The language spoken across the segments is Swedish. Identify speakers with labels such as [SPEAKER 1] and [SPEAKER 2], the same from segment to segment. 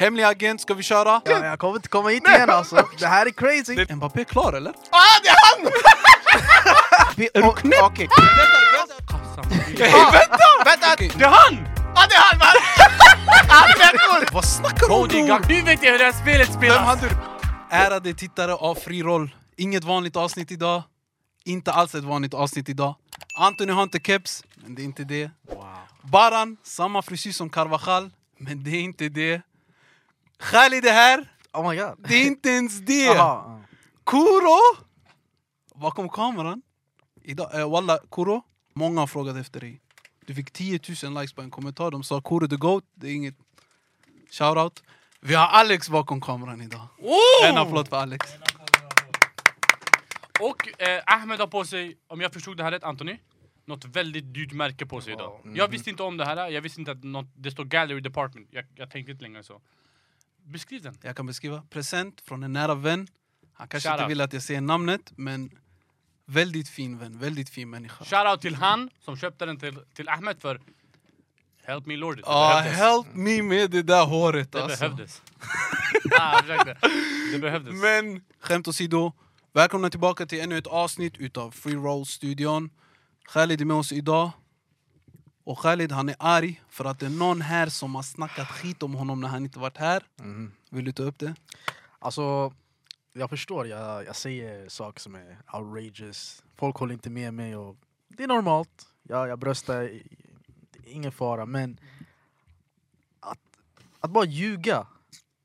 [SPEAKER 1] Hemlig agent, ska vi köra?
[SPEAKER 2] Ja, jag kommer inte komma hit igen alltså. Det här är crazy.
[SPEAKER 1] Det- Mbappé är klar eller?
[SPEAKER 3] Ah, det är han!
[SPEAKER 1] Är du knäpp?
[SPEAKER 2] Okej.
[SPEAKER 3] Vänta!
[SPEAKER 1] Det är han!
[SPEAKER 3] Ah, det är han! man! Han är
[SPEAKER 1] Vad snackar
[SPEAKER 4] Cody
[SPEAKER 1] du om?
[SPEAKER 4] Gag, nu vet jag hur det här spelet
[SPEAKER 1] Vem
[SPEAKER 4] spelas!
[SPEAKER 1] hade du? Ärade tittare av Fri Roll. Inget vanligt avsnitt idag. Inte alls ett vanligt avsnitt idag. Anthony har inte keps, men det är inte det. Baran, samma frisyr som Carvajal, men det är inte det. Khalid är här,
[SPEAKER 2] Oh my god.
[SPEAKER 1] det är inte ens det.
[SPEAKER 2] Jaha.
[SPEAKER 1] Kuro! Bakom kameran. Idag, eh, walla, Kuro. Många har frågat efter dig. Du fick 10 000 likes på en kommentar. De sa Kuro the GOAT. Det är inget shoutout. Vi har Alex bakom kameran idag. En
[SPEAKER 4] Oh!
[SPEAKER 1] applåd för Alex.
[SPEAKER 4] Och eh, Ahmed har på sig, om jag förstod det här rätt Anthony, något väldigt dyrt märke på sig idag.
[SPEAKER 1] mm.
[SPEAKER 4] Jag visste inte om det här, jag visste inte att något, det står Gallery Department. Jag, jag tänkte inte längre än så. Beskriv den.
[SPEAKER 1] Jag kan beskriva. Present från en nära vän. Han kanske inte
[SPEAKER 4] Shoutout.
[SPEAKER 1] vill att jag säger namnet, men väldigt fin vän. Väldigt fin människa.
[SPEAKER 4] Shoutout till han som köpte den till, till Ahmed för Help me Lord. Det
[SPEAKER 1] Ah,
[SPEAKER 4] behövdes.
[SPEAKER 1] help me med det där håret
[SPEAKER 4] det
[SPEAKER 1] alltså.
[SPEAKER 4] behövdes. ah, jag försökte. Det behövdes.
[SPEAKER 1] Men skämt åsido, välkomna tillbaka till ännu ett avsnitt utav Free Roll-studion. Khalid är med oss idag. Och Khalid han är arg för att det är någon här som har snackat skit om honom när han inte varit här.
[SPEAKER 2] Mm.
[SPEAKER 1] Vill du ta upp det?
[SPEAKER 2] Alltså, jag förstår. Jag, jag säger saker som är outrageous. Folk håller inte med mig och det är normalt. Jag, jag bröstar, i- det är ingen fara. Men att, att bara ljuga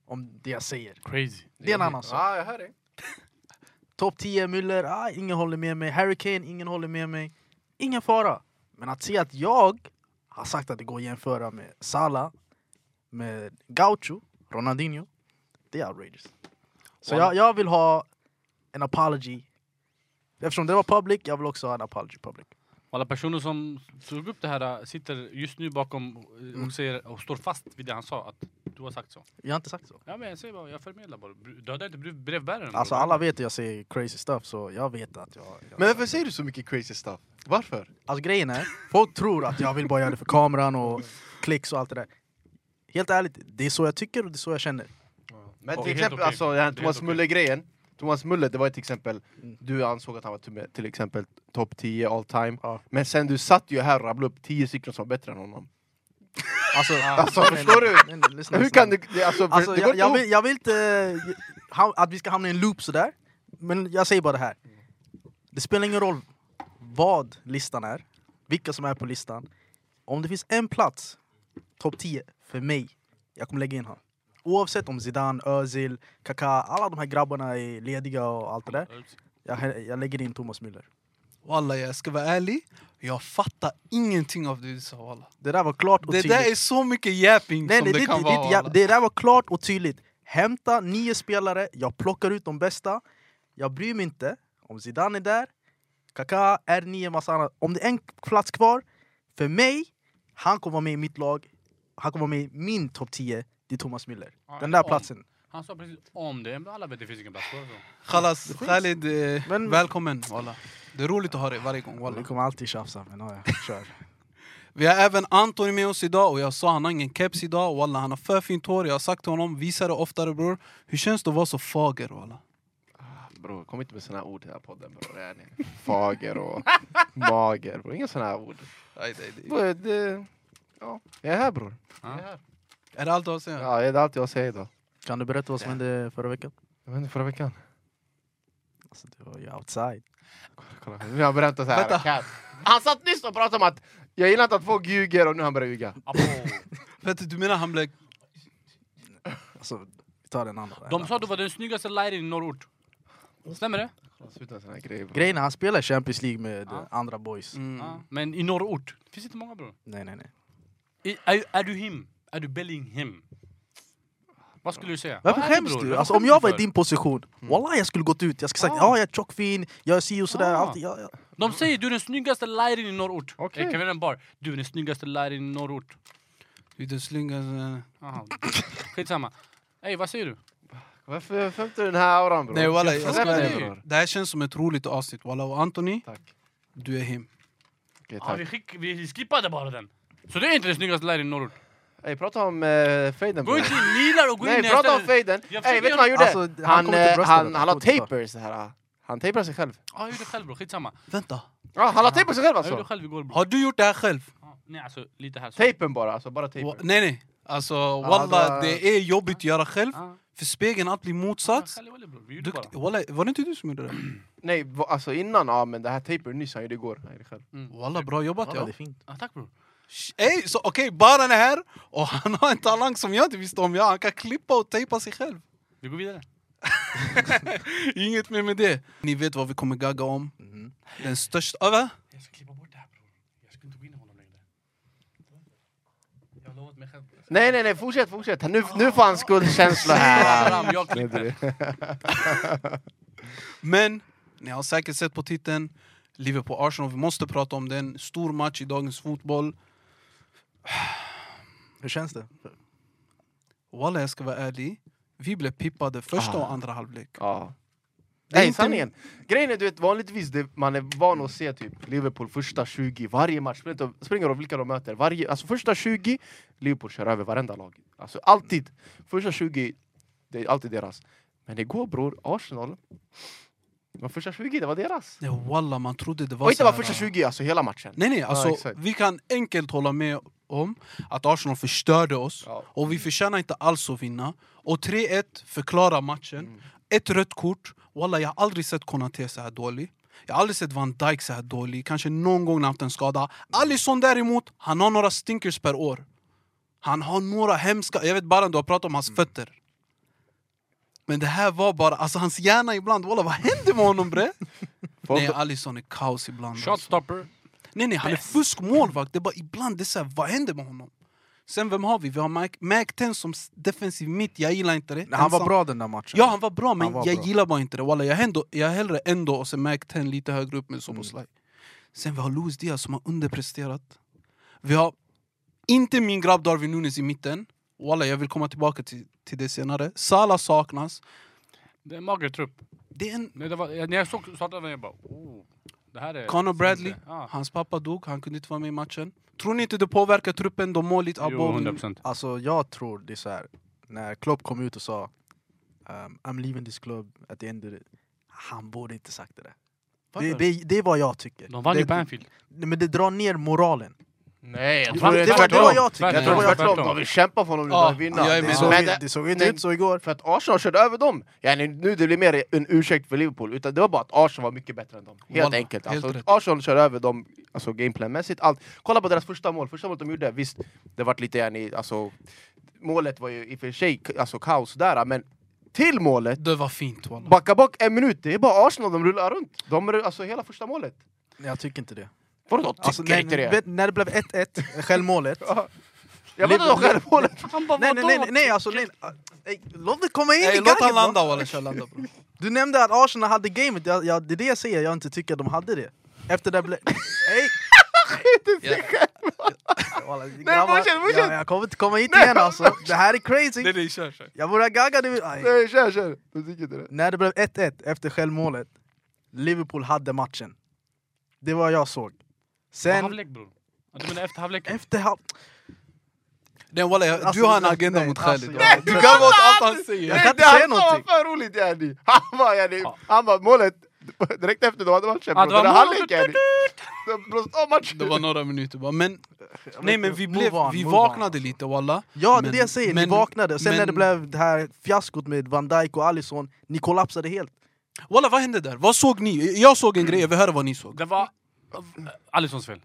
[SPEAKER 2] om det jag säger.
[SPEAKER 4] Crazy.
[SPEAKER 2] Det är en annan sak.
[SPEAKER 3] Ja, jag hör dig.
[SPEAKER 2] Topp 10 Müller, ah, ingen håller med mig. Harry Kane, ingen håller med mig. Ingen fara. Men att se att jag har sagt att det går att jämföra med Salah, med Gaucho, Ronaldinho, det är outrageous. Så jag, jag vill ha en apology. Eftersom det var public, jag vill också ha en apology public.
[SPEAKER 4] Alla personer som tog upp det här äh, sitter just nu bakom eh, och, säger, och står fast vid det han sa, att du har sagt så.
[SPEAKER 2] Jag har inte sagt så.
[SPEAKER 4] Ja men jag säger bara, jag förmedlar bara. Bru- Döda inte brev- brevbäraren.
[SPEAKER 2] Alltså alla vet att jag säger crazy stuff, så jag vet att jag... jag
[SPEAKER 3] Men varför säger du så mycket crazy stuff? Varför?
[SPEAKER 2] Alltså grejen är, folk tror att jag vill bara göra det för kameran och klicks och allt det där. Helt ärligt, det är så jag tycker och det är så jag känner.
[SPEAKER 3] Men
[SPEAKER 4] Och
[SPEAKER 3] till
[SPEAKER 4] helt
[SPEAKER 3] exempel,
[SPEAKER 4] okej.
[SPEAKER 3] alltså den här
[SPEAKER 4] Det är
[SPEAKER 3] Thomas
[SPEAKER 4] helt
[SPEAKER 3] Müller-grejen. Thomas Müller, det var ett exempel.
[SPEAKER 2] Mm.
[SPEAKER 3] Du ansåg att han var till- till exempel topp 10 all time.
[SPEAKER 2] Ja.
[SPEAKER 3] Men sen du satt ju här och rabblade upp 10 stycken som var bättre än honom.
[SPEAKER 2] Alltså,
[SPEAKER 3] Alltså, förstår du?
[SPEAKER 2] Nej, nej, lyssna,
[SPEAKER 3] Hur
[SPEAKER 2] lyssna.
[SPEAKER 3] kan du... det- Alltså, för-
[SPEAKER 2] Alltså,
[SPEAKER 3] det
[SPEAKER 2] jag,
[SPEAKER 3] går inte
[SPEAKER 2] jag,
[SPEAKER 3] ihop.
[SPEAKER 2] vill, jag vill inte eh, ha, att vi ska hamna i en loop sådär, men jag säger bara det här. Det spelar ingen roll vad listan är, vilka som är på listan. Om det finns en plats, topp 10, för mig, jag kommer lägga in honom. Oavsett om Zidane, Özil, Kaká, alla de här grabbarna är lediga och allt det där. Jag, jag lägger in Thomas Müller.
[SPEAKER 1] Walla, jag ska vara ärlig. Jag fattar ingenting av det du sa walla.
[SPEAKER 2] Det där var klart och
[SPEAKER 1] Det
[SPEAKER 2] tydligt.
[SPEAKER 1] där är så mycket yapping
[SPEAKER 2] Nej,
[SPEAKER 1] som
[SPEAKER 2] nej,
[SPEAKER 1] det,
[SPEAKER 2] det,
[SPEAKER 1] kan
[SPEAKER 2] det,
[SPEAKER 1] vara
[SPEAKER 2] det,
[SPEAKER 1] walla.
[SPEAKER 2] ja, det där var klart och tydligt. Hämta nio spelare, jag plockar ut de bästa. Jag bryr mig inte om Zidane är där, Kaká, R9, massa annat. Om det är en plats kvar, för mig, han kommer vara med i mitt lag. Han kommer vara med i min topp 10, det är Thomas Müller.
[SPEAKER 4] Ja,
[SPEAKER 2] Den där
[SPEAKER 4] om.
[SPEAKER 2] platsen.
[SPEAKER 4] Han sa precis om det, men alla vet det finns ingen plats kvar. så.
[SPEAKER 1] Khalas, Khalid, eh,
[SPEAKER 2] Men-
[SPEAKER 1] välkommen walla. Det är roligt att ha dig varje gång
[SPEAKER 2] Vi
[SPEAKER 1] walla.
[SPEAKER 2] kommer alltid tjafsa, men ja, ja, kör.
[SPEAKER 1] Vi har även Anthony med oss idag och jag sa han har ingen keps idag. Walla, han har för fint hår. Jag har sagt till honom, visa det oftare bror. Hur känns det att vara så fager walla?
[SPEAKER 3] Bro, kom inte med såna här ord i den här podden bro. Det är ni. Fager och mager bro. Inga såna här ord.
[SPEAKER 1] Aj, aj, aj.
[SPEAKER 3] Bro, det, ja, jag är här bror. Jag är här.
[SPEAKER 1] Är det allt du har att säga?
[SPEAKER 3] Ja, det är allt jag säger idag.
[SPEAKER 2] Kan du berätta vad som hände förra veckan?
[SPEAKER 3] Vad hände förra veckan?
[SPEAKER 2] Alltså, det var ju outside.
[SPEAKER 3] Kolla, nu har han berättat så här.
[SPEAKER 1] Vänta.
[SPEAKER 3] Kat. Han satt nyss och pratade om att jag gillar inte att folk ljuger och nu har han börjat ljuga.
[SPEAKER 4] Apo.
[SPEAKER 1] Vet du, du menar han blev...
[SPEAKER 2] Alltså, vi tar den andra.
[SPEAKER 4] De sa du var den snyggaste lajren i norrort. Stämmer det?
[SPEAKER 3] Sluta med såna här grejer bro.
[SPEAKER 2] Grejen är, han spelar i Champions League med eh,
[SPEAKER 4] Ja.
[SPEAKER 2] andra boys.
[SPEAKER 1] Mm.
[SPEAKER 4] Ja. Men i norrort, det finns inte många bror.
[SPEAKER 2] Nej, nej, nej.
[SPEAKER 4] I- Är, är du him? Är du Bellingham? Vad skulle du säga?
[SPEAKER 2] Varför
[SPEAKER 4] Vad är det,
[SPEAKER 2] skäms
[SPEAKER 4] bror?
[SPEAKER 2] du?
[SPEAKER 4] Varför
[SPEAKER 2] Alltså,
[SPEAKER 4] skäms
[SPEAKER 2] om jag var i
[SPEAKER 4] för?
[SPEAKER 2] din position, wallah jag skulle gått ut. Jag skulle sagt
[SPEAKER 4] Ah.
[SPEAKER 2] ja, jag är tjockfin, jag är si och sådär.
[SPEAKER 4] Ah.
[SPEAKER 2] Allt, ja, ja.
[SPEAKER 4] De säger du är den snyggaste lajren i norrort.
[SPEAKER 3] Okej.
[SPEAKER 4] Okay. Kan vi en bar? Du är den snyggaste lajren i norrort.
[SPEAKER 1] Du är den slyngaste...
[SPEAKER 4] Aha. Skitsamma. Ey, vad säger du?
[SPEAKER 3] Varför skämtar du den här auran bror?
[SPEAKER 1] Nej walla,
[SPEAKER 3] Jag
[SPEAKER 1] jag ska
[SPEAKER 3] fattar
[SPEAKER 1] vara
[SPEAKER 3] det,
[SPEAKER 1] ärlig.
[SPEAKER 3] bror.
[SPEAKER 1] Det här känns som ett roligt avsnitt walla. Och Anthony,
[SPEAKER 3] Tack.
[SPEAKER 1] du är him.
[SPEAKER 3] Okej,
[SPEAKER 4] Ja,
[SPEAKER 3] tack.
[SPEAKER 4] vi, skick, vi skippade bara den. Så du är inte den snyggaste läraren i norrort?
[SPEAKER 3] Ey, prata om eh, faden
[SPEAKER 4] Gå
[SPEAKER 3] bror.
[SPEAKER 4] inte in, kneelar och gå in
[SPEAKER 3] Nej, prata om
[SPEAKER 4] ställer-
[SPEAKER 3] faden!
[SPEAKER 4] Jag försöker
[SPEAKER 3] Ey, vet du vad han gjorde?
[SPEAKER 2] göra- Alltså, han
[SPEAKER 3] han,
[SPEAKER 2] kommer till
[SPEAKER 3] eh,
[SPEAKER 2] bröstet
[SPEAKER 3] han,
[SPEAKER 2] där,
[SPEAKER 3] han la
[SPEAKER 2] fotboll.
[SPEAKER 3] tapers så här. ah. Han tapar sig själv.
[SPEAKER 4] Ja, jag gjorde det själv bror, skitsamma.
[SPEAKER 1] Vänta.
[SPEAKER 3] Ja, han la tape på sig själv
[SPEAKER 4] Jag gjorde det
[SPEAKER 3] alltså!
[SPEAKER 4] själv igår bror.
[SPEAKER 1] Har du gjort det här själv?
[SPEAKER 4] Ja, Nej alltså, lite här så.
[SPEAKER 3] Tejpen bara, alltså bara
[SPEAKER 1] Wa-
[SPEAKER 3] tejpen.
[SPEAKER 1] Nej, nej. Alltså, walla,
[SPEAKER 3] var-
[SPEAKER 1] det är jobbigt att göra själv.
[SPEAKER 4] Ja.
[SPEAKER 1] För spegeln, allt blir
[SPEAKER 4] Ja,
[SPEAKER 1] motsats.
[SPEAKER 4] själv, eller, bror. Vi gjorde bara.
[SPEAKER 1] Dukt, walla, var det inte du som gjorde det?
[SPEAKER 3] Nej, va- alltså innan, ja men det här tejpen nyss, han gjorde igår. Han gjorde det själv.
[SPEAKER 4] Mm.
[SPEAKER 1] Walla, bra jobbat
[SPEAKER 2] Ja,
[SPEAKER 1] ja.
[SPEAKER 2] det är fint.
[SPEAKER 4] Ja, tack bror.
[SPEAKER 1] Sh- Ey, så okej, Baran är här och han har en talang som jag inte visste om. Ja, han kan klippa och tejpa sig själv.
[SPEAKER 4] Vi går vidare.
[SPEAKER 1] Inget mer med det. Ni vet vad vi kommer gagga om.
[SPEAKER 2] Mhm.
[SPEAKER 1] Den största... Ah, va?
[SPEAKER 4] Jag ska klippa bort det här bror. Jag ska inte gå in i honom längre. Jag har lovat mig själv.
[SPEAKER 3] Nej nej nej, fortsätt, fortsätt! Nu, nu får han skuldkänsla här!
[SPEAKER 4] Fram, jag klipper.
[SPEAKER 1] Men ni har säkert sett på titeln. Liverpool-Arsenal, vi måste prata om den. Stor match i dagens fotboll.
[SPEAKER 2] Hur känns det?
[SPEAKER 1] Walla, jag ska vara ärlig. Vi blev pippade första
[SPEAKER 3] Ah.
[SPEAKER 1] och andra halvlek.
[SPEAKER 3] Ja.
[SPEAKER 1] Det är
[SPEAKER 3] Nej,
[SPEAKER 1] inte-
[SPEAKER 3] sanningen! Grejen är du vet, vanligtvis det, man är van att se typ Liverpool första 20 varje match, spelar inte- spelar ingen roll vilka de möter. Varje, alltså första 20, Liverpool kör över varenda lag. Alltså alltid! Första 20, det är alltid deras. Men igår bror, Arsenal, de första 20, det var deras.
[SPEAKER 1] Nej, walla, man trodde det var
[SPEAKER 3] Och inte
[SPEAKER 1] så
[SPEAKER 3] bara
[SPEAKER 1] här,
[SPEAKER 3] första
[SPEAKER 1] äh,
[SPEAKER 3] 20, alltså hela matchen.
[SPEAKER 1] Nej, nej, alltså,
[SPEAKER 3] exakt.
[SPEAKER 1] vi kan enkelt hålla med om att Arsenal förstörde oss.
[SPEAKER 3] Ja.
[SPEAKER 1] Och vi förtjänar inte alls att vinna. Och 3-1 förklarar matchen.
[SPEAKER 3] Mm.
[SPEAKER 1] Ett rött kort. Walla, jag har aldrig sett Konate så här dålig. Jag har aldrig sett Van Dijk så här dålig. Kanske någon gång när han haft en skada. Alisson däremot, han har några stinkers per år. Han har några hemska... Jag vet bara du har pratat om hans
[SPEAKER 3] Mm.
[SPEAKER 1] fötter. Men det här var bara... Alltså hans hjärna ibland, walla vad händer med honom bre?
[SPEAKER 3] Folk-
[SPEAKER 1] nej, Alisson är kaos ibland. alltså.
[SPEAKER 4] Shotstopper.
[SPEAKER 1] Nej, nej, han är fuskmålvakt. Det är bara ibland, det är så här, vad händer med honom? Sen vem har vi? Vi har Mike, Mike Ten som s- defensiv mitt, jag gillar inte det.
[SPEAKER 2] Nej, han var
[SPEAKER 1] Ensam-
[SPEAKER 2] bra den där matchen.
[SPEAKER 1] Ja, han var bra, men
[SPEAKER 2] Han var
[SPEAKER 1] jag
[SPEAKER 2] bra.
[SPEAKER 1] gillar bara inte det. Walla, jag, ändå, jag är hellre ändå och sen Mike Ten lite högre upp med Soboslaj.
[SPEAKER 2] Mm.
[SPEAKER 1] Sen vi har Luis Diaz som har underpresterat. Vi har inte min grabb Darwin Nunes i mitten. Walla, jag vill komma tillbaka till, till det senare. Salah saknas.
[SPEAKER 4] Det är en mager trupp.
[SPEAKER 1] Det är en
[SPEAKER 4] Nej, det var, jag- när jag såg startelvan, jag bara oh, det här är...
[SPEAKER 1] Conor Bradley,
[SPEAKER 2] Ah.
[SPEAKER 4] Ja.
[SPEAKER 1] hans pappa dog, han kunde inte vara med i matchen. Tror ni inte det påverkar truppen? De mår lite
[SPEAKER 4] Jo,
[SPEAKER 1] above.
[SPEAKER 4] 100%.
[SPEAKER 2] Alltså jag tror det är så här. när Klopp kom ut och sa um, I'm leaving this club at the end of the... Han borde inte sagt det där. Det,
[SPEAKER 1] Varför?
[SPEAKER 2] det, det är vad jag tycker.
[SPEAKER 4] De vann
[SPEAKER 2] det,
[SPEAKER 4] ju på Anfield.
[SPEAKER 2] Nej, Men det drar ner moralen.
[SPEAKER 3] Nej, jag
[SPEAKER 4] Det
[SPEAKER 3] tror det
[SPEAKER 2] Det
[SPEAKER 3] är
[SPEAKER 2] var, det var
[SPEAKER 3] tvärtom.
[SPEAKER 2] jag tycker.
[SPEAKER 4] Tvärtom.
[SPEAKER 3] Jag
[SPEAKER 2] Det
[SPEAKER 3] tror det var
[SPEAKER 2] var
[SPEAKER 3] tvärtom. De vill kämpa för honom nu,
[SPEAKER 1] Ja,
[SPEAKER 3] de vill vinna.
[SPEAKER 1] jag är
[SPEAKER 2] jag-
[SPEAKER 1] med.
[SPEAKER 2] Det
[SPEAKER 1] tvärtom.
[SPEAKER 2] såg,
[SPEAKER 3] Men
[SPEAKER 2] det såg inte ut så igår.
[SPEAKER 3] För att Arsenal körde över dem. Yani, nu det blir mer en ursäkt för Liverpool, utan det var bara att Arsenal var mycket bättre än dem. Helt
[SPEAKER 1] Wallah,
[SPEAKER 3] enkelt.
[SPEAKER 1] helt
[SPEAKER 3] Alltså,
[SPEAKER 1] rätt.
[SPEAKER 3] Arsenal körde över dem alltså, gameplanmässigt. Allt. Kolla på deras första mål. Första målet de gjorde, visst, det vart lite... Yani, alltså, målet var ju i och för sig alltså, kaos där, men till målet,
[SPEAKER 1] Det var fint walla.
[SPEAKER 3] backa bak en minut, det är bara Arsenal de rullar runt. De, rull- alltså hela första målet.
[SPEAKER 2] Jag tycker inte det.
[SPEAKER 3] Vadå, de tycker
[SPEAKER 2] Alltså, när,
[SPEAKER 3] inte det?
[SPEAKER 2] vet- när det blev 1-1, självmålet.
[SPEAKER 3] jag vet inte om själv målet.
[SPEAKER 4] Han bara
[SPEAKER 2] nej, nej, nej, nej, alltså, nej. Ey, Låt det komma in i
[SPEAKER 1] Ey, låt
[SPEAKER 2] gaggen,
[SPEAKER 1] han
[SPEAKER 2] va?
[SPEAKER 1] landa walla, kör landa bro.
[SPEAKER 2] Du nämnde att Arsenal hade gamet, jag, jag, det är det jag säger, jag inte tycker de hade det. Efter det blev... Ey! Walla, grabbar,
[SPEAKER 3] fortsätt, fortsätt.
[SPEAKER 2] Jag, jag kommer inte komma hit
[SPEAKER 3] Nej,
[SPEAKER 2] igen alltså, det här är crazy!
[SPEAKER 1] nej, kör, kör.
[SPEAKER 2] Jag borde ha gaggat nu! Aj.
[SPEAKER 3] Nej, kör, kör. De tycker inte det.
[SPEAKER 2] När det blev 1-1 efter självmålet, Liverpool hade matchen. Det var vad jag såg. Sen,
[SPEAKER 4] Halvlek bror. Ja, Du menar efter halvleken?
[SPEAKER 2] efter halv...
[SPEAKER 1] Nej walla, jag,
[SPEAKER 2] Alltså,
[SPEAKER 1] du har en
[SPEAKER 2] nej,
[SPEAKER 1] agenda
[SPEAKER 2] nej,
[SPEAKER 1] mot
[SPEAKER 2] alltså,
[SPEAKER 1] Khalid.
[SPEAKER 2] jag-
[SPEAKER 1] walla. du
[SPEAKER 2] Nej,
[SPEAKER 1] garvar åt allt han säger.
[SPEAKER 2] Jag kan inte säga någonting.
[SPEAKER 3] Det var för roligt yani! Han bara yani, han bara målet direkt efter då hade matchen
[SPEAKER 4] Ja,
[SPEAKER 3] bror,
[SPEAKER 4] det
[SPEAKER 3] den
[SPEAKER 4] var
[SPEAKER 3] här
[SPEAKER 4] målet,
[SPEAKER 3] halvlek yani! De blåste av matchen!
[SPEAKER 1] Det var några minuter bara, men... Nej men vi,
[SPEAKER 2] Move
[SPEAKER 1] blev,
[SPEAKER 2] on,
[SPEAKER 1] vi
[SPEAKER 2] move on,
[SPEAKER 1] vaknade
[SPEAKER 2] alltså.
[SPEAKER 1] lite walla.
[SPEAKER 2] Ja, det
[SPEAKER 1] Men-
[SPEAKER 2] är det jag säger,
[SPEAKER 1] men-
[SPEAKER 2] ni vaknade. Sen när det
[SPEAKER 1] men-
[SPEAKER 2] blev det här fiaskot med Van Dijk och Alisson, ni kollapsade helt.
[SPEAKER 1] Walla vad hände där? Vad såg ni? Jag såg en grej, jag vill höra vad ni såg.
[SPEAKER 4] Det var äh, Alissons fel.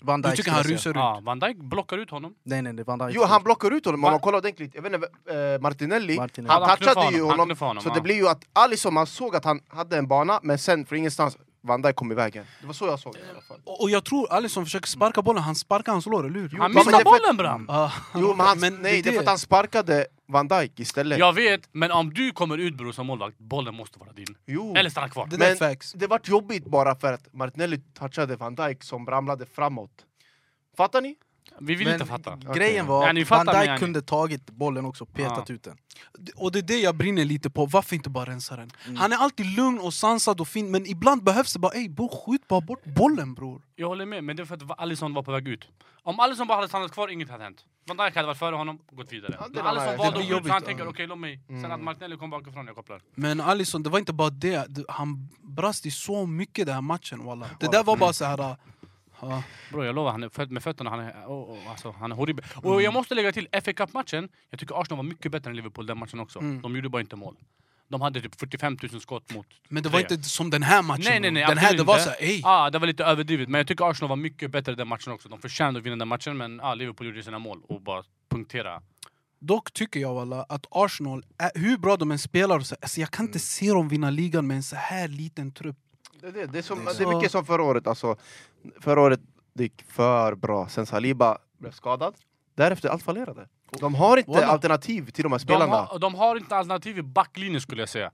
[SPEAKER 2] Van
[SPEAKER 1] Du
[SPEAKER 2] Dijk
[SPEAKER 1] tycker
[SPEAKER 2] skulle
[SPEAKER 1] han
[SPEAKER 2] jag
[SPEAKER 1] rusar
[SPEAKER 2] säga.
[SPEAKER 1] ut?
[SPEAKER 4] Ja, Van Dijk blockar ut honom.
[SPEAKER 2] Nej nej, nej Van Dijk.
[SPEAKER 3] Jo han blockar ut honom, om
[SPEAKER 4] Va?
[SPEAKER 3] man kollar ordentligt, jag vet inte, eh, Martinelli,
[SPEAKER 2] Martinelli.
[SPEAKER 3] han,
[SPEAKER 4] Ja, han
[SPEAKER 3] touchade
[SPEAKER 4] knuffade
[SPEAKER 3] ju
[SPEAKER 4] honom, han
[SPEAKER 3] honom,
[SPEAKER 4] knuffade honom,
[SPEAKER 3] så
[SPEAKER 4] ja.
[SPEAKER 3] det blir ju att Alisson, man såg att han hade en bana, men sen från ingenstans, Van Dijk kom i vägen. Det var så jag såg det i alla fall.
[SPEAKER 1] Och och jag tror Alisson försöker sparka bollen, han sparkar hans lår, eller hur?
[SPEAKER 4] Han
[SPEAKER 3] men det
[SPEAKER 4] missar
[SPEAKER 3] är för-
[SPEAKER 4] bollen bram!
[SPEAKER 1] Ah,
[SPEAKER 3] Jo men, han,
[SPEAKER 1] Men det
[SPEAKER 3] nej,
[SPEAKER 1] är
[SPEAKER 3] det är för
[SPEAKER 1] det.
[SPEAKER 3] att han sparkade Van Dijk istället.
[SPEAKER 4] Jag vet, men om du kommer ut bror som målvakt, bollen måste vara din.
[SPEAKER 3] Jo.
[SPEAKER 4] Eller stanna kvar.
[SPEAKER 1] Oh. det där är
[SPEAKER 3] Men-
[SPEAKER 1] facts.
[SPEAKER 3] Det vart jobbigt bara för att Martinelli touchade Van Dijk som ramlade framåt. Fattar ni?
[SPEAKER 4] Vi vill
[SPEAKER 2] Men
[SPEAKER 4] inte fatta.
[SPEAKER 2] Grejen var,
[SPEAKER 4] Ja, ni fattar
[SPEAKER 2] Van
[SPEAKER 4] mig,
[SPEAKER 2] Dijk
[SPEAKER 4] yani.
[SPEAKER 2] kunde tagit bollen också och petat
[SPEAKER 4] Ja.
[SPEAKER 2] ut den.
[SPEAKER 1] Och det är det jag brinner lite på, varför inte bara rensa den? Han är alltid lugn och sansad och fin, men ibland behövs det bara ey bror, skjut bara bort bollen bror.
[SPEAKER 4] Jag håller med, men det är för att Alisson var på väg ut. Om Alisson bara hade stannat kvar, inget hade hänt. Van Dijk hade varit före honom, gått vidare.
[SPEAKER 3] Ja, det
[SPEAKER 4] Men
[SPEAKER 3] var
[SPEAKER 4] alla som
[SPEAKER 3] nice.
[SPEAKER 1] Det
[SPEAKER 4] valde
[SPEAKER 1] blir
[SPEAKER 4] att gå ut,
[SPEAKER 1] jobbigt,
[SPEAKER 4] han
[SPEAKER 1] ja.
[SPEAKER 4] tänker okej, låt mig. Sen
[SPEAKER 3] Mm.
[SPEAKER 4] att Martinelli kom bakifrån, jag kopplar.
[SPEAKER 1] Men Alisson, det var inte bara det. Du- Han brast i så mycket den här matchen walla. Det
[SPEAKER 2] Walla.
[SPEAKER 1] där
[SPEAKER 4] Mm.
[SPEAKER 1] var bara så här... ah, ah,
[SPEAKER 4] Bro, jag lovar, han är född med fötterna. Han är, oh, oh, alltså, han är horribel. Och jag måste lägga till FA Cup-matchen. Jag tycker Arsenal var mycket bättre än Liverpool den matchen också.
[SPEAKER 1] Mm.
[SPEAKER 4] De gjorde bara inte mål. De hade typ 45 000 skott mot...
[SPEAKER 1] Men det var
[SPEAKER 4] tre.
[SPEAKER 1] inte som den här matchen.
[SPEAKER 4] Nej, nej, nej,
[SPEAKER 1] den här,
[SPEAKER 4] absolut
[SPEAKER 1] det var
[SPEAKER 4] inte.
[SPEAKER 1] så här, ey.
[SPEAKER 4] Ah, det var lite överdrivet, men jag tycker Arsenal var mycket bättre den matchen också. De förtjänade att vinna den matchen, men ah, Liverpool gjorde sina mål och bara punktera.
[SPEAKER 1] Dock tycker jag walla att Arsenal, är, hur bra de än spelar, och så, alltså, jag kan
[SPEAKER 4] Mm.
[SPEAKER 1] inte se dem vinna ligan med en så här liten trupp.
[SPEAKER 3] Det, det, det, är som,
[SPEAKER 2] Det är
[SPEAKER 3] det
[SPEAKER 1] så.
[SPEAKER 3] är mycket som förra året. Alltså, förra året det gick för bra. Sen Saliba blev skadad. Därefter allt fallerade. De har inte
[SPEAKER 1] Voilà.
[SPEAKER 3] alternativ till de här
[SPEAKER 4] De
[SPEAKER 3] spelarna.
[SPEAKER 4] har, de har inte alternativ i backlinjen skulle jag säga.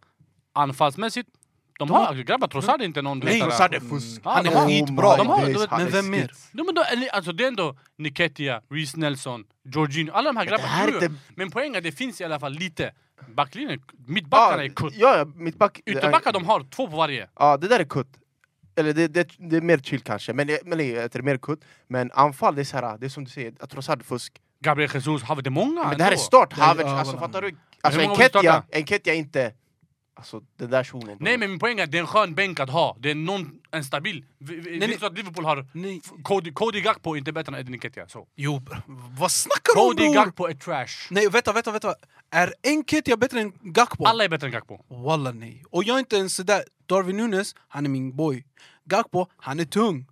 [SPEAKER 4] Anfallsmässigt, de
[SPEAKER 1] De har-
[SPEAKER 4] har... alltså, Grabbar, Trossard är inte någon...
[SPEAKER 1] Nej,
[SPEAKER 4] vetare.
[SPEAKER 1] Trossard
[SPEAKER 3] är fusk.
[SPEAKER 4] Ah, de
[SPEAKER 1] är
[SPEAKER 4] har-
[SPEAKER 1] skitbra.
[SPEAKER 4] De har-
[SPEAKER 1] Men vem mer?
[SPEAKER 4] Ja, men då, eller, alltså det är ändå Niketia, Reece Nelson, Jorginho, alla de här
[SPEAKER 3] Det här
[SPEAKER 4] grabbarna.
[SPEAKER 3] är
[SPEAKER 4] jo, jo.
[SPEAKER 3] inte...
[SPEAKER 4] Men poängen är att det finns i alla fall lite. Backlinjen,
[SPEAKER 3] Ja,
[SPEAKER 4] mittbackarna är kutt.
[SPEAKER 3] ja, ja, mitt back...
[SPEAKER 4] Ytterbackar de har två på varje.
[SPEAKER 3] Ja, det där är kutt. Eller det, det, det är mer chill kanske, men, men det är det är mer kutt. Men anfall, det är så här, det är som du säger, att Trossard är fusk.
[SPEAKER 4] Gabriel Jesus, har vi det många?
[SPEAKER 3] Men det här är
[SPEAKER 4] ändå.
[SPEAKER 3] start,
[SPEAKER 1] Ja,
[SPEAKER 3] Havertz,
[SPEAKER 1] ja,
[SPEAKER 3] alltså
[SPEAKER 1] voilà.
[SPEAKER 3] fattar du? Alltså
[SPEAKER 4] hur många vill
[SPEAKER 3] Enketia,
[SPEAKER 4] starta?
[SPEAKER 3] Enketia är inte... Alltså den där shunon.
[SPEAKER 4] Nej men min poäng är att det är en skön bänk att ha. Det är någon, en stabil. Vi, vi, det är
[SPEAKER 1] nej.
[SPEAKER 4] inte så att Liverpool har
[SPEAKER 1] Nej.
[SPEAKER 4] f- Cody, Cody Gakpo är inte bättre än Edin Niketia. Så.
[SPEAKER 1] Jo, br- vad snackar du om
[SPEAKER 4] Cody
[SPEAKER 1] bror?
[SPEAKER 4] Gakpo är trash.
[SPEAKER 1] Nej, vänta, vänta, vänta. Är Enketia bättre än Gakpo?
[SPEAKER 4] Alla är bättre än Gakpo.
[SPEAKER 1] Walla nej. Och jag är inte ens sådär... Darwin Nunes, han är min boy. Gakpo, han är tung.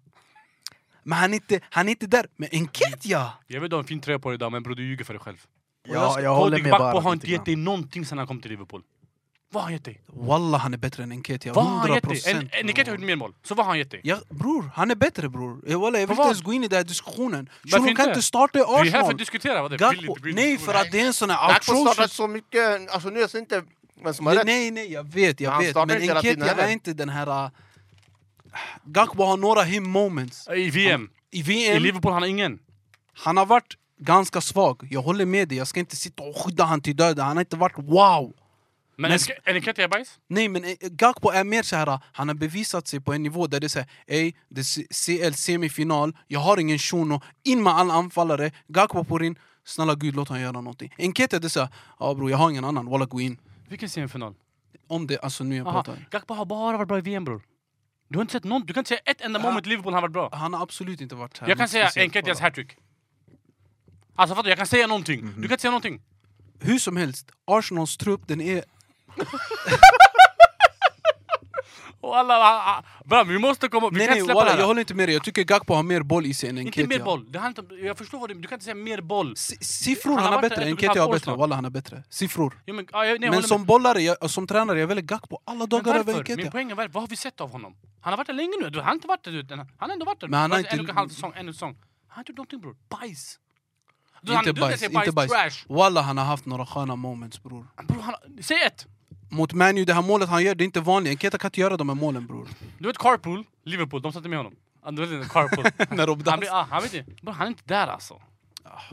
[SPEAKER 1] Men han är inte, han är inte där. Men Enketia!
[SPEAKER 4] Jag vet du har en fin tröja på dig idag men bror du ljuger för dig själv.
[SPEAKER 2] Ja, jag håller
[SPEAKER 4] Cody
[SPEAKER 2] med
[SPEAKER 4] Gakpo
[SPEAKER 2] bara.
[SPEAKER 4] har inte gett dig någonting sen han kom till Liverpool. Vad har han gett dig?
[SPEAKER 1] Walla, han är bättre än Enketia.
[SPEAKER 4] Vad har han
[SPEAKER 1] 100
[SPEAKER 4] gett dig? En-
[SPEAKER 1] procent.
[SPEAKER 4] en- Niketia har gjort mer mål. Så vad har han gett dig?
[SPEAKER 1] Ja, bror, han är bättre bror. Eh, Walla, jag vill
[SPEAKER 4] För
[SPEAKER 1] inte
[SPEAKER 4] vad?
[SPEAKER 1] ens gå in i den här diskussionen.
[SPEAKER 4] Varför
[SPEAKER 1] Shunon kan
[SPEAKER 4] inte?
[SPEAKER 1] inte starta i
[SPEAKER 4] Vi är här för att
[SPEAKER 1] Arsenal.
[SPEAKER 4] diskutera. Vad det är.
[SPEAKER 1] Gakpo,
[SPEAKER 4] Billigt, billigt.
[SPEAKER 1] nej, för att det är en sån här
[SPEAKER 3] Gakpo startar
[SPEAKER 1] atrocious...
[SPEAKER 3] så mycket, alltså nu är det inte vem som har
[SPEAKER 1] Nej,
[SPEAKER 3] rätt.
[SPEAKER 1] nej, nej, jag vet,
[SPEAKER 3] Men
[SPEAKER 1] jag
[SPEAKER 3] han
[SPEAKER 1] vet.
[SPEAKER 3] startar
[SPEAKER 1] Men
[SPEAKER 3] inte hela tiden
[SPEAKER 1] Enketia är
[SPEAKER 3] heller.
[SPEAKER 1] inte den här... äh, Gakpo har några him moments.
[SPEAKER 4] I VM.
[SPEAKER 1] I
[SPEAKER 4] I
[SPEAKER 1] VM,
[SPEAKER 4] Liverpool han har ingen.
[SPEAKER 1] han har varit ganska svag. Jag håller med dig, jag ska inte sitta och skydda han till döden. Han har inte varit wow.
[SPEAKER 4] Men
[SPEAKER 1] Men-
[SPEAKER 4] Enke- är Niketia bajs?
[SPEAKER 1] Nej men eh, Gakpo är mer så här. han har bevisat sig på en nivå där det är såhär Ey, det är CL-semifinal, jag har ingen shuno, in med alla anfallare, Gakpo på in, snälla gud låt han göra någonting. Enketia det är såhär, ja bror jag har ingen annan, walla gå in.
[SPEAKER 4] Vilken semifinal?
[SPEAKER 1] Om det, alltså nu jag
[SPEAKER 4] Aha,
[SPEAKER 1] pratar.
[SPEAKER 4] Gakpo har bara varit bra i VM bror. Du har inte sett någon, du kan inte säga ett enda
[SPEAKER 1] Ja.
[SPEAKER 4] moment Liverpool har varit bra.
[SPEAKER 1] Han har absolut inte varit här.
[SPEAKER 4] Jag kan
[SPEAKER 1] något
[SPEAKER 4] säga
[SPEAKER 1] speciellt,
[SPEAKER 4] Enketias
[SPEAKER 1] bara.
[SPEAKER 4] hattrick. Alltså fattar du? Jag kan säga någonting.
[SPEAKER 1] Mhm.
[SPEAKER 4] Du kan inte säga någonting.
[SPEAKER 1] Hur som helst, Arsenals trupp den är...
[SPEAKER 4] Och alla, ah, ah, bra, vi måste komma, vi
[SPEAKER 1] nej
[SPEAKER 4] kan
[SPEAKER 1] nej
[SPEAKER 4] inte släppa det
[SPEAKER 1] walla,
[SPEAKER 4] här.
[SPEAKER 1] jag håller inte med dig, jag tycker Gakpo har mer boll i sig än
[SPEAKER 4] Inte
[SPEAKER 1] Enketia.
[SPEAKER 4] mer boll. Det handlar inte, om- jag förstår vad du Du kan inte säga mer boll.
[SPEAKER 1] Si- Siffror
[SPEAKER 4] Han har
[SPEAKER 1] han har
[SPEAKER 4] varit
[SPEAKER 1] bättre,
[SPEAKER 4] där ett och ett
[SPEAKER 1] Enketia har
[SPEAKER 4] halvt år
[SPEAKER 1] bättre,
[SPEAKER 4] snart.
[SPEAKER 1] walla han har bättre. Siffror.
[SPEAKER 4] Jo, men, ah, jag, nej, jag
[SPEAKER 1] Men
[SPEAKER 4] håller
[SPEAKER 1] som
[SPEAKER 4] med.
[SPEAKER 1] bollare, jag, och som tränare, jag väljer Gakpo alla
[SPEAKER 4] Men
[SPEAKER 1] dagar över
[SPEAKER 4] varför? Min
[SPEAKER 1] Enketia.
[SPEAKER 4] poäng är varför? Vad har vi sett av honom? Han har varit där länge nu. Du, Han har inte varit där. du, den- Han har ändå varit där.
[SPEAKER 1] Men han har
[SPEAKER 4] Alltså, En
[SPEAKER 1] inte-
[SPEAKER 4] och en halv säsong, en säsong. Han har inte gjort någonting bror. Bajs. Du, han-
[SPEAKER 1] Inte
[SPEAKER 4] du kan
[SPEAKER 1] bajs,
[SPEAKER 4] säga
[SPEAKER 1] inte bajs.
[SPEAKER 4] Trash.
[SPEAKER 1] Walla han har haft några sköna moments bror.
[SPEAKER 4] Bror, han- säg ett!
[SPEAKER 1] Mot Manu, det här målet han gör, det är inte vanligt. Enketa kan inte göra de här målen bror.
[SPEAKER 4] Du vet Carpool, Liverpool, de satte med honom. Ah, Du vet inte, Carpool.
[SPEAKER 1] När de
[SPEAKER 4] han,
[SPEAKER 1] dans.
[SPEAKER 4] blir, ah, han, vet inte. Bro, han är inte där alltså.
[SPEAKER 3] Ah.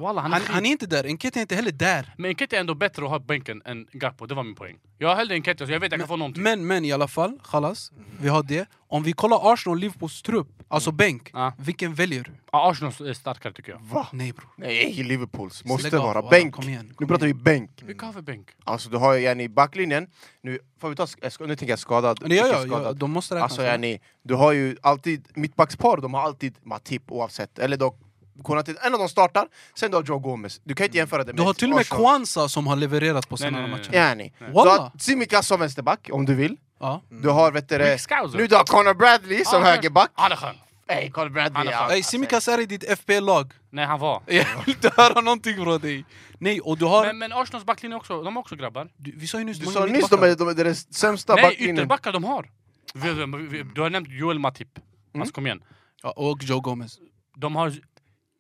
[SPEAKER 4] Walla, han,
[SPEAKER 1] Han,
[SPEAKER 4] är
[SPEAKER 1] han
[SPEAKER 4] skit.
[SPEAKER 1] är inte där, Enketa är inte heller där.
[SPEAKER 4] Men Enketia är ändå bättre att ha på bänken än Gakpo, det var min poäng. Jag höll Enketia så jag vet jag kan få någonting.
[SPEAKER 1] Men, men i alla fall, Chalas, vi har det. Om vi kollar Arsenal och Liverpools trupp, alltså bänk,
[SPEAKER 4] Mm. Ja.
[SPEAKER 1] vilken väljer du?
[SPEAKER 4] Ah, Arsenal är starkare tycker jag.
[SPEAKER 3] Va?
[SPEAKER 1] Nej bror.
[SPEAKER 3] Nej, Liverpools måste
[SPEAKER 1] Lägg av,
[SPEAKER 3] vara
[SPEAKER 1] walla,
[SPEAKER 3] bänk.
[SPEAKER 1] Kom igen,
[SPEAKER 3] Nu
[SPEAKER 1] kom
[SPEAKER 3] pratar
[SPEAKER 1] igen.
[SPEAKER 3] vi bänk.
[SPEAKER 4] Vilka har vi bänk?
[SPEAKER 3] Alltså du har ju yani backlinjen, nu, får vi ta, sk- sk- nu tänker jag skadad,
[SPEAKER 1] Nej, ja,
[SPEAKER 3] icke
[SPEAKER 1] ja, ja, de måste räkna.
[SPEAKER 3] Alltså yani, du har ju alltid, mittbackspar de har alltid Matip oavsett, eller då Konate, en av dem startar, sen du har Joe Gomez. Du kan inte jämföra det med
[SPEAKER 1] Mm. du har till och med Mm.
[SPEAKER 3] Arsenal.
[SPEAKER 1] Kwanza som har levererat på
[SPEAKER 4] Nej,
[SPEAKER 1] sina
[SPEAKER 4] nej, nej,
[SPEAKER 1] matcher.
[SPEAKER 4] nej.
[SPEAKER 3] Yani. Du
[SPEAKER 1] Walla.
[SPEAKER 3] har Tsimikas som vänsterback om du vill.
[SPEAKER 1] Ja.
[SPEAKER 3] Du har vet du, det-
[SPEAKER 4] Rick
[SPEAKER 1] alltså.
[SPEAKER 4] Scouser.
[SPEAKER 3] nu du har Connor Bradley som
[SPEAKER 4] Ah,
[SPEAKER 3] högerback.
[SPEAKER 4] Han är skön.
[SPEAKER 3] Ey, Connor Bradley!
[SPEAKER 4] Han är fan-
[SPEAKER 1] Ey,
[SPEAKER 4] alltså-
[SPEAKER 1] Simikas är i ditt FPL-lag.
[SPEAKER 4] Nej, han var.
[SPEAKER 1] Jag vill inte höra någonting från dig. Nej, och du har...
[SPEAKER 4] Men, men Arsenals backlinje också, de har också grabbar.
[SPEAKER 1] du, vi sa ju nyss...
[SPEAKER 3] Du
[SPEAKER 1] många
[SPEAKER 3] sa nyss
[SPEAKER 1] mittbackar.
[SPEAKER 3] de är, de är deras sämsta
[SPEAKER 4] Nej,
[SPEAKER 3] backlinjen.
[SPEAKER 4] ytterbackar de har. Vi, vi, vi, du har nämnt Joel Matip.
[SPEAKER 3] Mm.
[SPEAKER 4] Alltså kom igen.
[SPEAKER 1] Ja, och Joe Gomez.
[SPEAKER 4] De har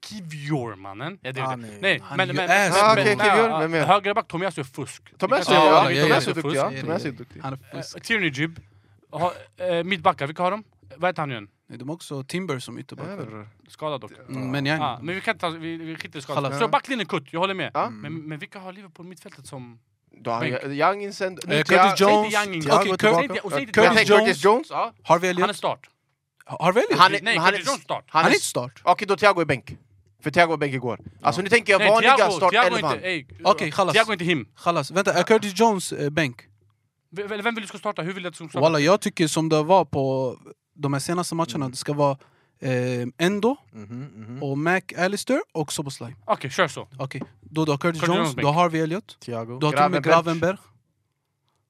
[SPEAKER 4] Kivior mannen. Ja, det är
[SPEAKER 2] Han
[SPEAKER 4] det.
[SPEAKER 2] är-
[SPEAKER 4] Nej,
[SPEAKER 1] han
[SPEAKER 4] men,
[SPEAKER 1] är ju
[SPEAKER 4] men,
[SPEAKER 1] ass,
[SPEAKER 3] Ah,
[SPEAKER 4] men,
[SPEAKER 3] okej,
[SPEAKER 4] men,
[SPEAKER 3] Kivior,
[SPEAKER 4] ja,
[SPEAKER 3] vem är det?
[SPEAKER 4] högerback Tomiasu är fusk. Alltså,
[SPEAKER 3] Tomiasu
[SPEAKER 1] Ja,
[SPEAKER 3] ja,
[SPEAKER 1] ja, ja,
[SPEAKER 3] Tomiasu
[SPEAKER 1] ja.
[SPEAKER 3] är duktig. ja.
[SPEAKER 1] Fusk.
[SPEAKER 3] Tomiasu är duktig.
[SPEAKER 1] Han är
[SPEAKER 4] Eh,
[SPEAKER 1] fusk.
[SPEAKER 4] Tierney Jib. Ha, eh, mittbackar, vilka har de? Vad heter han igen?
[SPEAKER 1] Nej, de har också Timber som ytterback.
[SPEAKER 4] Skadad dock.
[SPEAKER 1] Mm, men
[SPEAKER 4] Ah,
[SPEAKER 1] jag...
[SPEAKER 4] men vi, kan ta, vi, vi skiter i skadan.
[SPEAKER 1] Khalas.
[SPEAKER 4] Så backlinjen är kutt, jag håller med.
[SPEAKER 3] Ja.
[SPEAKER 4] Men, men vilka har Liverpool mittfältet som...
[SPEAKER 3] Du har
[SPEAKER 4] Bänk.
[SPEAKER 3] ju- Young incend...
[SPEAKER 1] Eh, Curtis
[SPEAKER 4] Säg
[SPEAKER 1] Jones,
[SPEAKER 4] inte Young
[SPEAKER 1] Thiago
[SPEAKER 4] Okej,
[SPEAKER 1] är
[SPEAKER 4] Curtis-
[SPEAKER 1] tillbaka.
[SPEAKER 4] säg inte- och säg inte
[SPEAKER 1] Curtis
[SPEAKER 4] Young.
[SPEAKER 1] Jones.
[SPEAKER 3] Curtis Jones. ja.
[SPEAKER 1] Harvey
[SPEAKER 4] Han är
[SPEAKER 1] Elliot?
[SPEAKER 4] start.
[SPEAKER 1] Har Harvey Elliot?
[SPEAKER 3] Han är-
[SPEAKER 4] Nej,
[SPEAKER 3] han är-
[SPEAKER 4] Curtis Jones start.
[SPEAKER 1] Han
[SPEAKER 3] Han
[SPEAKER 1] är
[SPEAKER 3] är...
[SPEAKER 1] inte start.
[SPEAKER 3] Okej, då Thiago är bänk. För Thiago och bägge går. Alltså nu tänker jag
[SPEAKER 4] Nej,
[SPEAKER 3] vanliga
[SPEAKER 4] Thiago, Thiago är
[SPEAKER 3] startelvan.
[SPEAKER 4] inte... ey,
[SPEAKER 1] Okej, chalas.
[SPEAKER 4] Thiago är inte him.
[SPEAKER 1] Chalas, vänta, är Curtis Jones eh, bänk?
[SPEAKER 4] V- Vem vill du ska starta? Hur vill du att du ska starta?
[SPEAKER 1] Walla, jag tycker som det var på de här senaste
[SPEAKER 3] Mm.
[SPEAKER 1] matcherna, det ska vara eh, Endo,
[SPEAKER 3] Mhm,
[SPEAKER 1] och Mac Allister och Soboslaj.
[SPEAKER 4] Okej, kör så.
[SPEAKER 1] Okej, då du har Curtis
[SPEAKER 4] Curtis
[SPEAKER 1] Jones,
[SPEAKER 4] Jones
[SPEAKER 1] du har Harvey Elliott,
[SPEAKER 2] Thiago,
[SPEAKER 1] du har till och med
[SPEAKER 3] Gravenberch.
[SPEAKER 1] Gravenberg.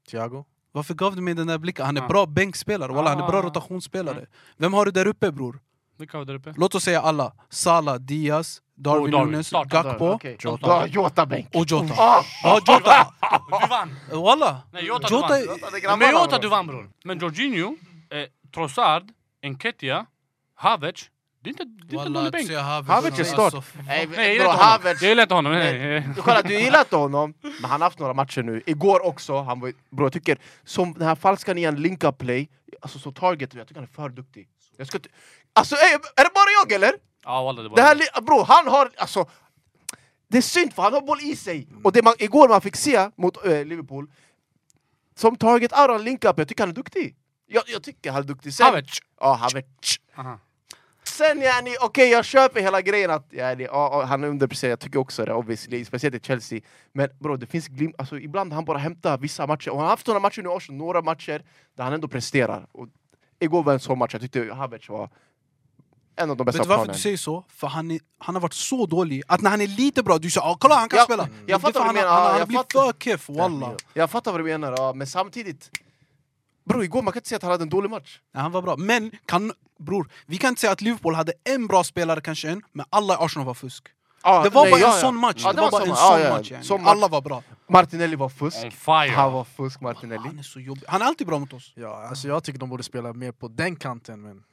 [SPEAKER 2] Thiago.
[SPEAKER 1] Varför gav du mig den där blicken? Han är
[SPEAKER 4] Ah.
[SPEAKER 1] bra bänkspelare, walla, han är bra
[SPEAKER 4] Ah.
[SPEAKER 1] rotationsspelare.
[SPEAKER 3] Mm.
[SPEAKER 1] Vem har du där uppe bror?
[SPEAKER 4] Vilka har vi där uppe?
[SPEAKER 1] Låt oss säga alla. Salah, Diaz, Darwin
[SPEAKER 4] Oh, Darwin.
[SPEAKER 1] Nunes,
[SPEAKER 4] Starta
[SPEAKER 1] Gakpo
[SPEAKER 3] Okay.
[SPEAKER 2] Jota.
[SPEAKER 3] Jota-bänk.
[SPEAKER 1] och Jota.
[SPEAKER 3] Ah,
[SPEAKER 1] Ja, Jota!
[SPEAKER 4] Du vann!
[SPEAKER 1] Walla!
[SPEAKER 4] Nej, Jota, du
[SPEAKER 1] Jota
[SPEAKER 4] vann.
[SPEAKER 1] är...
[SPEAKER 4] Men Jota du vann bror. Men Jorginho, eh, Trossard, Enketia, Havertz. Det är inte, det är inte en
[SPEAKER 1] Walla,
[SPEAKER 4] dålig
[SPEAKER 1] att
[SPEAKER 4] bänk.
[SPEAKER 1] se Havertz.
[SPEAKER 3] Havertz är start.
[SPEAKER 1] Alltså,
[SPEAKER 4] Nej,
[SPEAKER 3] Nej,
[SPEAKER 4] jag
[SPEAKER 3] bro,
[SPEAKER 4] gillar inte honom.
[SPEAKER 3] Havertz.
[SPEAKER 4] Jag gillar inte honom.
[SPEAKER 3] Nej.
[SPEAKER 4] Nej.
[SPEAKER 3] Du, kolla, du gillar inte honom, men han har haft några matcher nu. Igår också. Han var, bro, jag tycker, som den här falska nian Linka Play, alltså så target, jag tycker han är för duktig. Jag ska inte- alltså, ey, är det bara jag eller?
[SPEAKER 4] Ja, wallah, det var
[SPEAKER 3] Det här, li- bro, han har... Alltså, det är synd för han har boll i sig.
[SPEAKER 1] Mm.
[SPEAKER 3] Och det man, igår man fick se mot eh, Liverpool, som target Aron Linkup, jag tycker han är duktig. Jag, jag tycker han är duktig. Sen,
[SPEAKER 4] Havertz.
[SPEAKER 3] Ja, Havertz.
[SPEAKER 4] Aha.
[SPEAKER 3] Sen yani, okej jag köper hela grejen att yani, ja, ja, han är underpresterad, jag tycker också det obviously, speciellt i Chelsea. Men bro, det finns glimt, alltså ibland han bara hämtar vissa matcher, och han har haft några matcher nu i Arsenal, några matcher där han ändå presterar. Och igår var en sån match, jag tyckte Havertz var en av de bästa
[SPEAKER 1] Vet du
[SPEAKER 3] på
[SPEAKER 1] varför
[SPEAKER 3] planen.
[SPEAKER 1] du säger så? För han, är, han har varit så dålig att när han är lite bra, du säger ah, kolla han kan
[SPEAKER 3] Ja, mm.
[SPEAKER 1] spela.
[SPEAKER 3] jag
[SPEAKER 1] Det är
[SPEAKER 3] fattar
[SPEAKER 1] för
[SPEAKER 3] vad
[SPEAKER 1] han,
[SPEAKER 3] du menar,
[SPEAKER 1] Han,
[SPEAKER 3] ja,
[SPEAKER 1] han har
[SPEAKER 3] jag
[SPEAKER 1] blivit
[SPEAKER 3] fattar.
[SPEAKER 1] för keff, walla.
[SPEAKER 3] Jag fattar vad du menar, ja, men samtidigt... Bro, igår man kan inte säga att han hade en dålig match.
[SPEAKER 1] Ja, han var bra. Men kan, bror, vi kan inte säga att Liverpool hade en bra spelare, kanske en, men alla i Arsenal var fusk.
[SPEAKER 3] Ja,
[SPEAKER 1] Det var
[SPEAKER 3] nej,
[SPEAKER 1] bara
[SPEAKER 3] ja,
[SPEAKER 1] en
[SPEAKER 3] ja.
[SPEAKER 1] sån match.
[SPEAKER 3] Ja,
[SPEAKER 1] det, var bara en
[SPEAKER 3] sån-
[SPEAKER 1] sån
[SPEAKER 3] ja, ja,
[SPEAKER 1] match, yani.
[SPEAKER 3] sån match.
[SPEAKER 1] Alla var bra.
[SPEAKER 3] Martinelli var fusk.
[SPEAKER 4] On fire.
[SPEAKER 3] Han var fusk, Martinelli.
[SPEAKER 1] Han är så jobbig. Han är alltid bra mot oss.
[SPEAKER 2] Ja, alltså jag tycker de borde spela mer på den kanten men...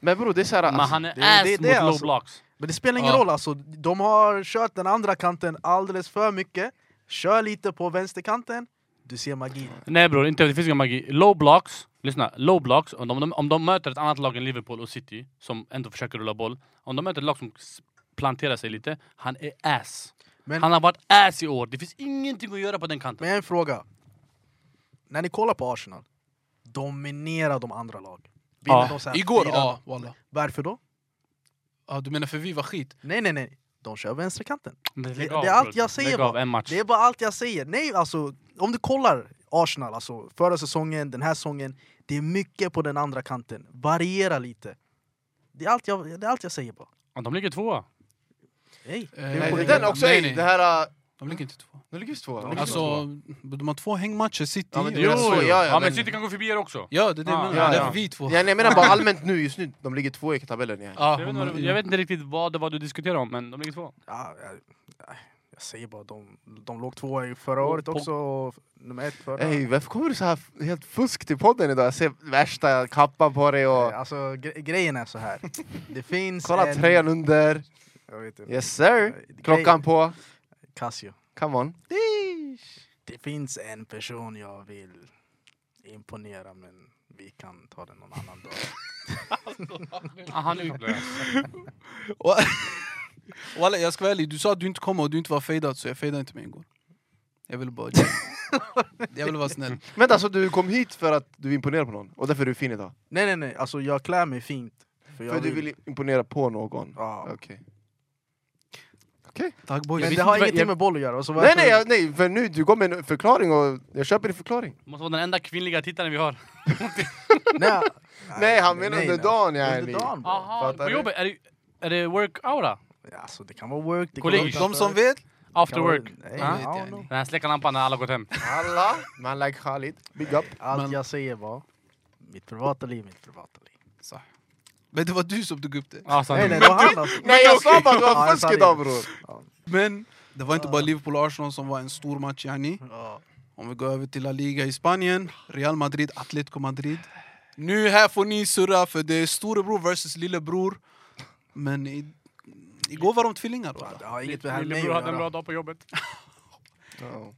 [SPEAKER 3] Men bro, det är såhär...
[SPEAKER 4] Men
[SPEAKER 3] Alltså,
[SPEAKER 4] han är
[SPEAKER 2] det- det-
[SPEAKER 4] ass
[SPEAKER 2] det är
[SPEAKER 4] mot low
[SPEAKER 2] alltså-
[SPEAKER 4] blocks.
[SPEAKER 2] Men det spelar ingen
[SPEAKER 1] Ja.
[SPEAKER 2] roll alltså, de har kört den andra kanten alldeles för mycket. Kör lite på vänsterkanten, du ser magi.
[SPEAKER 4] Nej bror, inte, det finns ingen magi. Low blocks, lyssna. Low blocks, om de, om de möter ett annat lag än Liverpool och City, som ändå försöker rulla boll. Om de möter ett lag som s- planterar sig lite, han är ass.
[SPEAKER 2] Men-
[SPEAKER 4] han har varit ass i år. Det finns ingenting att göra på den kanten.
[SPEAKER 2] Men jag har en fråga. När ni kollar på Arsenal, dominerar de andra lag? Vinner
[SPEAKER 4] Ja.
[SPEAKER 2] de så här
[SPEAKER 1] Igår,
[SPEAKER 2] fyra-
[SPEAKER 1] ja. Walla.
[SPEAKER 2] Varför då?
[SPEAKER 1] Ja, du menar för vi var skit?
[SPEAKER 2] Nej, nej, nej. De kör vänsterkanten.
[SPEAKER 4] Lägg
[SPEAKER 2] det-
[SPEAKER 4] av,
[SPEAKER 2] det är allt
[SPEAKER 4] bror.
[SPEAKER 2] jag säger
[SPEAKER 4] Lägg
[SPEAKER 2] bara.
[SPEAKER 4] av en match.
[SPEAKER 2] Det är bara allt jag säger. Nej, alltså, om du kollar Arsenal, alltså förra säsongen, den här säsongen. Det är mycket på den andra kanten. Variera lite. Det är allt jag, det är allt jag säger bara.
[SPEAKER 4] Ja, De ligger tvåa.
[SPEAKER 2] Hey.
[SPEAKER 1] Eh,
[SPEAKER 3] nej,
[SPEAKER 2] på
[SPEAKER 3] det-
[SPEAKER 2] det.
[SPEAKER 3] den också,
[SPEAKER 1] nej,
[SPEAKER 3] nej,
[SPEAKER 1] nej.
[SPEAKER 3] det här... äh,
[SPEAKER 1] De ligger inte två.
[SPEAKER 3] Nu ligger vi två. Nu ligger vi
[SPEAKER 1] Alltså,
[SPEAKER 3] två.
[SPEAKER 1] de har två hängmatcher, City.
[SPEAKER 3] Ja, men det
[SPEAKER 1] och-
[SPEAKER 3] gör så, ja, ja,
[SPEAKER 4] ja men
[SPEAKER 3] men-
[SPEAKER 4] City kan gå förbi er också.
[SPEAKER 1] Ja, det är det jag
[SPEAKER 4] Ah,
[SPEAKER 1] menar.
[SPEAKER 3] ja,
[SPEAKER 1] Därför
[SPEAKER 3] ja.
[SPEAKER 1] vi är två.
[SPEAKER 3] ja, nej, jag menar bara allmänt nu, just nu. De ligger två i tabellen. Ja.
[SPEAKER 1] Ah,
[SPEAKER 4] Jag vet, inte, vad- jag vet inte riktigt vad det var du diskuterade om, men de ligger två.
[SPEAKER 2] Ja, jag, jag säger bara, de, de låg tvåa i förra året också. Och nummer ett förra.
[SPEAKER 3] Ey, varför kommer du så här f- helt fusk till podden idag? Jag ser värsta kappan på dig och...
[SPEAKER 2] Alltså, gre- grejen är så här. Det finns
[SPEAKER 3] Kolla
[SPEAKER 2] en...
[SPEAKER 3] tröjan under.
[SPEAKER 2] Jag vet inte.
[SPEAKER 3] Yes sir!
[SPEAKER 2] Grej-
[SPEAKER 3] Klockan på.
[SPEAKER 2] Casio.
[SPEAKER 3] Come on.
[SPEAKER 2] Det finns en person jag vill imponera men vi kan ta den någon annan dag.
[SPEAKER 4] Ah, han är utblåst.
[SPEAKER 1] Walla, jag ska vara ärlig, du sa att du inte kommer och du inte var fejdad, så jag fejdade inte mig igår. Jag ville bara... jag ville vara snäll.
[SPEAKER 3] Vänta, alltså du kom hit för att du imponerar på någon? Och därför är du fin idag?
[SPEAKER 2] Nej nej nej, alltså jag klär mig fint. jag
[SPEAKER 3] För du vill imponera på någon?
[SPEAKER 2] Ja.
[SPEAKER 3] Okej.
[SPEAKER 1] Tack boys.
[SPEAKER 2] Men
[SPEAKER 4] visst
[SPEAKER 2] det har
[SPEAKER 4] inte vad-
[SPEAKER 2] ingenting
[SPEAKER 4] jag-
[SPEAKER 2] med boll att göra. och så
[SPEAKER 3] Nej
[SPEAKER 2] varför-
[SPEAKER 3] nej, jag, nej, för nu, du gav mig en förklaring och jag köper din förklaring.
[SPEAKER 4] Måste vara den enda kvinnliga tittaren vi har.
[SPEAKER 2] nej,
[SPEAKER 3] Nej, han menar under dagen,
[SPEAKER 2] nej. alltså.
[SPEAKER 3] yani.
[SPEAKER 2] Under dagen bara.
[SPEAKER 4] Aha,
[SPEAKER 3] Fattar
[SPEAKER 4] på
[SPEAKER 3] du?
[SPEAKER 4] jobbet, är det, är det work aura?
[SPEAKER 2] Ja, Alltså det kan vara work, det kan
[SPEAKER 4] Kollegor.
[SPEAKER 2] vara
[SPEAKER 1] De som vet,
[SPEAKER 4] After work?
[SPEAKER 2] Nej,
[SPEAKER 4] Ah.
[SPEAKER 2] I don't know.
[SPEAKER 4] Den här släcker lampan när alla gått hem.
[SPEAKER 3] Alla, man like Khalid. Big up.
[SPEAKER 2] Allt
[SPEAKER 1] Men-
[SPEAKER 2] jag säger var mitt privata liv, mitt privata liv.
[SPEAKER 1] men det var du som tog upp det.
[SPEAKER 4] Ah, sant.
[SPEAKER 2] Nej nej, det var han alltså.
[SPEAKER 3] Nej jag sa bara att du
[SPEAKER 2] Ja,
[SPEAKER 3] har
[SPEAKER 2] jag
[SPEAKER 3] fusk
[SPEAKER 2] sa det.
[SPEAKER 3] idag bror.
[SPEAKER 1] Men det var inte bara Liverpool och Arsenal som var en stor match, yani.
[SPEAKER 2] Ja.
[SPEAKER 1] Om vi går över till La Liga i Spanien, Real Madrid, Atletico Madrid. Nu här får ni surra, för det är storebror versus lillebror. Men i, igår var de tvillingar.
[SPEAKER 2] Fan,
[SPEAKER 1] walla.
[SPEAKER 2] Det har inget med det här
[SPEAKER 4] Min
[SPEAKER 2] med mig
[SPEAKER 4] bror
[SPEAKER 2] att
[SPEAKER 4] hade en bra
[SPEAKER 2] göra.
[SPEAKER 4] dag på jobbet.
[SPEAKER 3] Ja.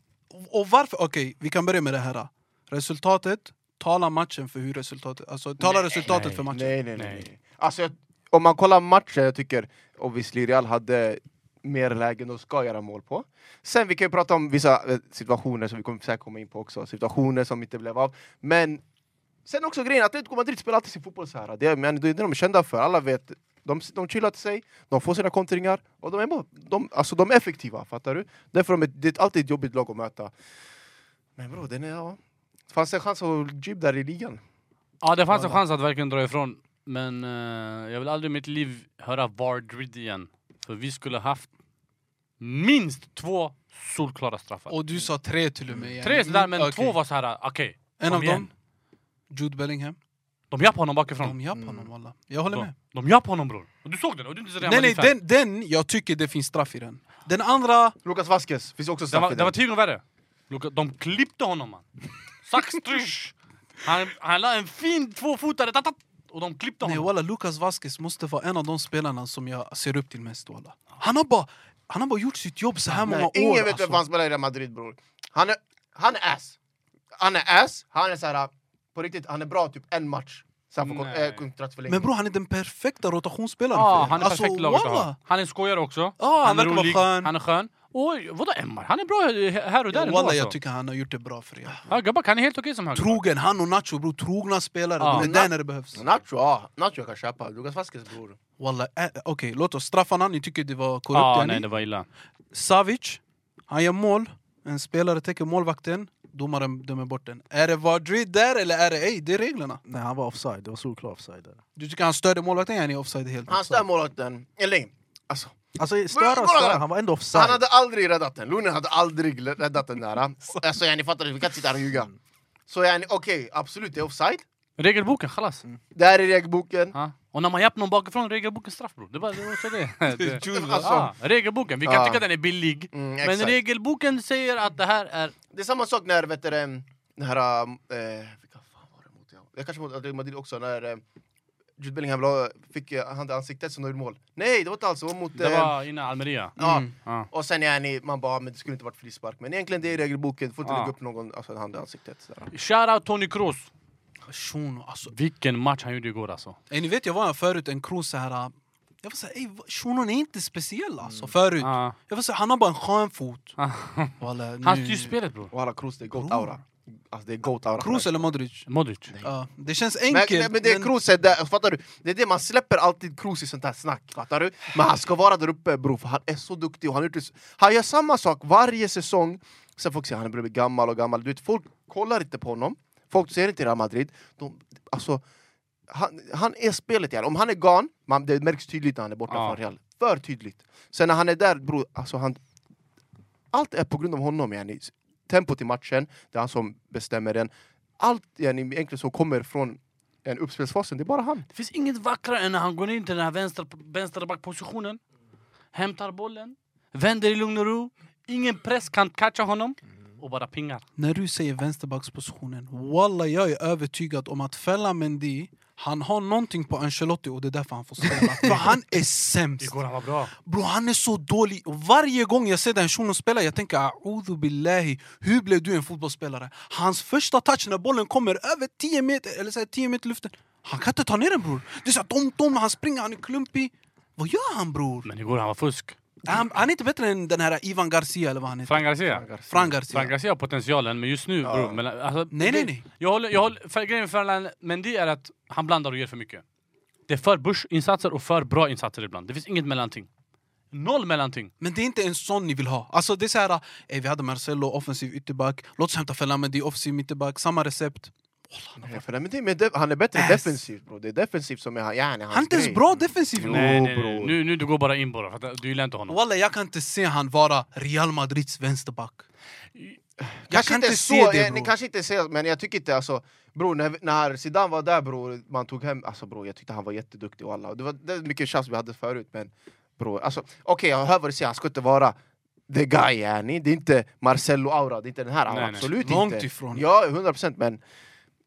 [SPEAKER 1] Och varför? Okej, vi kan börja med det här. Resultatet, tala matchen för hur resultatet... Alltså, tala resultatet
[SPEAKER 4] nej,
[SPEAKER 1] för matchen.
[SPEAKER 3] Nej, nej, nej.
[SPEAKER 4] Nej.
[SPEAKER 3] nej. Alltså, jag, om man kollar matchen, jag tycker obviously Real hade mer lägen de ska göra mål på. Sen vi kan ju prata om vissa eh, situationer som vi kommer säkert komma in på också, situationer som inte blev av. Men sen också grejen att Atletico Madrid spelar alltid sin fotboll så här. Det, är- men, det är det de är kända för, alla vet De, de chillar till sig, de får sina kontringar och de är, bara, de, alltså, de är effektiva, fattar du? Därför de är, det är alltid ett jobbigt lag att möta. Men bro, den är... Ja. Fanns det en chans att jib där i ligan?
[SPEAKER 4] Ja, det fanns en chans att verkligen dra ifrån. Men eh, jag vill aldrig i mitt liv höra Vardrid igen. För vi skulle haft minst två solklara straffar.
[SPEAKER 1] Och du sa tre till och med. yani.
[SPEAKER 4] Tre sådär, men
[SPEAKER 1] Okej.
[SPEAKER 4] två var så här. okej.
[SPEAKER 1] En
[SPEAKER 4] kom
[SPEAKER 1] av
[SPEAKER 4] igen.
[SPEAKER 1] dem, Jude Bellingham.
[SPEAKER 4] De japp honom bakifrån.
[SPEAKER 1] De japp honom walla. Jag håller med.
[SPEAKER 4] De, de japp honom bror. Och du såg den, och du är inte så
[SPEAKER 1] Nej nej, den, den, jag tycker det finns straff i den. Den andra,
[SPEAKER 3] Lucas Vasquez, finns också
[SPEAKER 4] Det
[SPEAKER 3] straff
[SPEAKER 4] var,
[SPEAKER 3] i
[SPEAKER 4] det var typ
[SPEAKER 3] den.
[SPEAKER 4] tio gånger värre. Luka- De klippte honom man. Saxtrysch! Han, han la en fin tvåfotare, tatat, och de klippte
[SPEAKER 1] nej
[SPEAKER 4] honom.
[SPEAKER 1] walla, Lucas Vasquez måste vara en av de spelarna som jag ser upp till mest walla. Han har bara, han har bara gjort sitt jobb så här många
[SPEAKER 3] Nej,
[SPEAKER 1] år.
[SPEAKER 3] ingen vet vem
[SPEAKER 1] alltså.
[SPEAKER 3] han spelar i Real Madrid bror. Han är, han är ass. Han är ass, han är så här, på riktigt, han är bra typ en match. Sen får kon-
[SPEAKER 4] Nej.
[SPEAKER 3] äh, kontraktförlängning.
[SPEAKER 1] Men bror han är den perfekta rotationsspelaren
[SPEAKER 4] Ja,
[SPEAKER 1] för
[SPEAKER 4] Ah, han
[SPEAKER 1] den.
[SPEAKER 4] är perfekt laget att ha.
[SPEAKER 1] walla!
[SPEAKER 4] Han är en skojare också.
[SPEAKER 1] Ja, Alltså, Ah, han verkar vara skön.
[SPEAKER 4] Han är skön. Oj, vadå Emmar? Han är bra eh, här och där
[SPEAKER 1] Ja,
[SPEAKER 4] ändå
[SPEAKER 1] walla
[SPEAKER 4] alltså.
[SPEAKER 1] jag tycker han har gjort det bra för er.
[SPEAKER 4] Högerback, han är helt okej som högerback.
[SPEAKER 1] Trogen, han och Nacho bror, trogna spelare.
[SPEAKER 4] Ja.
[SPEAKER 1] De är där när det behövs.
[SPEAKER 3] Nacho, ja. Nacho jag kan köpa. Lucas Vasquez bror.
[SPEAKER 1] Walla, eh, okej låt oss straffarna, ni tycker det var korrupt
[SPEAKER 4] Ja,
[SPEAKER 1] yani.
[SPEAKER 4] Ah, nej det var illa.
[SPEAKER 1] Savic, han gör mål. En spelare täcker målvakten, domaren dömer bort den. Är det Vardrid där eller är det ej? Det är reglerna.
[SPEAKER 2] Nej, han var offside. Det var solklar offside. Där.
[SPEAKER 1] Du tycker han störde målvakten? Ja, ni är offside helt. Mm.
[SPEAKER 3] Han stör målvakten. Eller alltså,
[SPEAKER 2] Alltså, störa
[SPEAKER 3] kolla
[SPEAKER 2] och störa.
[SPEAKER 3] där!
[SPEAKER 2] Han var ändå offside.
[SPEAKER 3] han hade aldrig räddat den. Lunin hade aldrig räddat den där. Alltså yani fattar du? Vi kan inte sitta här och ljuga. Så yani okej, absolut det är offside.
[SPEAKER 4] Regelboken, chalas.
[SPEAKER 1] Mm.
[SPEAKER 3] Där är regelboken.
[SPEAKER 4] Ja. Och när man jappar någon bakifrån, regelboken straff bror. Det var det. Var så det. det
[SPEAKER 3] Jules,
[SPEAKER 4] Alltså, ja, regelboken, vi kan
[SPEAKER 3] Ja.
[SPEAKER 4] tycka den är billig.
[SPEAKER 3] Alltså, Mm,
[SPEAKER 4] men
[SPEAKER 3] exakt.
[SPEAKER 4] regelboken säger att det här är...
[SPEAKER 3] Det är samma sak när vet du, det, den här... Eh, vilka fan var det mot? Jag, jag kanske mot Real Madrid också. När eh, Jude Bellingham la- fick eh, hand i ansiktet som de gjorde mål. Nej, det var inte alls. Det var mot...
[SPEAKER 4] Det
[SPEAKER 3] eh,
[SPEAKER 4] var innan Almeria.
[SPEAKER 3] Ja.
[SPEAKER 4] Ja.
[SPEAKER 3] Och sen yani, man bara, "Ah, men det skulle inte varit frispark. Men egentligen det är regelboken. Du får inte
[SPEAKER 4] Ja.
[SPEAKER 3] lägga upp någon alltså, en hand i ansiktet. Sådär.
[SPEAKER 4] Shoutout Tony Kroos.
[SPEAKER 1] Shuno, alltså.
[SPEAKER 4] Vilken match han gjorde igår alltså.
[SPEAKER 1] Ey, ni vet, jag var här förut, en Kroos så här... Jag var såhär, ey, va- shunon är inte speciell
[SPEAKER 3] Mm.
[SPEAKER 1] alltså, förut.
[SPEAKER 4] Ja.
[SPEAKER 1] Jag var såhär, han har bara en skön fot.
[SPEAKER 4] Ah.
[SPEAKER 1] Walla, nu-
[SPEAKER 4] Han styr spelet bror.
[SPEAKER 3] Walla, Kroos det är goat-aura. Alltså det är goat-aura.
[SPEAKER 1] Kroos eller Modric?
[SPEAKER 4] Modric.
[SPEAKER 1] Ja, det känns
[SPEAKER 3] Men,
[SPEAKER 1] enkelt.
[SPEAKER 3] nej, men det är Kroos är där, fattar du? Det är det, man släpper alltid Kroos i sånt här snack, fattar du? Men han ska vara där uppe bror, för han är så duktig och han, har gjort det, så- han gör samma sak varje säsong Sen folk säger han börjar bli gammal och gammal, du vet folk kollar inte på honom Folk ser inte Real Madrid, de, alltså han, han är spelet igen. Om han är gone, man, det märks tydligt när han är borta
[SPEAKER 4] Ja.
[SPEAKER 3] från Real. För tydligt. Sen när han är där, bror, alltså han... Allt är på grund av honom, yani. Tempot i matchen, det är han som bestämmer den. Allt yani, egentligen som kommer från en uppspelsfasen, det är bara han.
[SPEAKER 4] Det finns inget vackrare än när han går in till den här vänster, vänsterbackpositionen. Hämtar bollen. Vänder i lugn och ro. Ingen press kan catcha honom. Och bara pingar.
[SPEAKER 1] När du säger vänsterbackspositionen, walla jag är övertygad om att Fella Mendy, han har någonting på Ancelotti och det är därför han får spela. För han är sämst.
[SPEAKER 4] han var bra.
[SPEAKER 1] Bro, han är så dålig. Och Varje gång jag ser den shunon spela, jag tänker a'udhu billahi, hur blev du en fotbollsspelare? Hans första touch när bollen kommer över 10 meter, eller så här, 10 meter i luften, han kan inte ta ner den bror. Det är såhär dom-dom, han springer, han är klumpig. Vad gör han bror?
[SPEAKER 4] Men igår han var fusk.
[SPEAKER 1] Han, han är inte bättre än den här Ivan Garcia eller vad han heter.
[SPEAKER 4] Fran Garcia.
[SPEAKER 1] Fran Garcia.
[SPEAKER 4] Fran Garcia har potentialen, men just nu bror... Men, alltså,
[SPEAKER 1] Nej, nej,
[SPEAKER 4] det-
[SPEAKER 1] nej.
[SPEAKER 4] Jag håller, jag håller, för, grejen med Ferland Mendy är att han blandar och ger för mycket. Det är för Bush-insatser och för bra insatser ibland. Det finns inget mellanting. Noll mellanting.
[SPEAKER 1] Men det är inte en sån ni vill ha. Alltså det är så här, ey, vi hade Marcelo, offensiv ytterback. Låt oss hämta Fellamendi, offensiv mittback. Samma recept.
[SPEAKER 3] Ja, för det- men det, men det, han är bättre
[SPEAKER 1] Ass.
[SPEAKER 3] defensivt bror, det är defensivt som är han, yani, hans
[SPEAKER 1] Han är inte ens
[SPEAKER 3] grej.
[SPEAKER 1] bra defensivt.
[SPEAKER 3] Jo,
[SPEAKER 4] nej, nej, nej.
[SPEAKER 3] bror.
[SPEAKER 4] Nu, nu du går bara in bara. För att du gillar inte honom.
[SPEAKER 1] Walla, jag kan inte se han vara Real Madrids vänsterback. Jag
[SPEAKER 3] Kanske
[SPEAKER 1] kan
[SPEAKER 3] inte
[SPEAKER 1] inte
[SPEAKER 3] så,
[SPEAKER 1] se det
[SPEAKER 3] eh, ni
[SPEAKER 1] bror.
[SPEAKER 3] kanske inte ser, men jag tycker inte alltså Bror, när, när Zidane var där bror, man tog hem, alltså bror jag tyckte han var jätteduktig och alla Det var det är mycket tjafs vi hade förut men bror, alltså okej jag hör vad du säger, han ska inte vara the guy yani Det är inte Marcelo aura, det är inte den här
[SPEAKER 4] Nej,
[SPEAKER 3] auran,
[SPEAKER 4] nej.
[SPEAKER 3] absolut
[SPEAKER 1] Långt
[SPEAKER 3] inte
[SPEAKER 1] ifrån.
[SPEAKER 3] Ja, 100% men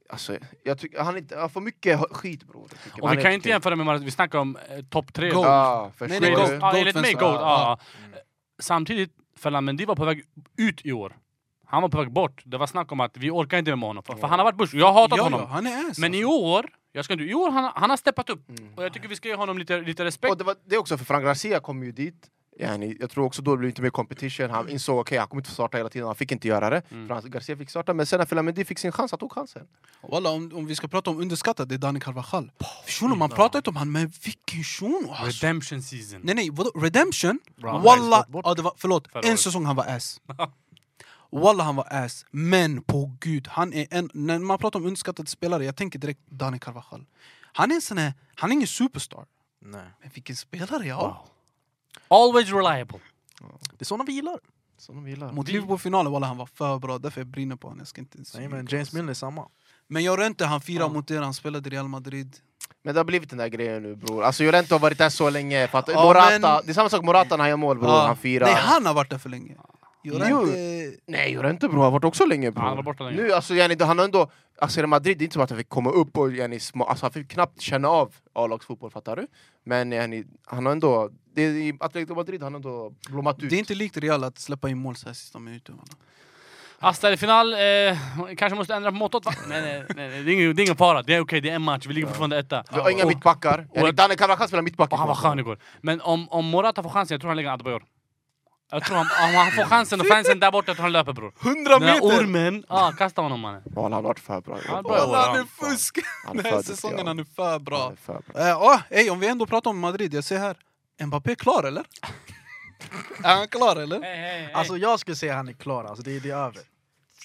[SPEAKER 3] Alltså, jag tycker han, är inte, han får mycket skit bror jag tycker.
[SPEAKER 4] Och
[SPEAKER 3] Han
[SPEAKER 4] vi
[SPEAKER 3] är
[SPEAKER 4] kan ju inte
[SPEAKER 3] okej.
[SPEAKER 4] jämföra med Mar- vi snackar om eh, topp tre.
[SPEAKER 1] Goat.
[SPEAKER 3] Ja, förstår
[SPEAKER 1] Nej, nej,
[SPEAKER 4] Nej,
[SPEAKER 3] du?
[SPEAKER 1] Goat.
[SPEAKER 4] Goat. Ja, enligt mig
[SPEAKER 1] vänster.
[SPEAKER 4] Goat. Ja.
[SPEAKER 3] Ja,
[SPEAKER 1] Mm.
[SPEAKER 4] ja. Samtidigt, Ferland var på väg ut i år. Han var på väg bort. Det var snack om att vi orkar inte med honom. För, för han har varit Bush. Jag har hatat
[SPEAKER 1] Ja,
[SPEAKER 4] honom.
[SPEAKER 1] ja, han är ass.
[SPEAKER 4] Men i
[SPEAKER 1] alltså.
[SPEAKER 4] år, jag ska inte, i år han, han har steppat upp.
[SPEAKER 3] Mm.
[SPEAKER 4] Och jag tycker vi ska ge honom lite, lite respekt.
[SPEAKER 3] Och det, var, det är också för Frank Garcia kom ju dit Yani, jag tror också då det blev inte mer competition. Han insåg okej, han kommer inte få starta hela tiden. Han fick inte göra det. För han, Garcia fick starta, men sen när Filamendi fick sin chans, han tog chansen.
[SPEAKER 1] Walla, om, om vi ska prata om underskattat, det är Dani Carvajal. Shuno, man pratar inte om han, men vilken shuno alltså.
[SPEAKER 4] Redemption season.
[SPEAKER 1] Nej nej, vadå? Redemption?
[SPEAKER 2] Bra. Han
[SPEAKER 1] Walla,
[SPEAKER 2] har ju gått
[SPEAKER 1] ja, det var, förlåt,
[SPEAKER 4] Förra
[SPEAKER 1] en
[SPEAKER 4] året.
[SPEAKER 1] säsong han var ass. Walla han var ass, men på gud, han är en... När man pratar om underskattade spelare, jag tänker direkt Dani Carvajal. Han är en sån här, han är ingen superstar.
[SPEAKER 2] Nej.
[SPEAKER 1] Men vilken spelare jag har!
[SPEAKER 4] Always reliable.
[SPEAKER 2] Det är såna vi gillar.
[SPEAKER 3] Som de gillar.
[SPEAKER 1] Mot Liverpool-finalen, walla han var för bra, därför jag brinner på honom. Jag ska inte ens
[SPEAKER 2] Nej,
[SPEAKER 1] ljuga,
[SPEAKER 2] men James
[SPEAKER 1] alltså.
[SPEAKER 2] Milner är samma.
[SPEAKER 1] Men Llorente, han firar mot er, han spelade i Real Madrid.
[SPEAKER 3] Men det har blivit den där grejen nu bror. Alltså Llorente har varit där så länge. För att
[SPEAKER 1] Ja,
[SPEAKER 3] Morata,
[SPEAKER 1] men-
[SPEAKER 3] Det är samma sak med Morata när han gör mål bror.
[SPEAKER 1] Ja.
[SPEAKER 3] Han firar.
[SPEAKER 1] Ah, Nej, han har varit där för länge. Llorente...
[SPEAKER 3] Nej, Llorente bror har varit också länge bror.
[SPEAKER 4] Ja, han var borta länge.
[SPEAKER 3] Nu, alltså, yani, han har ändå... Alltså i Madrid, det är inte som att han fick komma upp och... Yani, sma, alltså, han fick knappt känna av A-lagsfotboll, fattar du? Men yani, han har ändå... Det, är I Atletico Madrid har han ändå blommat ut.
[SPEAKER 1] Det är inte likt Real att släppa in mål så här sista minuten. walla.
[SPEAKER 4] Asta är i final. Eh, kanske måste ändra på måttet va? nej, nej, nej, nej, det är ingen, det är ingen fara. Det är okej, det är en match. Vi ligger fortfarande etta.
[SPEAKER 3] Vi har inga
[SPEAKER 4] Och-
[SPEAKER 3] mittbackar. Yani,
[SPEAKER 4] och-
[SPEAKER 3] Danne Carvajal spelar mittback.
[SPEAKER 4] Och han var skön igår. Men om, om Morata får chansen, jag tror han lägger en Adebayor. Jag tror han, om han får chansen och fansen där borta, jag tror han löper bror.
[SPEAKER 1] 100
[SPEAKER 4] Den där ormen, ah, kasta honom mannen.
[SPEAKER 3] Ja, han har varit för bra.
[SPEAKER 4] Han är bra.
[SPEAKER 1] Walla, han är
[SPEAKER 4] Han-
[SPEAKER 1] fusk!
[SPEAKER 3] Han är
[SPEAKER 1] Den
[SPEAKER 3] för
[SPEAKER 1] här
[SPEAKER 3] duktig,
[SPEAKER 1] säsongen,
[SPEAKER 3] ja.
[SPEAKER 1] han är för bra.
[SPEAKER 3] Han är för bra.
[SPEAKER 1] Eh, åh, ey, om vi ändå pratar om Madrid, jag ser här. Mbappé är klar eller? är han klar eller?
[SPEAKER 4] Hey, hey, hey.
[SPEAKER 2] Alltså jag skulle säga han är klar, alltså, det, det är över.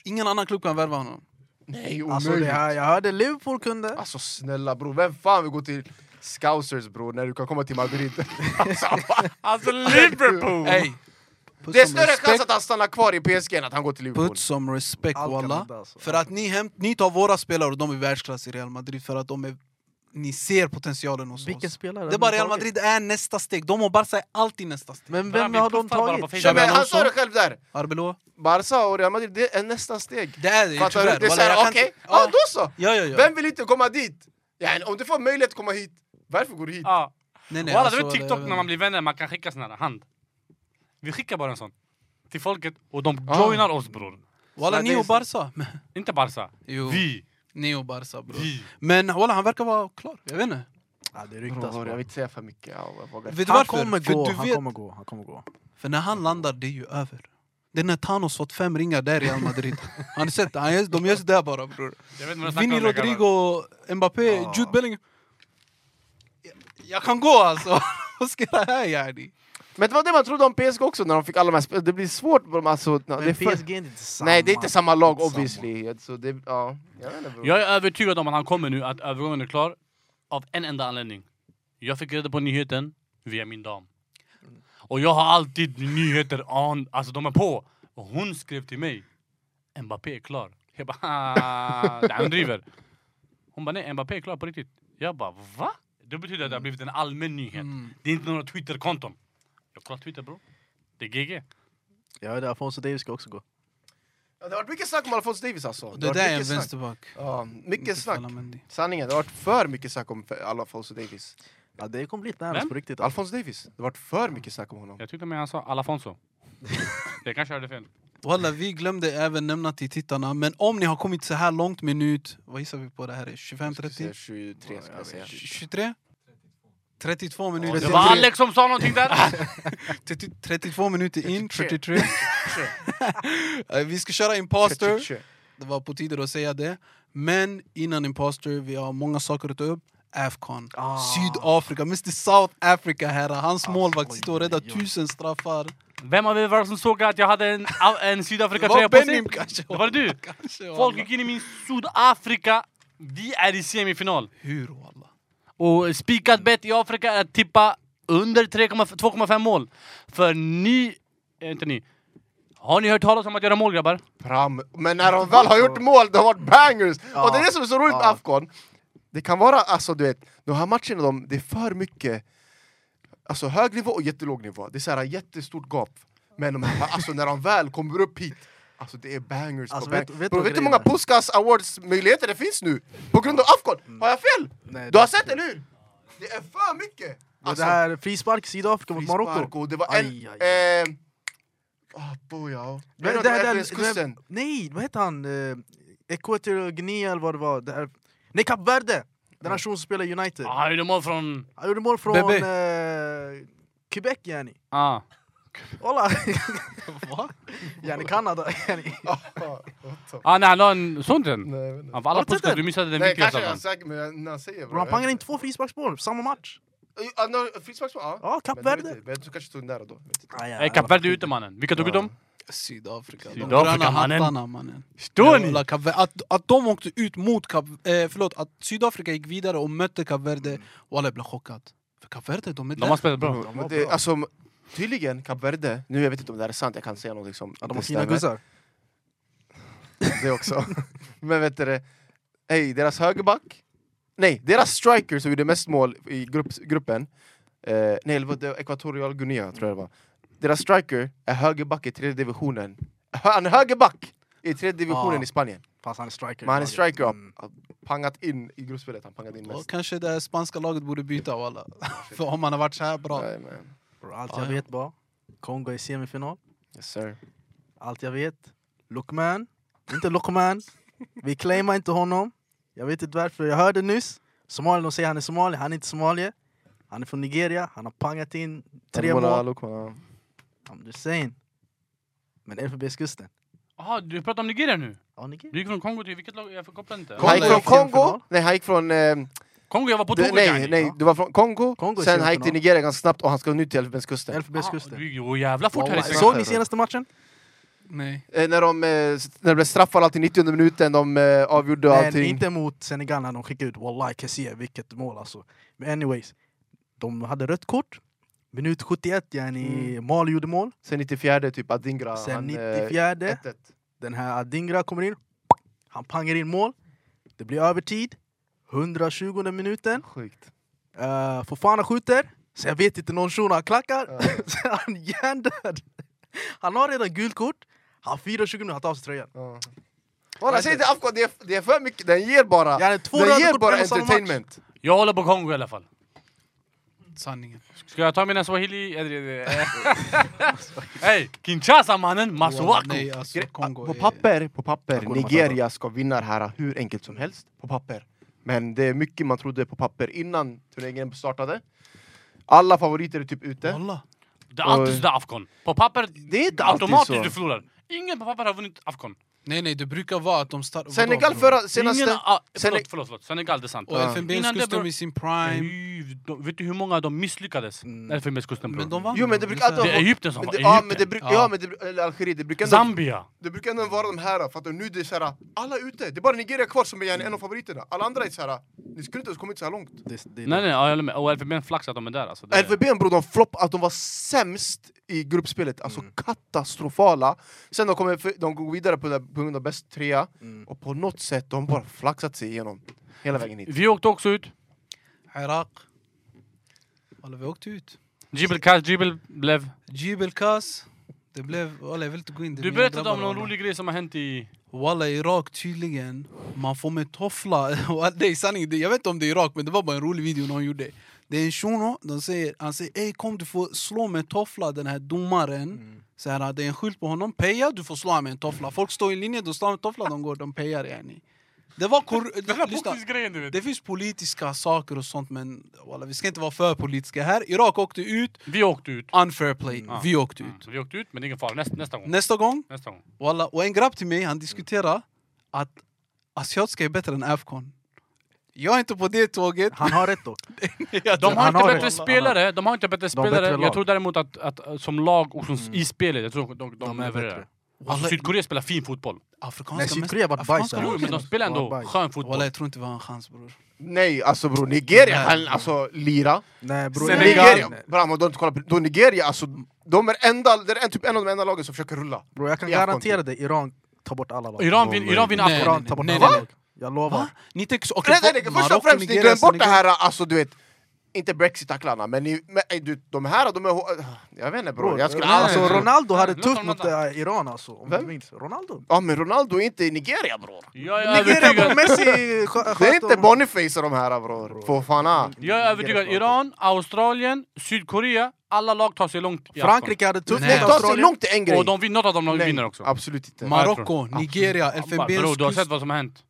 [SPEAKER 1] Ingen annan klubb kan värva honom.
[SPEAKER 3] Nej,
[SPEAKER 2] Alltså, det
[SPEAKER 3] omöjligt.
[SPEAKER 2] här, jag hörde Liverpool kunde.
[SPEAKER 3] Alltså snälla bror, vem fan vill gå till Scousers bror när du kan komma till Madrid? Alltså,
[SPEAKER 4] alltså Liverpool!
[SPEAKER 1] Ey, put
[SPEAKER 3] det är
[SPEAKER 1] some
[SPEAKER 3] större chans
[SPEAKER 1] respect-
[SPEAKER 3] att han stannar kvar i PSG än att han går till Liverpool.
[SPEAKER 1] Put some respect
[SPEAKER 2] Allt kan
[SPEAKER 1] walla.
[SPEAKER 2] hända, alltså.
[SPEAKER 1] För att ni, hämt, ni tar våra spelare och de är världsklass i Real Madrid för att de är, ni ser potentialen hos
[SPEAKER 2] Vilken
[SPEAKER 1] oss.
[SPEAKER 2] spelare?
[SPEAKER 1] Det är bara Real Madrid är nästa steg, de och Barca är alltid nästa steg.
[SPEAKER 2] Men
[SPEAKER 4] Bara
[SPEAKER 2] vem
[SPEAKER 4] vi
[SPEAKER 2] har de
[SPEAKER 4] puffar bara
[SPEAKER 2] tagit?
[SPEAKER 4] på Facebook.
[SPEAKER 3] Ja, men han
[SPEAKER 1] Xabi
[SPEAKER 3] sa det
[SPEAKER 1] Alonso.
[SPEAKER 3] själv där!
[SPEAKER 1] Arbeloa?
[SPEAKER 3] Barca och Real Madrid, det är nästa steg.
[SPEAKER 1] Det är det,
[SPEAKER 3] Fattar du?
[SPEAKER 1] tyvärr.
[SPEAKER 3] Det är
[SPEAKER 1] Walla, jag
[SPEAKER 3] såhär,
[SPEAKER 1] kan
[SPEAKER 3] okej,
[SPEAKER 1] inte-
[SPEAKER 3] ja då så!
[SPEAKER 1] Ah! Ja, ja, ja.
[SPEAKER 3] Vem vill inte komma dit? Ja, om du får möjlighet att komkomma hit, varför går du hit?
[SPEAKER 4] Ah.
[SPEAKER 1] Nej, nej,
[SPEAKER 4] Walla,
[SPEAKER 1] alltså,
[SPEAKER 4] du vet TikTok
[SPEAKER 1] jag
[SPEAKER 4] när
[SPEAKER 1] vet
[SPEAKER 4] man blir vänner, man kan skicka sån här hand. Vi skickar bara en sån. Till folket, och de
[SPEAKER 3] Ah.
[SPEAKER 4] joinar oss bror.
[SPEAKER 1] inte. Walla,
[SPEAKER 3] Nej,
[SPEAKER 1] ni
[SPEAKER 3] det är
[SPEAKER 1] och
[SPEAKER 3] så-
[SPEAKER 1] Barca.
[SPEAKER 4] Inte Barca.
[SPEAKER 1] Jo,
[SPEAKER 4] Vi.
[SPEAKER 1] ni och Barca bror.
[SPEAKER 4] Vi.
[SPEAKER 1] Men walla, han verkar vara klar. Jag vet inte.
[SPEAKER 2] Ja, det
[SPEAKER 3] Bror,
[SPEAKER 2] ryktas.
[SPEAKER 3] Jag vill
[SPEAKER 2] bara.
[SPEAKER 3] inte säga för mycket. Ja, jag vågar.
[SPEAKER 1] Vet du
[SPEAKER 2] Han
[SPEAKER 1] varför?
[SPEAKER 2] kommer
[SPEAKER 1] för,
[SPEAKER 2] gå,
[SPEAKER 1] du
[SPEAKER 2] han
[SPEAKER 1] vet,
[SPEAKER 2] kommer gå, han kommer gå.
[SPEAKER 1] för när han landar, det är ju över. Det är när Thanos fått fem ringar där i Real Madrid. Har ni sett? Han gör, de gör sådär bara bror.
[SPEAKER 4] Jag vet inte vad jag snackar
[SPEAKER 1] Vinny
[SPEAKER 4] om, jag kallar-
[SPEAKER 1] Rodrigo, Mbappé,
[SPEAKER 2] Ja.
[SPEAKER 1] Jude Bellingham. Jag, jag kan gå alltså. Vad ska det här yani?
[SPEAKER 3] Men det var det man trodde om PSG också när de fick alla de här spel. Det blir svårt. bror, Alltså, det är
[SPEAKER 2] Men
[SPEAKER 3] för...
[SPEAKER 2] PSG är inte samma.
[SPEAKER 3] Nej, det är inte samma lag
[SPEAKER 2] Inte samma.
[SPEAKER 3] obviously. Så det, ja. jag, vet inte, bror.
[SPEAKER 4] Jag är övertygad om att han kommer nu, att övergången är klar. Av en enda anledning. Jag fick reda på nyheten via min dam. Och jag har alltid nyheter on, alltså de är på. Och hon skrev till mig. Mbappé är klar. Jag bara, "Ah, nej, hon driver. Hon bara, nej Mbappé är klar på riktigt. Jag bara, va? Det betyder att det har blivit en allmän nyhet.
[SPEAKER 1] Mm.
[SPEAKER 4] Det är inte några Twitterkonton. Jag kollar Twitter bro. Det är GG.
[SPEAKER 2] Jag hörde Afonso Davies ska också gå.
[SPEAKER 3] Ja, Det har varit mycket snack om Alphonse Davis alltså.
[SPEAKER 1] Det
[SPEAKER 3] har varit
[SPEAKER 1] där är en
[SPEAKER 3] mycket snack.
[SPEAKER 1] vänsterback.
[SPEAKER 3] Ja,
[SPEAKER 1] Inte
[SPEAKER 3] mycket snack.
[SPEAKER 1] Falamendi.
[SPEAKER 3] Sanningen, det har varit för mycket snack om Alphonse Davis.
[SPEAKER 2] Ja, det kommer bli ett
[SPEAKER 4] Vem?
[SPEAKER 2] närmast på riktigt. alltså.
[SPEAKER 3] Alphonse Davis, det har varit för mycket snack om honom.
[SPEAKER 4] Jag tyckte mig han sa Alafonso. jag kanske hörde fel.
[SPEAKER 1] Walla, vi glömde även nämna till tittarna, men om ni har kommit så här långt minut, vad gissar vi på det här är? 25,
[SPEAKER 3] Jag skulle
[SPEAKER 1] 30?
[SPEAKER 3] säga 23 ska jag säga.
[SPEAKER 1] 23? 32 minuter,
[SPEAKER 4] Det var Alex som sa någonting där.
[SPEAKER 1] 30, 32 minuter in,
[SPEAKER 3] 33.
[SPEAKER 1] 33. Eh, vi ska köra Imposter, det var på tiden att säga det. Men innan Imposter, vi har många saker att ta upp. Afcon,
[SPEAKER 2] Ah.
[SPEAKER 1] Sydafrika, Mr South Africa herrar. Hans
[SPEAKER 4] Ah,
[SPEAKER 2] Alltså,
[SPEAKER 1] målvakt
[SPEAKER 2] oj,
[SPEAKER 1] sitter och räddar
[SPEAKER 2] oj, oj.
[SPEAKER 1] tusen straffar.
[SPEAKER 4] Vem av er var det som såg att jag hade en, en
[SPEAKER 1] Det
[SPEAKER 4] Sydafrika-tröja
[SPEAKER 1] var
[SPEAKER 4] på sig?
[SPEAKER 1] Benim kanske.
[SPEAKER 4] Det var du!
[SPEAKER 1] kanske,
[SPEAKER 4] Folk
[SPEAKER 1] walla.
[SPEAKER 4] gick in i min Sydafrika. Vi är i semifinal.
[SPEAKER 1] Hur walla?
[SPEAKER 4] Och spikat bett i Afrika är att tippa under 3,5 2,5 mål. För ni... eh, Inte ni. Har ni hört talas om att göra mål grabbar?
[SPEAKER 3] Pram. Men när de väl har gjort mål, det har varit bangers!
[SPEAKER 2] Ja.
[SPEAKER 3] Och det är det som är så roligt med
[SPEAKER 2] Ja.
[SPEAKER 3] Afghan. Det kan vara, alltså du vet, de här matcherna, de, det är för mycket Alltså hög nivå och jättelåg nivå. Det är så här jättestort gap. Men de här, alltså, när de väl kommer upp hit, alltså det är bangers
[SPEAKER 2] Alltså,
[SPEAKER 3] på
[SPEAKER 2] vet-
[SPEAKER 3] bangers.
[SPEAKER 2] vet du
[SPEAKER 3] Bro,
[SPEAKER 2] vad
[SPEAKER 3] vet du hur
[SPEAKER 2] grejen
[SPEAKER 3] många
[SPEAKER 2] är?
[SPEAKER 3] Puskas Awards-möjligheter det finns nu? På grund av Afghan? Har jag fel?
[SPEAKER 2] Mm. Nej,
[SPEAKER 3] Du har
[SPEAKER 2] det-
[SPEAKER 3] sett, eller hur? Det är för mycket! Alltså,
[SPEAKER 2] Och Det här frispark Sydafrika mot
[SPEAKER 3] frispark
[SPEAKER 2] Marocko.
[SPEAKER 3] och Det var en...
[SPEAKER 2] Aj, aj,
[SPEAKER 3] Eh, ah, boja.
[SPEAKER 2] Men det
[SPEAKER 3] Det
[SPEAKER 2] här-
[SPEAKER 3] här
[SPEAKER 2] det här-
[SPEAKER 3] Elfenbenskusten.
[SPEAKER 2] Nej, vad heter han? Eh, Equator Guinea eller vad det var. Det här... Nej, Kap Verde! Den här som spelar i United.
[SPEAKER 4] Ah, jag gjorde mål från...
[SPEAKER 2] Han gjorde mål från
[SPEAKER 1] Bebe.
[SPEAKER 2] eh, Quebec, yani.
[SPEAKER 4] Ah.
[SPEAKER 2] Hola!
[SPEAKER 1] Va?
[SPEAKER 2] Yani Kanada. Yani.
[SPEAKER 4] Ah, nej, han la en... Såg inte den?
[SPEAKER 3] Nej, jag vet inte.
[SPEAKER 4] Ja, för Alla
[SPEAKER 3] Har du sett
[SPEAKER 4] påstår att
[SPEAKER 3] den?
[SPEAKER 4] du missade den
[SPEAKER 3] Nej,
[SPEAKER 4] viktigaste
[SPEAKER 3] kanske
[SPEAKER 4] av
[SPEAKER 3] jag
[SPEAKER 4] den.
[SPEAKER 3] säkert, men när han säger
[SPEAKER 2] Bro, han pangade in två frisparksmål samma match.
[SPEAKER 3] in... Frisparksmål? Ja.
[SPEAKER 2] Ja, Kap
[SPEAKER 3] Men det typ- vet jag
[SPEAKER 2] Verde.
[SPEAKER 3] inte, Men jag tror kanske tog den där och då. Vet inte.
[SPEAKER 2] Ah, ja,
[SPEAKER 4] Nej, Kap Verde Eh, är ute mannen. Vilka tog ut
[SPEAKER 3] Ja.
[SPEAKER 4] dem?
[SPEAKER 1] Sydafrika. De
[SPEAKER 4] Sydafrika,
[SPEAKER 1] gröna
[SPEAKER 4] mannen.
[SPEAKER 1] hattarna mannen.
[SPEAKER 4] Förstår ni?
[SPEAKER 1] Jävla Kap Verde. Att, att de åkte ut mot Kap, eh, förlåt, att Sydafrika gick vidare och mötte Kap
[SPEAKER 4] Mm.
[SPEAKER 1] Verde. Walla jag blev chockad. För Kap Verde, de är
[SPEAKER 4] De
[SPEAKER 1] där.
[SPEAKER 4] har spelat bra.
[SPEAKER 2] de
[SPEAKER 3] Men
[SPEAKER 2] var
[SPEAKER 3] det,
[SPEAKER 2] bra.
[SPEAKER 3] alltså, tydligen, Kap Verde, nu jag vet inte om det här är sant, jag kan säga någonting som
[SPEAKER 2] De har
[SPEAKER 3] inte
[SPEAKER 2] fina
[SPEAKER 3] stämmer.
[SPEAKER 2] gussar.
[SPEAKER 3] Det också. Men vet du det, ey, deras högerback, nej, deras striker som gjorde mest mål i grupp, gruppen, eh, nej, det var det var Equatorial Guinea tror jag det var. Deras striker är högerback i tredje divisionen. Han är högerback i tredje divisionen
[SPEAKER 2] Ah.
[SPEAKER 3] i Spanien.
[SPEAKER 2] Fast han är striker.
[SPEAKER 3] Men han är striker och
[SPEAKER 2] Mm.
[SPEAKER 3] har pangat in i gruppspelet, han pangat in
[SPEAKER 1] Och
[SPEAKER 3] mest.
[SPEAKER 1] kanske det spanska laget borde byta walla. För om man har varit så här bra.
[SPEAKER 3] Nej, men,
[SPEAKER 2] Bro, allt
[SPEAKER 1] Ja,
[SPEAKER 2] jag
[SPEAKER 1] ja.
[SPEAKER 2] vet bara, Kongo i semifinal.
[SPEAKER 3] yes sir.
[SPEAKER 2] Allt jag vet, Lukman. Inte Lukman. Vi claimar inte honom. Jag vet inte varför. Jag hörde nyss, Somalien, de säger han är somalier. Han är inte somalier. Han är från Nigeria. Han har pangat in tre mål.
[SPEAKER 3] Angola, Lokman,
[SPEAKER 2] I'm just saying. Men NFBs-kusten.
[SPEAKER 4] Jaha, Ah, du pratar om Nigeria nu?
[SPEAKER 2] Ja, Nigeria.
[SPEAKER 4] Du gick från Kongo till vilket lag? Jag förkopplar inte.
[SPEAKER 3] ja. Han gick
[SPEAKER 2] Kolla
[SPEAKER 3] från
[SPEAKER 2] i semifinal.
[SPEAKER 3] Kongo, nej han gick från... ehm,
[SPEAKER 4] Kongo, jag var på
[SPEAKER 3] Du,
[SPEAKER 4] tåget
[SPEAKER 3] nej, nej, du var från Kongo,
[SPEAKER 2] Kongo är
[SPEAKER 3] sen han gick till
[SPEAKER 2] semifinal.
[SPEAKER 3] Nigeria ganska snabbt och han ska nu till Elfenbenskusten.
[SPEAKER 2] NFBs-kusten.
[SPEAKER 4] Du går jävla fort här i
[SPEAKER 3] Wow.
[SPEAKER 4] Sverige.
[SPEAKER 2] Såg ni senaste matchen?
[SPEAKER 1] Nej.
[SPEAKER 3] Eh, när, de, eh, s- när det blev straffar alltid i 90 minuten, de eh, avgjorde
[SPEAKER 2] Nej,
[SPEAKER 3] allting.
[SPEAKER 2] inte mot Senegal när de skickade ut Wallahi Kessie, vilket mål alltså. Men anyways, de hade rött kort. Minut 71, yani Mali gjorde mål.
[SPEAKER 3] Sen 94 typ Adingra.
[SPEAKER 2] Sen
[SPEAKER 3] Mm. han, eh,
[SPEAKER 2] 94,
[SPEAKER 3] 1-1.
[SPEAKER 2] den här Adingra kommer in. Han pangar in mål. Det blir övertid. 120 minuten.
[SPEAKER 3] Sjukt.
[SPEAKER 2] Uh, Fofana skjuter. Sen vet inte någon shuno, han klackar.
[SPEAKER 3] Ja.
[SPEAKER 2] Sen är han hjärndöd. Han har redan gult kort. Han firar 20 minuter, han tar av sig tröjan.
[SPEAKER 3] Ja. Walla, säg inte AFK, det är, det är för mycket, den ger bara,
[SPEAKER 2] Yani två
[SPEAKER 3] den
[SPEAKER 2] röda
[SPEAKER 3] ger
[SPEAKER 2] kort
[SPEAKER 3] bara
[SPEAKER 2] på en och samma match.
[SPEAKER 3] entertainment.
[SPEAKER 4] Jag håller på Kongo i alla fall.
[SPEAKER 1] Sanningen.
[SPEAKER 4] Ska jag ta mina swahili? Hej! Kinshasa mannen! Masuaku!
[SPEAKER 1] Nej, alltså Kongo
[SPEAKER 3] Ah, på
[SPEAKER 1] är-
[SPEAKER 3] papper, på papper
[SPEAKER 2] Hakuna
[SPEAKER 3] Nigeria ska vinna det här hur enkelt som helst. På papper. Men det är mycket man trodde på papper innan turneringen startade. Alla favoriter är typ ute.
[SPEAKER 1] Walla.
[SPEAKER 4] Det är alltid sådär Afghan. På papper,
[SPEAKER 3] Det är inte alltid
[SPEAKER 4] automatiskt
[SPEAKER 3] så.
[SPEAKER 4] du förlorar. Ingen på papper har vunnit Afghan.
[SPEAKER 1] Nej nej, det brukar vara att de startar...
[SPEAKER 3] Senegal förra, senaste...
[SPEAKER 4] Ingen, ah,
[SPEAKER 3] Sen-
[SPEAKER 4] förlåt, förlåt, förlåt. Senegal, det är sant.
[SPEAKER 1] Och
[SPEAKER 3] Ja.
[SPEAKER 1] Elfenbenskusten i sin prime.
[SPEAKER 4] Ey, de- Vet du hur många de misslyckades?
[SPEAKER 2] Mm.
[SPEAKER 4] Elfenbenskusten
[SPEAKER 1] Men
[SPEAKER 4] bror.
[SPEAKER 1] de vann.
[SPEAKER 3] Jo, men det brukar alltid
[SPEAKER 4] Det alltså, är
[SPEAKER 3] vara-
[SPEAKER 4] Egypten som
[SPEAKER 3] Men
[SPEAKER 4] var.
[SPEAKER 3] det, ja, men det
[SPEAKER 4] Egypten.
[SPEAKER 3] bruk,
[SPEAKER 1] Ja.
[SPEAKER 3] ja, men det, eller Algeriet, det brukar, ändå,
[SPEAKER 4] Zambia.
[SPEAKER 3] det brukar ändå vara de här, för att nu är det såhär, alla är ute, det är bara Nigeria kvar som är gärna en av favoriterna. Alla andra är såhär, ni skulle inte ha kommit så här långt.
[SPEAKER 2] Det, det,
[SPEAKER 4] Nej, nej, ja, jag håller med. Och Elfenben flax att de är där alltså. Det är-
[SPEAKER 3] LVB bror, de flopp, att de var sämst i gruppspelet, alltså katastrofala. Sen de, kommer, för- de går vidare på, det, på grund av bäst trea,
[SPEAKER 2] Mm.
[SPEAKER 3] och på något sätt de bara flaxat sig igenom hela vägen hit.
[SPEAKER 4] Vi åkte också ut.
[SPEAKER 3] alltså-
[SPEAKER 1] Irak. Walla, vi åkte ut.
[SPEAKER 4] Jibel Kash, Jibel blev...
[SPEAKER 1] Jibel Kas. Det blev... Walla, jag vill inte gå in. Det är
[SPEAKER 4] Du
[SPEAKER 1] mina
[SPEAKER 4] berättade
[SPEAKER 1] grabbar,
[SPEAKER 4] om någon
[SPEAKER 1] walla.
[SPEAKER 4] rolig grej som har hänt i...
[SPEAKER 1] Walla, Irak tydligen. Man får med toffla. Och det är sanning, det- jag vet inte om det är Irak, men det var bara en rolig video någon gjorde. Det är en shuno, de säger, han säger ey kom du får slå med toffla den här domaren. Så här, det är en skylt på honom, peja, du får slå honom med en toffla. Folk står i linje, de slår med en toffla, de går, de pejar yani. Det var kor- lyssna,
[SPEAKER 4] grejen du
[SPEAKER 1] det finns politiska saker och sånt men walla, vi ska inte vara för politiska här. Irak åkte ut,
[SPEAKER 4] Vi åkte ut.
[SPEAKER 1] unfair play,
[SPEAKER 4] Mm.
[SPEAKER 1] vi åkte ut.
[SPEAKER 4] Mm, Vi åkte ut, men det är ingen fara. Nästa, nästa gång.
[SPEAKER 1] Nästa gång
[SPEAKER 4] Nästa gång.
[SPEAKER 1] Walla, och en grabb till mig, han diskuterar att asiatiska är bättre än afghan. Jag är inte på det tåget.
[SPEAKER 2] Han har rätt dock.
[SPEAKER 4] De har
[SPEAKER 2] Han
[SPEAKER 4] inte
[SPEAKER 2] har
[SPEAKER 4] bättre
[SPEAKER 2] det.
[SPEAKER 4] spelare. De har inte bättre
[SPEAKER 2] har bättre
[SPEAKER 4] spelare. Jag
[SPEAKER 2] lag. Mm.
[SPEAKER 4] tror däremot att, att eh, som lag och som, i spelet, jag tror de, de,
[SPEAKER 2] De är
[SPEAKER 4] levererar.
[SPEAKER 2] bättre.
[SPEAKER 4] Alltså,
[SPEAKER 1] Walla,
[SPEAKER 4] Sydkorea spelar fin fotboll.
[SPEAKER 1] Afrikanska
[SPEAKER 2] Nej,
[SPEAKER 1] mäst-
[SPEAKER 2] Sydkorea har varit bajs.
[SPEAKER 1] Afrikanska
[SPEAKER 2] här.
[SPEAKER 4] Jo, men alltså, de spelar
[SPEAKER 2] Var
[SPEAKER 4] ändå
[SPEAKER 2] bajs.
[SPEAKER 4] skön
[SPEAKER 1] Walla,
[SPEAKER 4] fotboll.
[SPEAKER 1] jag tror inte vi har en chans bror.
[SPEAKER 3] Nej, alltså bror, Nigeria
[SPEAKER 1] Nej.
[SPEAKER 3] kan alltså lira.
[SPEAKER 2] Nej, bror.
[SPEAKER 4] Senegal.
[SPEAKER 3] Nigeria,
[SPEAKER 2] Nej.
[SPEAKER 3] bra, men de har inte kollat på, då Nigeria, alltså, de är, enda, det är typ en av de enda lagen som försöker rulla.
[SPEAKER 2] Bro, jag kan
[SPEAKER 3] I typ. Afghan
[SPEAKER 2] garantera dig, Iran tar bort alla lag.
[SPEAKER 4] Iran vin- Iran vinner
[SPEAKER 1] Nej,
[SPEAKER 4] Afghan.
[SPEAKER 2] Iran tar bort
[SPEAKER 1] nej,
[SPEAKER 2] alla
[SPEAKER 1] nej,
[SPEAKER 2] lag. Jag lovar.
[SPEAKER 1] Va? Ni tänker...
[SPEAKER 3] Nej, nej, nej, först och främst, ni glömmer bort det här, alltså du vet, inte brexit-tacklarna, men, ni, men eh, du, de här, de är... hå- Jag vet inte bror,
[SPEAKER 2] Bro,
[SPEAKER 3] jag skulle
[SPEAKER 4] nej,
[SPEAKER 3] aldrig...
[SPEAKER 2] alltså,
[SPEAKER 4] nej, nej.
[SPEAKER 2] Ronaldo hade
[SPEAKER 4] Nej,
[SPEAKER 2] tufft
[SPEAKER 4] låt
[SPEAKER 2] mot
[SPEAKER 4] Ronaldo.
[SPEAKER 2] eh, Iran alltså. Om
[SPEAKER 3] Vem?
[SPEAKER 2] du minns. Ronaldo.
[SPEAKER 3] Ja men Ronaldo är inte i Nigeria bror!
[SPEAKER 4] Jag är
[SPEAKER 2] Nigeria, bror.
[SPEAKER 4] övertygad.
[SPEAKER 2] Messi skö- sköt
[SPEAKER 3] Det är inte
[SPEAKER 2] honom.
[SPEAKER 3] Boniface och de här bror, ah. Fofana!
[SPEAKER 4] Jag är övertygad. Iran, Australien, Sydkorea. Alla lag tar sig långt i Afghan.
[SPEAKER 2] Frankrike hade tufft
[SPEAKER 1] Nej. Det
[SPEAKER 2] mot
[SPEAKER 3] Det tar sig
[SPEAKER 2] Australien.
[SPEAKER 3] långt i en grej!
[SPEAKER 4] Och de, vin- något av dem
[SPEAKER 3] Nej,
[SPEAKER 4] vinner också.
[SPEAKER 3] Absolut inte.
[SPEAKER 1] Marocko, Nigeria,
[SPEAKER 4] Bror, du har sett
[SPEAKER 1] Elfenbenskusten.
[SPEAKER 4] vad som har hänt.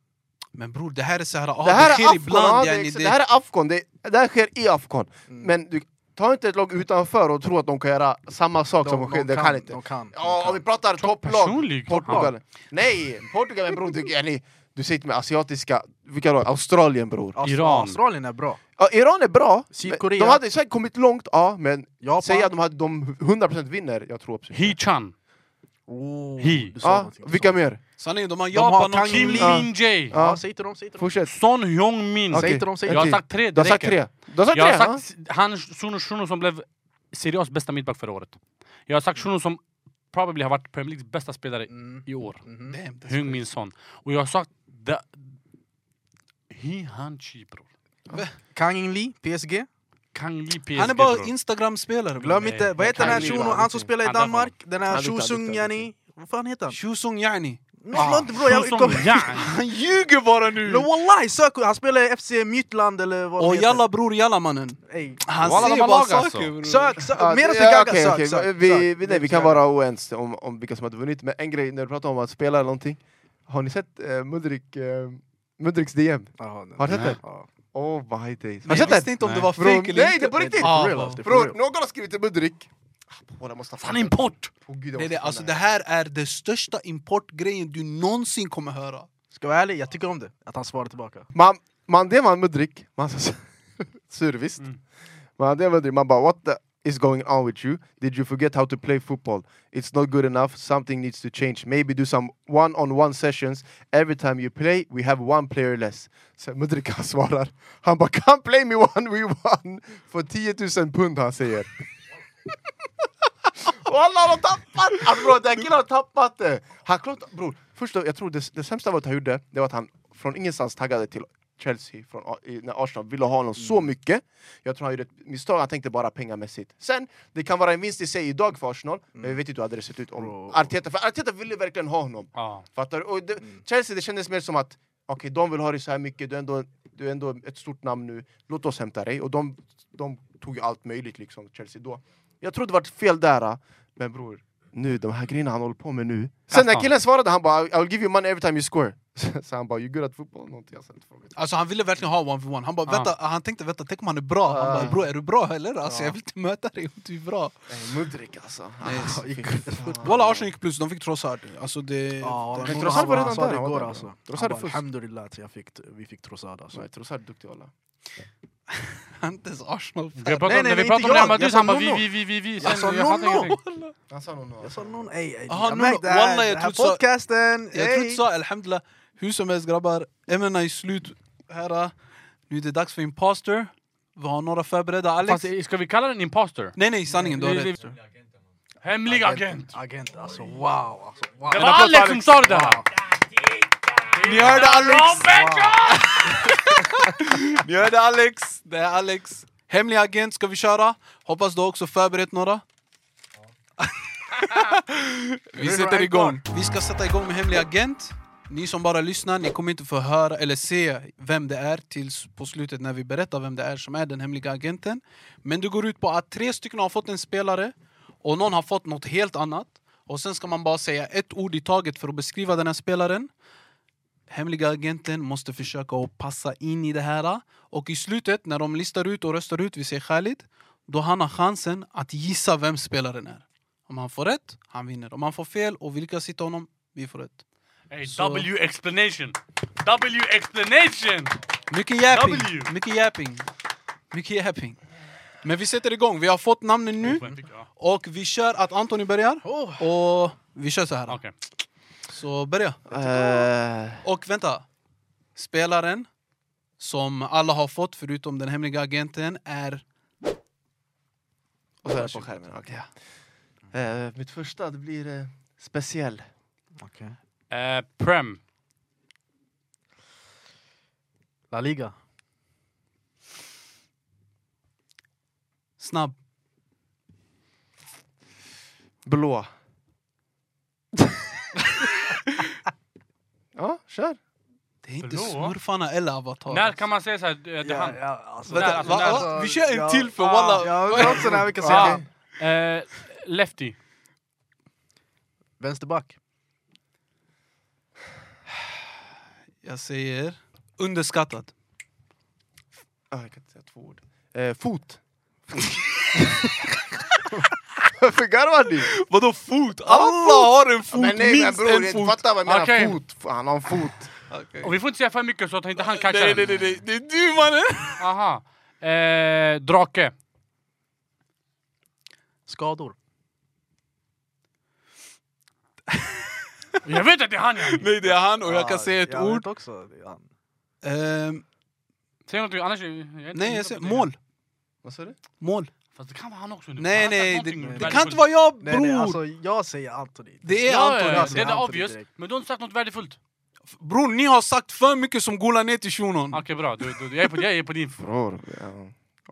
[SPEAKER 1] Men bror, det här är så här... ah,
[SPEAKER 3] det här är
[SPEAKER 1] sker
[SPEAKER 3] afghan,
[SPEAKER 1] ibland,
[SPEAKER 3] ja,
[SPEAKER 1] yani,
[SPEAKER 3] Mm. det, det här är afghan, det, det här sker i afghan. Men du, ta inte ett lag utanför och tro att de kan göra samma sak som de,
[SPEAKER 2] de,
[SPEAKER 3] de,
[SPEAKER 2] de,
[SPEAKER 3] kan
[SPEAKER 2] kan,
[SPEAKER 3] inte.
[SPEAKER 2] de kan.
[SPEAKER 3] Ja, om vi pratar topplag,
[SPEAKER 4] personlig
[SPEAKER 3] Portugal. Nej, Portugal är en bror tycker jag. Ni- Du säger till mig asiatiska, vilka lag? Australien bror.
[SPEAKER 2] Aust-
[SPEAKER 4] Iran.
[SPEAKER 2] Australien är bra.
[SPEAKER 3] Ja, Iran är bra.
[SPEAKER 2] Sydkorea.
[SPEAKER 3] De hade säkert kommit långt, ja, men
[SPEAKER 2] Japan.
[SPEAKER 3] säg att de, hade, de 100% vinner, jag tror absolut.
[SPEAKER 4] Hee Chan,
[SPEAKER 2] Oh,
[SPEAKER 4] Hi.
[SPEAKER 2] du sa
[SPEAKER 3] Ja,
[SPEAKER 2] någonting, du sa
[SPEAKER 3] vilka
[SPEAKER 2] någonting.
[SPEAKER 3] mer?
[SPEAKER 1] Sanningen, de har
[SPEAKER 2] har
[SPEAKER 1] Japan och
[SPEAKER 2] Kang-
[SPEAKER 4] Kim
[SPEAKER 1] Chile.
[SPEAKER 3] Ja.
[SPEAKER 4] Min Jae,
[SPEAKER 3] Ja.
[SPEAKER 2] Ja, säg till dem, säg till dem.
[SPEAKER 3] Fortsätt.
[SPEAKER 4] Son Heung-min.
[SPEAKER 2] Säg
[SPEAKER 3] Okej,
[SPEAKER 2] inte dem, säg
[SPEAKER 3] en
[SPEAKER 4] Jag har
[SPEAKER 3] till.
[SPEAKER 4] sagt tre,
[SPEAKER 3] Du
[SPEAKER 4] det
[SPEAKER 3] har sagt
[SPEAKER 4] räcker.
[SPEAKER 3] tre. Du har sagt
[SPEAKER 4] Jag
[SPEAKER 3] tre,
[SPEAKER 4] har
[SPEAKER 3] ja.
[SPEAKER 4] sagt han Shuno Shuno som blev Serias bästa mittback förra året. Jag har sagt Shuno som probably har varit Premier Leagues bästa spelare
[SPEAKER 2] Mm.
[SPEAKER 4] i år.
[SPEAKER 2] mhm.
[SPEAKER 1] Damn, that's
[SPEAKER 4] Hung Min Son. Och jag har sagt... da- He Han Chi bror.
[SPEAKER 2] Kang In-Lee, PSG.
[SPEAKER 4] Kang Lee PSG
[SPEAKER 1] Han är bara
[SPEAKER 4] bror.
[SPEAKER 1] Instagram-spelare.
[SPEAKER 2] Glöm
[SPEAKER 4] Nej,
[SPEAKER 2] inte, vad heter den här
[SPEAKER 3] Kang Lee var
[SPEAKER 2] shunon, han
[SPEAKER 3] allting.
[SPEAKER 2] som spelar i
[SPEAKER 4] Han där
[SPEAKER 2] Danmark? Den här
[SPEAKER 3] Han Ah. duktig,
[SPEAKER 2] Shusung
[SPEAKER 3] duktig,
[SPEAKER 2] Yani... Vad fan heter han?
[SPEAKER 1] Shusung yani.
[SPEAKER 2] Något bro, jag
[SPEAKER 4] Shuno som
[SPEAKER 2] kommer...
[SPEAKER 4] Yang.
[SPEAKER 1] Han ljuger bara nu!
[SPEAKER 2] Men wallahi, sök! Han spelar i FC Midtjylland eller vad
[SPEAKER 1] Och
[SPEAKER 2] det heter.
[SPEAKER 1] jalla bror, jalla mannen.
[SPEAKER 2] Ey.
[SPEAKER 1] Han
[SPEAKER 5] Walla, de
[SPEAKER 1] säger
[SPEAKER 5] har
[SPEAKER 1] bara
[SPEAKER 5] lag,
[SPEAKER 1] saker
[SPEAKER 5] alltså.
[SPEAKER 1] bror.
[SPEAKER 2] Sök, sök!
[SPEAKER 3] Ja,
[SPEAKER 2] Medan
[SPEAKER 3] det-
[SPEAKER 2] vi
[SPEAKER 3] ja,
[SPEAKER 2] gaggar,
[SPEAKER 3] okej,
[SPEAKER 2] sök,
[SPEAKER 3] okej.
[SPEAKER 2] sök!
[SPEAKER 3] Vi,
[SPEAKER 2] sök.
[SPEAKER 3] vi, nej, vi kan vara oense om, om vilka som hade vunnit, men en grej när du pratar om att spela eller någonting. Har ni sett eh, Mudrik, eh, Mudriks DM?
[SPEAKER 2] Jaha, nej.
[SPEAKER 3] Har du sett
[SPEAKER 4] Nej.
[SPEAKER 3] det?
[SPEAKER 2] Ja.
[SPEAKER 3] Oh my days. Har
[SPEAKER 1] Men
[SPEAKER 3] du
[SPEAKER 1] jag
[SPEAKER 3] sett
[SPEAKER 1] visste
[SPEAKER 3] det?
[SPEAKER 1] inte om det
[SPEAKER 4] Nej.
[SPEAKER 1] var
[SPEAKER 3] Bro,
[SPEAKER 1] fake eller
[SPEAKER 3] nej,
[SPEAKER 1] inte.
[SPEAKER 3] det är på riktigt.
[SPEAKER 1] Ja,
[SPEAKER 2] Real
[SPEAKER 1] bro.
[SPEAKER 2] life, det är for
[SPEAKER 3] Bror,
[SPEAKER 2] real.
[SPEAKER 3] någon har skrivit till Mudrik. Ah, båda måste ha
[SPEAKER 4] Fan
[SPEAKER 3] fattat.
[SPEAKER 4] import!
[SPEAKER 3] Åh, gud, jag
[SPEAKER 1] Det, är
[SPEAKER 3] måste
[SPEAKER 1] det,
[SPEAKER 3] kolla
[SPEAKER 1] alltså,
[SPEAKER 3] här.
[SPEAKER 1] det här är den största importgrejen du någonsin kommer höra.
[SPEAKER 2] Ska jag vara ärlig, jag tycker om det. Att han svarar tillbaka.
[SPEAKER 3] Man, man det var med drick, man sa sur visst.
[SPEAKER 4] Mm.
[SPEAKER 3] Man det var drick, man bara what the is going on with you? Did you forget how to play football? It's not good enough, something needs to change. Maybe do some one-on-one sessions. Every time you play, we have one player less. Sen Mudrik han svarar, han bara can't play me one we one för 10 000 pund han säger. Walla han har tappat! Alltså bror, den killen har tappat det! Han klart, bror, första, jag tror det, det sämsta valet han gjorde, det var att han från ingenstans taggade till Chelsea från, A- i- när Arsenal ville ha honom så mycket. Jag tror han gjorde ett misstag, han tänkte bara pengamässigt. Sen, det kan vara en vinst i sig idag för Arsenal, men vi vet inte hur hade det sett ut om
[SPEAKER 2] Bro.
[SPEAKER 3] Arteta, för Arteta ville verkligen ha honom.
[SPEAKER 4] Ja.
[SPEAKER 3] Fattar du? Och det, Chelsea, det kändes mer som att okej, de vill ha dig så här mycket, du är, ändå, du är ändå ett stort namn nu, låt oss hämta dig. Och de, de tog ju allt möjligt, liksom, Chelsea då. Jag tror det var fel där, ah. men bror, nu, de här grejerna han håller på med nu. Sen när
[SPEAKER 4] Kassan.
[SPEAKER 3] killen svarade, han bara I'll give you money every time you score. Så han bara, you good at football? Någonting jag sa inte frågat.
[SPEAKER 1] Alltså han ville verkligen ha 1v1, han, bara,
[SPEAKER 4] Ja.
[SPEAKER 1] vänta, han tänkte vänta, tänk om han är bra, han
[SPEAKER 3] Ja.
[SPEAKER 1] bara bror är du bra eller? Alltså,
[SPEAKER 3] Ja.
[SPEAKER 1] jag vill inte möta dig om du är bra.
[SPEAKER 3] Nej, Mudrik alltså.
[SPEAKER 1] Yes.
[SPEAKER 3] Ah, fy fan.
[SPEAKER 1] Walla Arsenal gick plus, de fick trossa här. Alltså det...
[SPEAKER 2] Ja,
[SPEAKER 3] men
[SPEAKER 2] men
[SPEAKER 3] Trossard var
[SPEAKER 2] han
[SPEAKER 3] redan
[SPEAKER 2] sa
[SPEAKER 3] där,
[SPEAKER 2] det
[SPEAKER 3] han var
[SPEAKER 2] igår
[SPEAKER 3] där.
[SPEAKER 2] alltså.
[SPEAKER 3] Trossard
[SPEAKER 2] Han bara,
[SPEAKER 3] är först.
[SPEAKER 2] alhamdulillah att jag fick, vi fick Trossard alltså.
[SPEAKER 3] Nej, Trossard är duktig walla.
[SPEAKER 1] Inte ens Arsenal.
[SPEAKER 4] Vi pratar
[SPEAKER 2] Nej,
[SPEAKER 4] om-
[SPEAKER 2] nej,
[SPEAKER 4] när vi
[SPEAKER 2] men
[SPEAKER 4] pratar
[SPEAKER 2] inte
[SPEAKER 4] om Real
[SPEAKER 2] jag.
[SPEAKER 4] Madrid,
[SPEAKER 2] Jag sa
[SPEAKER 4] han bara vi,
[SPEAKER 2] Nuno.
[SPEAKER 4] vi, vi, vi, vi.
[SPEAKER 2] Jag sa
[SPEAKER 4] Sen- jag fattar
[SPEAKER 2] Nuno.
[SPEAKER 4] ingenting.
[SPEAKER 3] Han sa nog något.
[SPEAKER 2] Jag sa någon, ey ey.
[SPEAKER 1] Aha,
[SPEAKER 2] Jag
[SPEAKER 1] nu-
[SPEAKER 2] märkte det
[SPEAKER 1] wallah,
[SPEAKER 2] här,
[SPEAKER 1] jag trodde
[SPEAKER 2] den här
[SPEAKER 1] du sa-
[SPEAKER 2] podcasten.
[SPEAKER 1] Jag tror
[SPEAKER 2] ey.
[SPEAKER 1] inte så, alhamdulillah. Hur som helst grabbar, ämnena är slut här. äh. Nu är det dags för imposter. Vi har några förberedda. Alex?
[SPEAKER 4] Fast, ska vi kalla den imposter?
[SPEAKER 1] Nej nej, sanningen, du har rätt.
[SPEAKER 4] Hemlig agent!
[SPEAKER 2] Agent alltså, wow. Alltså, wow.
[SPEAKER 4] Det var Alex som sa det där!
[SPEAKER 1] Ni hörde Alex!
[SPEAKER 4] Robert!
[SPEAKER 1] Ni hörde Alex! Det är Alex. Hemlig agent ska vi köra. Hoppas du har också förberett några. vi sätter igång. Vi ska sätta igång med Hemlig agent. Ni som bara lyssnar, ni kommer inte få höra eller se vem det är tills på slutet när vi berättar vem det är som är den hemliga agenten. Men det går ut på att tre stycken har fått en spelare och någon har fått något helt annat. Och sen ska man bara säga ett ord i taget för att beskriva den här spelaren. Hemliga agenten måste försöka att passa in i det här. Och i slutet, när de listar ut och röstar ut, vi säger Khalid, då han har chansen att gissa vem spelaren är. Om han får rätt, han vinner. Om han får fel och vi lyckas hitta honom, vi får rätt.
[SPEAKER 4] Hey,
[SPEAKER 1] Så-
[SPEAKER 4] W explanation! W explanation!
[SPEAKER 1] Mycket yapping!
[SPEAKER 4] W.
[SPEAKER 1] Mycket yapping! Mycket yapping! Men vi sätter igång, vi har fått namnen nu. Och vi kör att Antoni börjar. Och vi kör så här.
[SPEAKER 4] Oh. Okej.
[SPEAKER 1] Så börja.
[SPEAKER 3] Eh,
[SPEAKER 1] Och vänta. Spelaren som alla har fått förutom den hemliga agenten är...
[SPEAKER 3] Och så är det på skärmen, okej. Eh, mitt första, det blir eh, speciell.
[SPEAKER 2] Okej.
[SPEAKER 4] Eh, Prem.
[SPEAKER 2] La Liga.
[SPEAKER 1] Snabb.
[SPEAKER 3] Blå. ja, kör.
[SPEAKER 1] Det är inte
[SPEAKER 4] Blå?
[SPEAKER 1] smurfarna eller avatar.
[SPEAKER 4] När kan man säga såhär, eh, det är han?
[SPEAKER 2] Ja, ja, alltså,
[SPEAKER 1] Vänta,
[SPEAKER 4] När, alltså,
[SPEAKER 1] va,
[SPEAKER 4] när,
[SPEAKER 1] va, vi kör en
[SPEAKER 2] ja,
[SPEAKER 1] till för
[SPEAKER 4] ah,
[SPEAKER 1] walla.
[SPEAKER 2] Ja, vi har också den här veckan
[SPEAKER 4] Ah.
[SPEAKER 2] sen.
[SPEAKER 4] Eh, lefty.
[SPEAKER 2] Vänsterback.
[SPEAKER 1] Jag säger underskattad.
[SPEAKER 3] Ah, jag kan inte säga två ord. Eh, fot. Varför garvar ni?
[SPEAKER 1] Vadå fot? Alla har en fot,
[SPEAKER 3] Men nej men
[SPEAKER 1] minst
[SPEAKER 3] bror,
[SPEAKER 1] en
[SPEAKER 3] jag
[SPEAKER 1] fot!
[SPEAKER 3] fattar vad jag menar.
[SPEAKER 4] Okej.
[SPEAKER 3] Fot. Fan, Han har en fot.
[SPEAKER 1] Okej.
[SPEAKER 4] Och vi får inte säga för mycket så att inte han catchar
[SPEAKER 1] Nej,
[SPEAKER 4] den.
[SPEAKER 1] nej, nej, nej, det är du mannen!
[SPEAKER 4] Aha. Eh, drake.
[SPEAKER 2] Skador.
[SPEAKER 4] Jag vet att det är han yani.
[SPEAKER 1] Nej, det är han och jag kan
[SPEAKER 2] Ja,
[SPEAKER 1] säga ett
[SPEAKER 2] jag vet
[SPEAKER 1] ord.
[SPEAKER 2] också. det är han.
[SPEAKER 1] Ehm,
[SPEAKER 4] Säg någonting annars... Jag är inte-
[SPEAKER 1] nej, jag säger mål.
[SPEAKER 3] Vad sa du?
[SPEAKER 1] Mål.
[SPEAKER 4] Fast det kan vara han också. nu.
[SPEAKER 1] Nej,
[SPEAKER 4] Han har sagt
[SPEAKER 1] nej, det,
[SPEAKER 4] någonting
[SPEAKER 1] det kan
[SPEAKER 4] värdefullt.
[SPEAKER 1] inte vara jag,
[SPEAKER 2] Nej, nej,
[SPEAKER 1] bror!
[SPEAKER 2] alltså, jag säger Anthony.
[SPEAKER 1] Det är
[SPEAKER 4] Ja,
[SPEAKER 1] Anton.
[SPEAKER 4] ja,
[SPEAKER 2] alltså,
[SPEAKER 4] det är
[SPEAKER 2] Anthony
[SPEAKER 4] obvious.
[SPEAKER 2] direkt.
[SPEAKER 4] Men du har inte sagt något värdefullt.
[SPEAKER 1] Bror, ni har sagt för mycket som golar ner till shunon.
[SPEAKER 4] Okej, bra. Du, du, jag, är på, jag är på din...
[SPEAKER 3] Bror.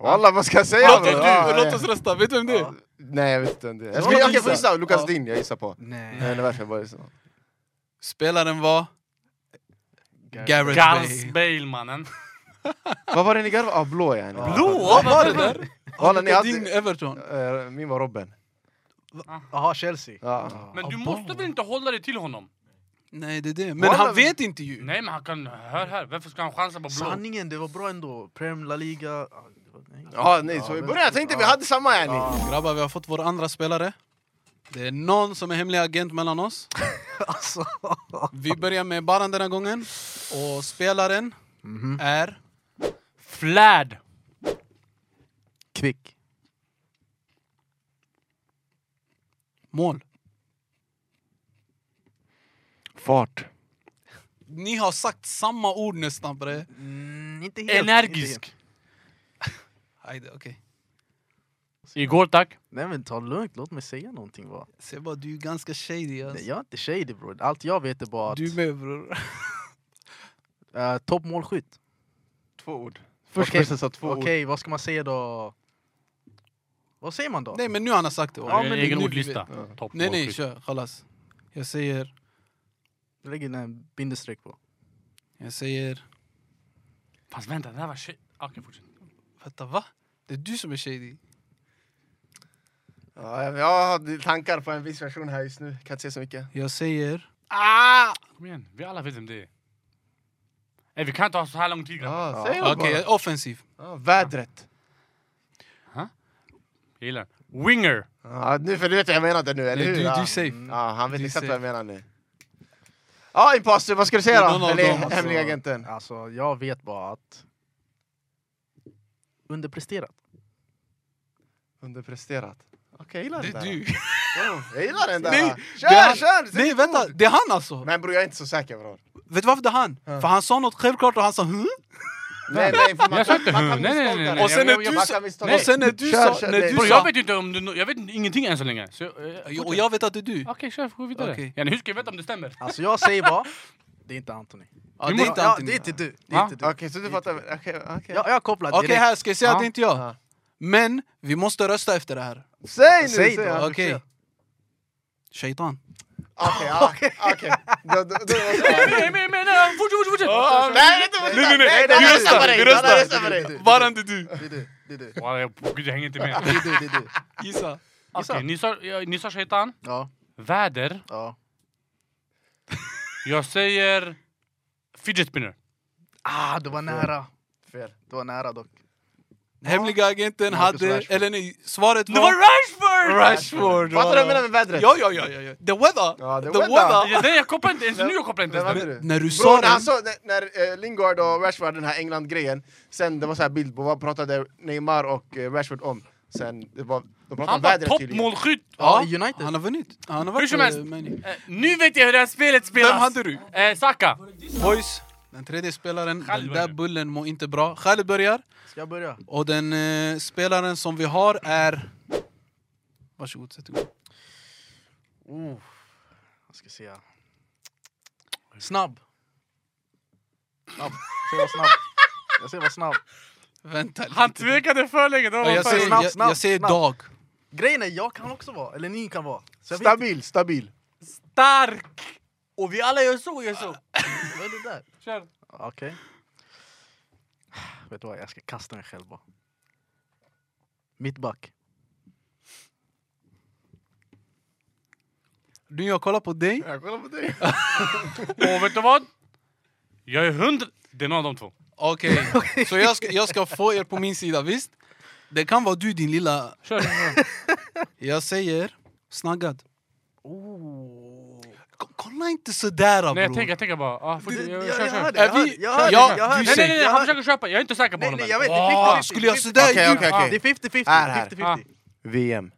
[SPEAKER 3] Walla vad ska jag säga?
[SPEAKER 1] Låt,
[SPEAKER 3] bror?
[SPEAKER 1] du,
[SPEAKER 3] Ja,
[SPEAKER 1] låt
[SPEAKER 3] ja.
[SPEAKER 1] oss rösta, vet du vem det är?
[SPEAKER 2] Ja.
[SPEAKER 3] Nej jag vet inte.
[SPEAKER 2] Låt
[SPEAKER 3] Jag
[SPEAKER 2] oss
[SPEAKER 3] ska- Okej, jag får
[SPEAKER 2] gissa.
[SPEAKER 3] gissa. Lukas
[SPEAKER 2] Ja.
[SPEAKER 3] Din, jag gissar på.
[SPEAKER 2] Nej.
[SPEAKER 3] Nej, det verkar bara så.
[SPEAKER 1] Spelaren var Gareth
[SPEAKER 4] Garth
[SPEAKER 1] Bale.
[SPEAKER 4] Bale, mannen.
[SPEAKER 3] Vad var det ni garvade? Ah, blå yani.
[SPEAKER 1] Blå? Vad var det där?
[SPEAKER 3] Walla Alltså, ni
[SPEAKER 1] Din
[SPEAKER 3] hade...
[SPEAKER 1] Everton.
[SPEAKER 3] Eh, Min var Robben.
[SPEAKER 2] Jaha, Chelsea.
[SPEAKER 3] Ja.
[SPEAKER 4] Men du
[SPEAKER 1] Ah,
[SPEAKER 4] måste
[SPEAKER 1] bra.
[SPEAKER 4] väl inte hålla dig till honom?
[SPEAKER 1] Nej, det är det. Men
[SPEAKER 3] Walla,
[SPEAKER 1] han
[SPEAKER 3] vi-
[SPEAKER 1] vet inte ju.
[SPEAKER 4] Nej, men han kan... Hör här, varför ska han chansa på blå?
[SPEAKER 2] Sanningen, det var bra ändå. Prem, La Liga... ja, det var- nej.
[SPEAKER 3] Ja, nej, så i början jag tänkte vi hade samma yani.
[SPEAKER 1] Grabbar, vi har fått vår andra spelare. Det är någon som är hemlig agent mellan oss.
[SPEAKER 2] Alltså.
[SPEAKER 1] Vi börjar med Baran den här gången. Och spelaren
[SPEAKER 3] Mhm.
[SPEAKER 1] är...
[SPEAKER 4] Flärd.
[SPEAKER 2] Kvick.
[SPEAKER 1] Mål.
[SPEAKER 3] Fart.
[SPEAKER 1] Ni har sagt samma ord nästan bre.
[SPEAKER 2] Mm, inte helt. Inte helt.
[SPEAKER 4] Energisk.
[SPEAKER 1] Ajde, okej.
[SPEAKER 4] Igår, tack.
[SPEAKER 2] Nej men ta lugnt, låt mig säga någonting va.
[SPEAKER 1] Se bara, du är ganska shady
[SPEAKER 2] Nej,
[SPEAKER 1] alltså.
[SPEAKER 2] jag är inte shady bror. Allt jag vet är bara att...
[SPEAKER 1] Du med bror.
[SPEAKER 2] eh, Toppmålskytt.
[SPEAKER 3] Två ord. Först
[SPEAKER 2] Okej.
[SPEAKER 3] okay. sa två
[SPEAKER 2] Okej,
[SPEAKER 3] ord.
[SPEAKER 2] vad ska man säga då? Vad säger man då?
[SPEAKER 1] Nej men nu han har sagt det.
[SPEAKER 2] Ja, men det-
[SPEAKER 4] Egen
[SPEAKER 1] nu-
[SPEAKER 4] ordlista.
[SPEAKER 3] Ja.
[SPEAKER 4] Topp.
[SPEAKER 1] Nej nej,
[SPEAKER 4] målskytt.
[SPEAKER 1] kör. Kallas. Jag säger...
[SPEAKER 2] Jag lägger en bindestreck på.
[SPEAKER 1] Jag säger...
[SPEAKER 4] Fast vänta, det här var shit. Okej, fortsätt.
[SPEAKER 1] Vänta, va? Det är du som är shady.
[SPEAKER 3] Ja, jag- jag har tankar på en viss version här just nu. Kan inte säga så mycket.
[SPEAKER 1] Jag säger...
[SPEAKER 4] Kom igen, vi alla vet vem det är. Nej, vi kan inte ha så här lång tid grabbar.
[SPEAKER 3] Ja, säg
[SPEAKER 1] Okej,
[SPEAKER 3] dem bara.
[SPEAKER 1] offensiv.
[SPEAKER 3] Ja, vädret.
[SPEAKER 4] Jag gillar den. Winger.
[SPEAKER 3] Ja, nu, för du vet vad jag menade nu, eller
[SPEAKER 1] Nej,
[SPEAKER 3] hur? Mm.
[SPEAKER 1] du, du
[SPEAKER 3] ja.
[SPEAKER 1] är safe.
[SPEAKER 3] ja, han vet
[SPEAKER 1] du
[SPEAKER 3] exakt
[SPEAKER 1] säger-
[SPEAKER 3] vad jag menar nu. Ja, imposter, vad ska du säga
[SPEAKER 1] Det är någon
[SPEAKER 3] då?
[SPEAKER 1] av
[SPEAKER 3] Eller
[SPEAKER 1] dem, alltså.
[SPEAKER 3] hemliga agenten?
[SPEAKER 2] Alltså, jag vet bara att... Underpresterat.
[SPEAKER 3] Underpresterat. Okej, jag gillar
[SPEAKER 1] Det
[SPEAKER 3] den
[SPEAKER 1] är
[SPEAKER 3] där.
[SPEAKER 1] du.
[SPEAKER 3] Ja, Jag gillar den där.
[SPEAKER 1] Nej,
[SPEAKER 3] kör,
[SPEAKER 1] det är han-
[SPEAKER 3] kör! säg
[SPEAKER 1] Nej
[SPEAKER 3] ditt
[SPEAKER 1] vänta,
[SPEAKER 3] ord.
[SPEAKER 1] det är han alltså!
[SPEAKER 3] Men bror, jag är inte så säker bror.
[SPEAKER 1] Vet du varför det är han?
[SPEAKER 3] Ja.
[SPEAKER 1] För han sa något självklart och han sa hm?
[SPEAKER 3] Nej, nej, för man,
[SPEAKER 4] Jag sa inte
[SPEAKER 3] man
[SPEAKER 4] hur.
[SPEAKER 3] kan
[SPEAKER 4] Nej, nej, nej, nej.
[SPEAKER 3] misstolka det.
[SPEAKER 1] Och sen
[SPEAKER 3] Jag-
[SPEAKER 1] när
[SPEAKER 3] jag-
[SPEAKER 1] du
[SPEAKER 3] man
[SPEAKER 1] sa-
[SPEAKER 3] kan misstolka
[SPEAKER 1] Och
[SPEAKER 3] det.
[SPEAKER 1] sen när du
[SPEAKER 3] Kör,
[SPEAKER 1] sa...
[SPEAKER 3] kör,
[SPEAKER 1] När
[SPEAKER 3] det-
[SPEAKER 1] du
[SPEAKER 4] Bror,
[SPEAKER 1] sa
[SPEAKER 4] jag vet inte om du... Jag vet ingenting än så länge. Så, jag- eh,
[SPEAKER 1] och jag vet att det är du.
[SPEAKER 4] Okej, kör. Gå vidare.
[SPEAKER 1] Okej.
[SPEAKER 4] Yani, hur ska jag veta om det stämmer?
[SPEAKER 2] Alltså jag säger bara, det är inte Anthony.
[SPEAKER 1] Ja, det är
[SPEAKER 4] måste-
[SPEAKER 1] inte
[SPEAKER 2] ja,
[SPEAKER 1] Anthony.
[SPEAKER 2] det är inte du. Det är
[SPEAKER 4] Va?
[SPEAKER 2] inte du.
[SPEAKER 3] Okej, så du fattar? Okej, okej.
[SPEAKER 2] Jag, jag kopplar
[SPEAKER 1] Okej
[SPEAKER 2] direkt.
[SPEAKER 1] här, ska jag säga att
[SPEAKER 4] Ja.
[SPEAKER 1] det är inte jag?
[SPEAKER 3] Ja.
[SPEAKER 1] Men vi måste rösta efter det här.
[SPEAKER 3] Säg nu!
[SPEAKER 2] Säg då.
[SPEAKER 3] jag vill
[SPEAKER 1] Okej.
[SPEAKER 3] se.
[SPEAKER 1] Shaitan.
[SPEAKER 3] Okej, ja, okej. Då- då- då var det så här.
[SPEAKER 4] Nej, men, men, nej, fortsätt, fortsätt, fortsätt!
[SPEAKER 3] Nej, vänta, vänta!
[SPEAKER 1] nej, nej, vi
[SPEAKER 3] Alltså, nej, nej,
[SPEAKER 1] röstar,
[SPEAKER 3] på dig,
[SPEAKER 1] vi
[SPEAKER 3] nej,
[SPEAKER 1] röstar.
[SPEAKER 3] nej, rösta på dig!
[SPEAKER 1] Var inte du?
[SPEAKER 2] Det är du, det är du.
[SPEAKER 4] Walla, jag- Gud, jag hänger inte med.
[SPEAKER 2] Det är du, det är du.
[SPEAKER 1] Gissa.
[SPEAKER 4] Okej, ni sa- ja, ni sa shaitan,
[SPEAKER 2] Ja,
[SPEAKER 4] väder.
[SPEAKER 2] ja.
[SPEAKER 4] Jag säger fidget spinner.
[SPEAKER 2] Ah, det var nära.
[SPEAKER 3] Fel.
[SPEAKER 2] Det var nära dock.
[SPEAKER 1] Hemliga agenten
[SPEAKER 2] Marcus
[SPEAKER 1] hade...
[SPEAKER 2] Rashford.
[SPEAKER 1] Eller nej, svaret
[SPEAKER 4] Det var
[SPEAKER 1] var...
[SPEAKER 4] Rashford!
[SPEAKER 1] Rashford!
[SPEAKER 3] Fattar du vad jag
[SPEAKER 1] ja.
[SPEAKER 3] menar med vädret?
[SPEAKER 1] Ja, ja, ja, ja, ja. The weather!
[SPEAKER 3] Ja, the
[SPEAKER 1] The
[SPEAKER 3] weather.
[SPEAKER 1] weather.
[SPEAKER 4] Ja, nej, jag kopplar inte ens nu. Jag kopplar inte
[SPEAKER 3] Vem
[SPEAKER 4] ens
[SPEAKER 3] hade
[SPEAKER 4] nu.
[SPEAKER 3] du?
[SPEAKER 1] När du sa
[SPEAKER 3] Bror, när,
[SPEAKER 1] den...
[SPEAKER 3] han sa, när, när eh, Lingard och Rashford hade den här England-grejen, sen det var så här bild på vad pratade Neymar och eh, Rashford om? Sen det var, de pratade
[SPEAKER 4] Han
[SPEAKER 3] om
[SPEAKER 4] var
[SPEAKER 3] vädret tydligen.
[SPEAKER 4] toppmålskytt!
[SPEAKER 1] Ja,
[SPEAKER 2] Ja, United.
[SPEAKER 1] Han har vunnit. Han har
[SPEAKER 4] Hur
[SPEAKER 1] varit...
[SPEAKER 4] som helst.
[SPEAKER 1] eh, men-
[SPEAKER 4] Eh, Nu vet jag hur det här spelet spelas!
[SPEAKER 1] Vem hade du?
[SPEAKER 4] Eh, Saka.
[SPEAKER 1] Boys, den tredje spelaren, den
[SPEAKER 4] Khaled
[SPEAKER 1] där
[SPEAKER 4] börjar.
[SPEAKER 1] bullen mår inte bra. Khaled börjar.
[SPEAKER 2] Ska jag börja?
[SPEAKER 1] Och den eh, spelaren som vi har är... Varsågod, sätt igång.
[SPEAKER 2] Oh. Jag ska se. Snabb. Snabb. Säg var snabb. Jag säger var snabb.
[SPEAKER 1] Vänta lite.
[SPEAKER 4] Han tvekade för länge. Det var
[SPEAKER 1] Ja, jag,
[SPEAKER 4] för-
[SPEAKER 1] säger,
[SPEAKER 2] Snabbt,
[SPEAKER 1] jag,
[SPEAKER 2] snabbt,
[SPEAKER 1] jag säger
[SPEAKER 2] snabbt.
[SPEAKER 1] dag.
[SPEAKER 2] Grejen är, jag kan också vara. Eller ni kan vara. Så jag vet inte.
[SPEAKER 3] Stabil, stabil.
[SPEAKER 4] stark! Och vi alla gör så och gör så.
[SPEAKER 2] Vad är det där?
[SPEAKER 4] Kör.
[SPEAKER 2] Okej. Vet du vad, jag ska kasta mig själv bara. Mittback.
[SPEAKER 1] Nu jag kollar på dig.
[SPEAKER 3] Jag kollar på dig.
[SPEAKER 4] Och vet du vad? Jag är hundra... Det är någon av de två.
[SPEAKER 1] Okej, så jag ska, jag ska få er på min sida, visst? Det kan vara du din lilla...
[SPEAKER 4] Kör, kör, kör.
[SPEAKER 1] Jag säger snaggad.
[SPEAKER 2] Oh.
[SPEAKER 1] K- kolla inte sådär bror.
[SPEAKER 4] Nej jag tänker, jag tänker bara. Ah,
[SPEAKER 2] Du,
[SPEAKER 4] fortsätt,
[SPEAKER 2] jag,
[SPEAKER 4] jag,
[SPEAKER 2] jag,
[SPEAKER 4] kör,
[SPEAKER 2] jag
[SPEAKER 4] kör.
[SPEAKER 2] hörde,
[SPEAKER 1] Är
[SPEAKER 2] jag
[SPEAKER 1] vi-
[SPEAKER 2] hörde, jag hörde,
[SPEAKER 1] Ja,
[SPEAKER 2] jag hörde.
[SPEAKER 1] du
[SPEAKER 4] nej, nej, nej,
[SPEAKER 2] Jag
[SPEAKER 4] han
[SPEAKER 2] hörde.
[SPEAKER 4] försöker köpa. Jag är inte säker på
[SPEAKER 2] Nej,
[SPEAKER 4] honom
[SPEAKER 2] nej,
[SPEAKER 4] än.
[SPEAKER 2] jag vet. Det
[SPEAKER 1] Ah,
[SPEAKER 2] är 50-50.
[SPEAKER 1] skulle jag sådär
[SPEAKER 3] Okej,
[SPEAKER 1] ljud?
[SPEAKER 3] okej,
[SPEAKER 4] Ah.
[SPEAKER 3] okej.
[SPEAKER 2] Det är 50-50.
[SPEAKER 3] Här, här.
[SPEAKER 2] 50-50.
[SPEAKER 4] Ah.
[SPEAKER 3] VM.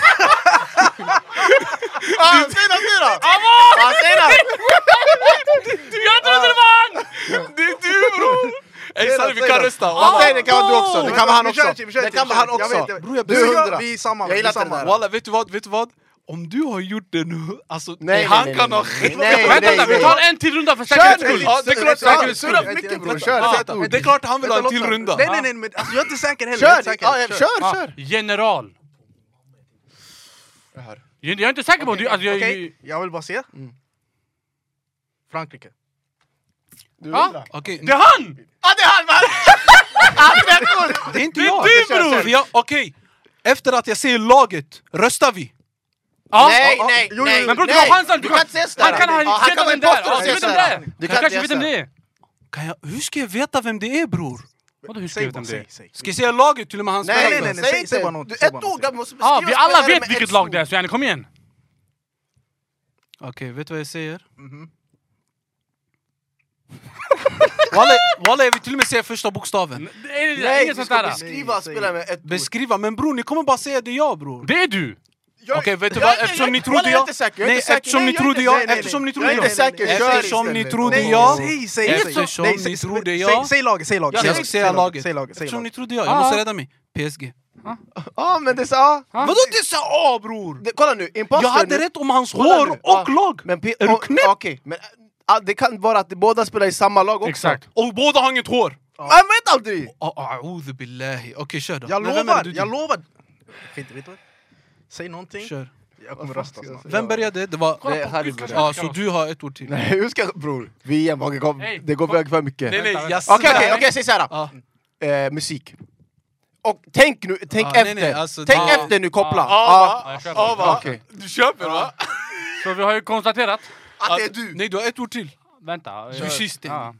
[SPEAKER 3] Ah, det är han! ah, säg det, säg det! Ah, säg det!
[SPEAKER 4] Jag trodde det var han!
[SPEAKER 1] Det är du bror! Exakt, vi kan rösta.
[SPEAKER 3] Ah, säg det kan vara du också,
[SPEAKER 4] wow!
[SPEAKER 3] det kan vara han
[SPEAKER 2] Vi kör
[SPEAKER 3] också!
[SPEAKER 2] en till, vi kör en
[SPEAKER 3] Det
[SPEAKER 2] till,
[SPEAKER 3] kan
[SPEAKER 2] vi
[SPEAKER 3] vara han
[SPEAKER 2] kör en till. Jag
[SPEAKER 3] också!
[SPEAKER 2] vet,
[SPEAKER 1] Bror, jag-
[SPEAKER 3] Du
[SPEAKER 2] Du och
[SPEAKER 3] är
[SPEAKER 2] jag,
[SPEAKER 3] hundra!
[SPEAKER 2] vi är samma,
[SPEAKER 3] Jag
[SPEAKER 2] vi är
[SPEAKER 3] gillar inte
[SPEAKER 2] samma.
[SPEAKER 3] det där.
[SPEAKER 1] Walla, vet du vad? Vet du vad? Om du har gjort det nu, alltså...
[SPEAKER 3] Nej,
[SPEAKER 1] han
[SPEAKER 3] nej, nej,
[SPEAKER 1] kan
[SPEAKER 3] nej,
[SPEAKER 1] ha
[SPEAKER 3] nej,
[SPEAKER 1] skit.
[SPEAKER 3] nej,
[SPEAKER 4] Vänta,
[SPEAKER 3] nej,
[SPEAKER 4] vi
[SPEAKER 3] nej.
[SPEAKER 4] tar en till runda för
[SPEAKER 3] Kör
[SPEAKER 4] säkerhets skull.
[SPEAKER 1] Ja, det är klart,
[SPEAKER 3] säkert!
[SPEAKER 1] säkerhets skull.
[SPEAKER 3] Surra mycket bror,
[SPEAKER 1] Ja,
[SPEAKER 3] kör! Sätt
[SPEAKER 1] Ah, Det är
[SPEAKER 3] ord.
[SPEAKER 1] klart han vill ha en till runda.
[SPEAKER 2] Nej, nej, nej, men alltså, jag är inte säker heller. jag är
[SPEAKER 3] Kör!
[SPEAKER 2] inte säker.
[SPEAKER 3] Ja, ja, Kör,
[SPEAKER 4] Ah,
[SPEAKER 3] kör!
[SPEAKER 4] general. Jag jag är inte säker på om du... Alltså, jag,
[SPEAKER 2] Okej, jag vill bara se. Frankrike.
[SPEAKER 3] Du
[SPEAKER 4] Ja.
[SPEAKER 3] hundra!
[SPEAKER 1] Okej,
[SPEAKER 4] Det är han!
[SPEAKER 3] Ah, det är han! man!
[SPEAKER 1] det är inte
[SPEAKER 4] Det är
[SPEAKER 1] jag!
[SPEAKER 4] du,
[SPEAKER 1] Kör, kör,
[SPEAKER 4] bror!
[SPEAKER 1] kör. Ja, Okej, efter att jag säger laget, röstar vi?
[SPEAKER 4] Ja.
[SPEAKER 3] Nej,
[SPEAKER 2] ah,
[SPEAKER 3] nej,
[SPEAKER 2] jo, jo,
[SPEAKER 3] nej!
[SPEAKER 2] jo.
[SPEAKER 4] Men bror, du
[SPEAKER 3] nej.
[SPEAKER 4] har chansen, du
[SPEAKER 3] Du
[SPEAKER 4] kan-
[SPEAKER 3] kan inte säga sådär!
[SPEAKER 4] Han kan ha
[SPEAKER 3] Ja, han
[SPEAKER 4] inte
[SPEAKER 3] kan
[SPEAKER 4] vetat vem
[SPEAKER 3] vara en
[SPEAKER 4] det är!
[SPEAKER 3] imposter
[SPEAKER 4] Ja,
[SPEAKER 3] och
[SPEAKER 4] Jag vet
[SPEAKER 3] säga
[SPEAKER 4] vem det
[SPEAKER 3] sådär! Du
[SPEAKER 4] är!
[SPEAKER 3] kan
[SPEAKER 4] Han kanske
[SPEAKER 3] inte göra
[SPEAKER 4] vet vem det är!
[SPEAKER 1] Kan jag, hur ska jag veta vem det är bror?
[SPEAKER 4] Vadå hur ska
[SPEAKER 2] Säg
[SPEAKER 4] jag veta
[SPEAKER 2] bara,
[SPEAKER 4] vem det
[SPEAKER 2] säg,
[SPEAKER 4] är?
[SPEAKER 2] säg.
[SPEAKER 1] Ska jag säga laget till och med han
[SPEAKER 3] Nej,
[SPEAKER 1] spelar?
[SPEAKER 3] nej, nej,
[SPEAKER 2] nej,
[SPEAKER 3] säg
[SPEAKER 2] säg- säg
[SPEAKER 3] inte!
[SPEAKER 2] bara något,
[SPEAKER 3] Du-
[SPEAKER 2] säg
[SPEAKER 3] Ett
[SPEAKER 2] bara något.
[SPEAKER 3] ord, där måste beskriva
[SPEAKER 4] Ja, vi alla
[SPEAKER 3] spelaren med
[SPEAKER 4] vet
[SPEAKER 3] ett
[SPEAKER 4] vilket lag det är
[SPEAKER 3] ord.
[SPEAKER 4] så yani, kom igen!
[SPEAKER 1] Okej, vet du vad jag säger?
[SPEAKER 2] Mhm.
[SPEAKER 1] Walla, walla, jag vill till och med säga första bokstaven.
[SPEAKER 4] Det är- det är
[SPEAKER 3] Nej,
[SPEAKER 4] inget
[SPEAKER 3] du
[SPEAKER 4] sånt
[SPEAKER 3] ska
[SPEAKER 4] där!
[SPEAKER 3] beskriva
[SPEAKER 2] Nej, säg-
[SPEAKER 3] spelaren med ett ord!
[SPEAKER 1] Beskriva, men bror ni kommer bara säga det är jag bror.
[SPEAKER 4] Det är du!
[SPEAKER 3] Jag-
[SPEAKER 1] Okej, vet du
[SPEAKER 3] jag-
[SPEAKER 1] vad?
[SPEAKER 3] jag-
[SPEAKER 1] Eftersom
[SPEAKER 3] jag-
[SPEAKER 1] ni trodde
[SPEAKER 3] jag... är
[SPEAKER 1] jag...
[SPEAKER 3] inte säker, jag är
[SPEAKER 1] Nej,
[SPEAKER 3] inte säker.
[SPEAKER 1] eftersom ni
[SPEAKER 3] jag är
[SPEAKER 1] trodde
[SPEAKER 3] inte- nej,
[SPEAKER 1] jag...
[SPEAKER 3] nej,
[SPEAKER 1] Efsom
[SPEAKER 3] nej.
[SPEAKER 1] ni
[SPEAKER 3] Jag
[SPEAKER 1] trodde
[SPEAKER 3] är
[SPEAKER 1] jag...
[SPEAKER 3] inte säker,
[SPEAKER 2] Nej,
[SPEAKER 3] kör
[SPEAKER 1] Eftersom ni
[SPEAKER 3] istället.
[SPEAKER 1] trodde
[SPEAKER 3] Nej,
[SPEAKER 1] jag...
[SPEAKER 3] nej.
[SPEAKER 2] Säg, säg, säg.
[SPEAKER 1] Eftersom
[SPEAKER 2] Nej,
[SPEAKER 1] ni
[SPEAKER 2] säg-
[SPEAKER 1] trodde
[SPEAKER 2] säg-
[SPEAKER 1] jag...
[SPEAKER 2] Säg laget, säg laget.
[SPEAKER 3] Ja,
[SPEAKER 1] Jag
[SPEAKER 2] säg
[SPEAKER 1] ska
[SPEAKER 3] säg-
[SPEAKER 1] säga laget.
[SPEAKER 2] Säg laget, säg
[SPEAKER 1] Eftersom ni
[SPEAKER 2] laget.
[SPEAKER 1] trodde jag...
[SPEAKER 4] Ja.
[SPEAKER 1] Jag måste rädda mig. PSG.
[SPEAKER 3] Ja, men det sa...
[SPEAKER 4] Ja.
[SPEAKER 1] Vadå det sa A bror?
[SPEAKER 3] Det- Kolla nu, imposter
[SPEAKER 1] Jag hade
[SPEAKER 3] nu.
[SPEAKER 1] rätt om hans
[SPEAKER 3] Kolla
[SPEAKER 1] hår
[SPEAKER 3] nu.
[SPEAKER 1] och
[SPEAKER 3] Ja.
[SPEAKER 1] lag!
[SPEAKER 3] Men P-
[SPEAKER 1] Är du
[SPEAKER 3] och-
[SPEAKER 1] knäpp?
[SPEAKER 3] Okej, men ah, det kan vara att de båda spelar i samma lag också.
[SPEAKER 4] Exakt!
[SPEAKER 1] Och båda har inget hår!
[SPEAKER 3] Ja. Jag vet aldrig!
[SPEAKER 1] Ah, A'udhu billahi. Okej, kör då.
[SPEAKER 2] Jag
[SPEAKER 1] Men vem är
[SPEAKER 2] lovar,
[SPEAKER 1] du?
[SPEAKER 2] jag lovar! Skit i, vet du vad? Säg någonting,
[SPEAKER 1] Kör.
[SPEAKER 2] jag
[SPEAKER 3] Vad
[SPEAKER 2] kommer
[SPEAKER 3] fan
[SPEAKER 2] rösta
[SPEAKER 3] ska jag
[SPEAKER 2] snart.
[SPEAKER 3] säga?
[SPEAKER 1] Vem började? Det var...
[SPEAKER 4] Kolla
[SPEAKER 3] Det är
[SPEAKER 4] på
[SPEAKER 3] Harry
[SPEAKER 4] Tyskland.
[SPEAKER 3] Brodin.
[SPEAKER 1] Ja, så du har ett ord till.
[SPEAKER 3] Nej, hur ska... Bror, VM, vad går-
[SPEAKER 4] Nej,
[SPEAKER 3] det går
[SPEAKER 4] kolla.
[SPEAKER 3] iväg för mycket.
[SPEAKER 1] Nej, nej,
[SPEAKER 4] Vänta,
[SPEAKER 1] jag
[SPEAKER 4] vänta.
[SPEAKER 1] svär.
[SPEAKER 3] Okej, okej, okej, säg såhär.
[SPEAKER 1] Ja.
[SPEAKER 3] Eh, musik. Och tänk nu, tänk
[SPEAKER 1] Ah,
[SPEAKER 3] efter.
[SPEAKER 1] nej, nej, alltså,
[SPEAKER 3] tänk
[SPEAKER 1] det-
[SPEAKER 3] efter nu, koppla.
[SPEAKER 1] Ah,
[SPEAKER 4] Ja, jag köper.
[SPEAKER 1] ah, va?
[SPEAKER 3] Okej.
[SPEAKER 1] Du köper va?
[SPEAKER 4] Så vi har ju konstaterat...
[SPEAKER 3] Att det är du!
[SPEAKER 1] Nej, du har ett ord till.
[SPEAKER 4] Vänta...
[SPEAKER 1] Du
[SPEAKER 4] jag-
[SPEAKER 1] kysste.
[SPEAKER 4] Ja.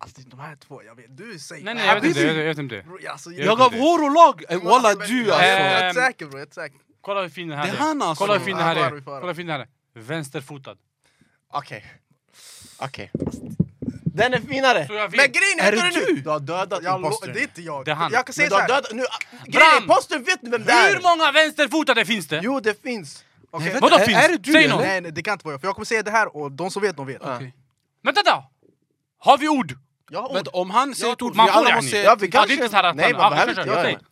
[SPEAKER 2] Alltså de här två, jag vet, du säger...
[SPEAKER 4] Nej nej, jag vet inte,
[SPEAKER 1] Habibi.
[SPEAKER 4] jag vet inte.
[SPEAKER 2] Bro, alltså, jag,
[SPEAKER 1] Jag gav
[SPEAKER 4] det.
[SPEAKER 1] hår och lag! Eh, Walla du
[SPEAKER 2] Jag
[SPEAKER 1] alltså!
[SPEAKER 2] är
[SPEAKER 4] Ehm.
[SPEAKER 2] inte säker bror, jag är inte säker.
[SPEAKER 4] Kolla hur fin den
[SPEAKER 1] Det
[SPEAKER 4] här
[SPEAKER 1] är
[SPEAKER 4] är.
[SPEAKER 1] han alltså!
[SPEAKER 4] Kolla hur fin den här
[SPEAKER 2] Ja, vi
[SPEAKER 4] är.
[SPEAKER 2] får höra.
[SPEAKER 4] Kolla hur fin den här är. Vänsterfotad.
[SPEAKER 3] Okej. Okej. Den är finare!
[SPEAKER 4] Så jag vet.
[SPEAKER 3] Men grejen
[SPEAKER 1] Är
[SPEAKER 3] vet
[SPEAKER 1] det
[SPEAKER 3] nu?
[SPEAKER 1] du?
[SPEAKER 3] Du har dödat
[SPEAKER 2] Jag lo-
[SPEAKER 3] impostern.
[SPEAKER 2] det är inte jag.
[SPEAKER 4] Det är han.
[SPEAKER 2] Jag kan säga
[SPEAKER 3] Men du har
[SPEAKER 2] såhär,
[SPEAKER 3] dödat... Nu, ah, grejen är,
[SPEAKER 4] Bram!
[SPEAKER 3] impostern vet nu vem det är!
[SPEAKER 4] Hur många vänsterfotade finns det?
[SPEAKER 3] Jo, det finns.
[SPEAKER 2] okej,
[SPEAKER 1] Nej,
[SPEAKER 4] Vadå
[SPEAKER 1] Är-
[SPEAKER 4] finns?
[SPEAKER 1] är det du,
[SPEAKER 4] Säg
[SPEAKER 1] eller?
[SPEAKER 4] någon!
[SPEAKER 2] nej nej det kan inte vara jag, för jag kommer säga det här och de som vet de vet.
[SPEAKER 3] Ja.
[SPEAKER 1] Okej.
[SPEAKER 4] Vänta då! Har vi ord?
[SPEAKER 2] Jag har
[SPEAKER 1] Men
[SPEAKER 2] ord,
[SPEAKER 1] om han säger ett ord, vi
[SPEAKER 4] Man får
[SPEAKER 1] alla
[SPEAKER 4] yani.
[SPEAKER 1] måste säga...
[SPEAKER 3] Ja,
[SPEAKER 1] ett-
[SPEAKER 3] vi
[SPEAKER 4] Ja, det är
[SPEAKER 3] kanske...
[SPEAKER 4] inte så här att
[SPEAKER 3] Nej,
[SPEAKER 4] man-
[SPEAKER 3] man
[SPEAKER 4] ja,
[SPEAKER 3] behöver
[SPEAKER 4] kör,
[SPEAKER 3] inte
[SPEAKER 4] kör,
[SPEAKER 3] göra
[SPEAKER 4] säg.
[SPEAKER 3] det.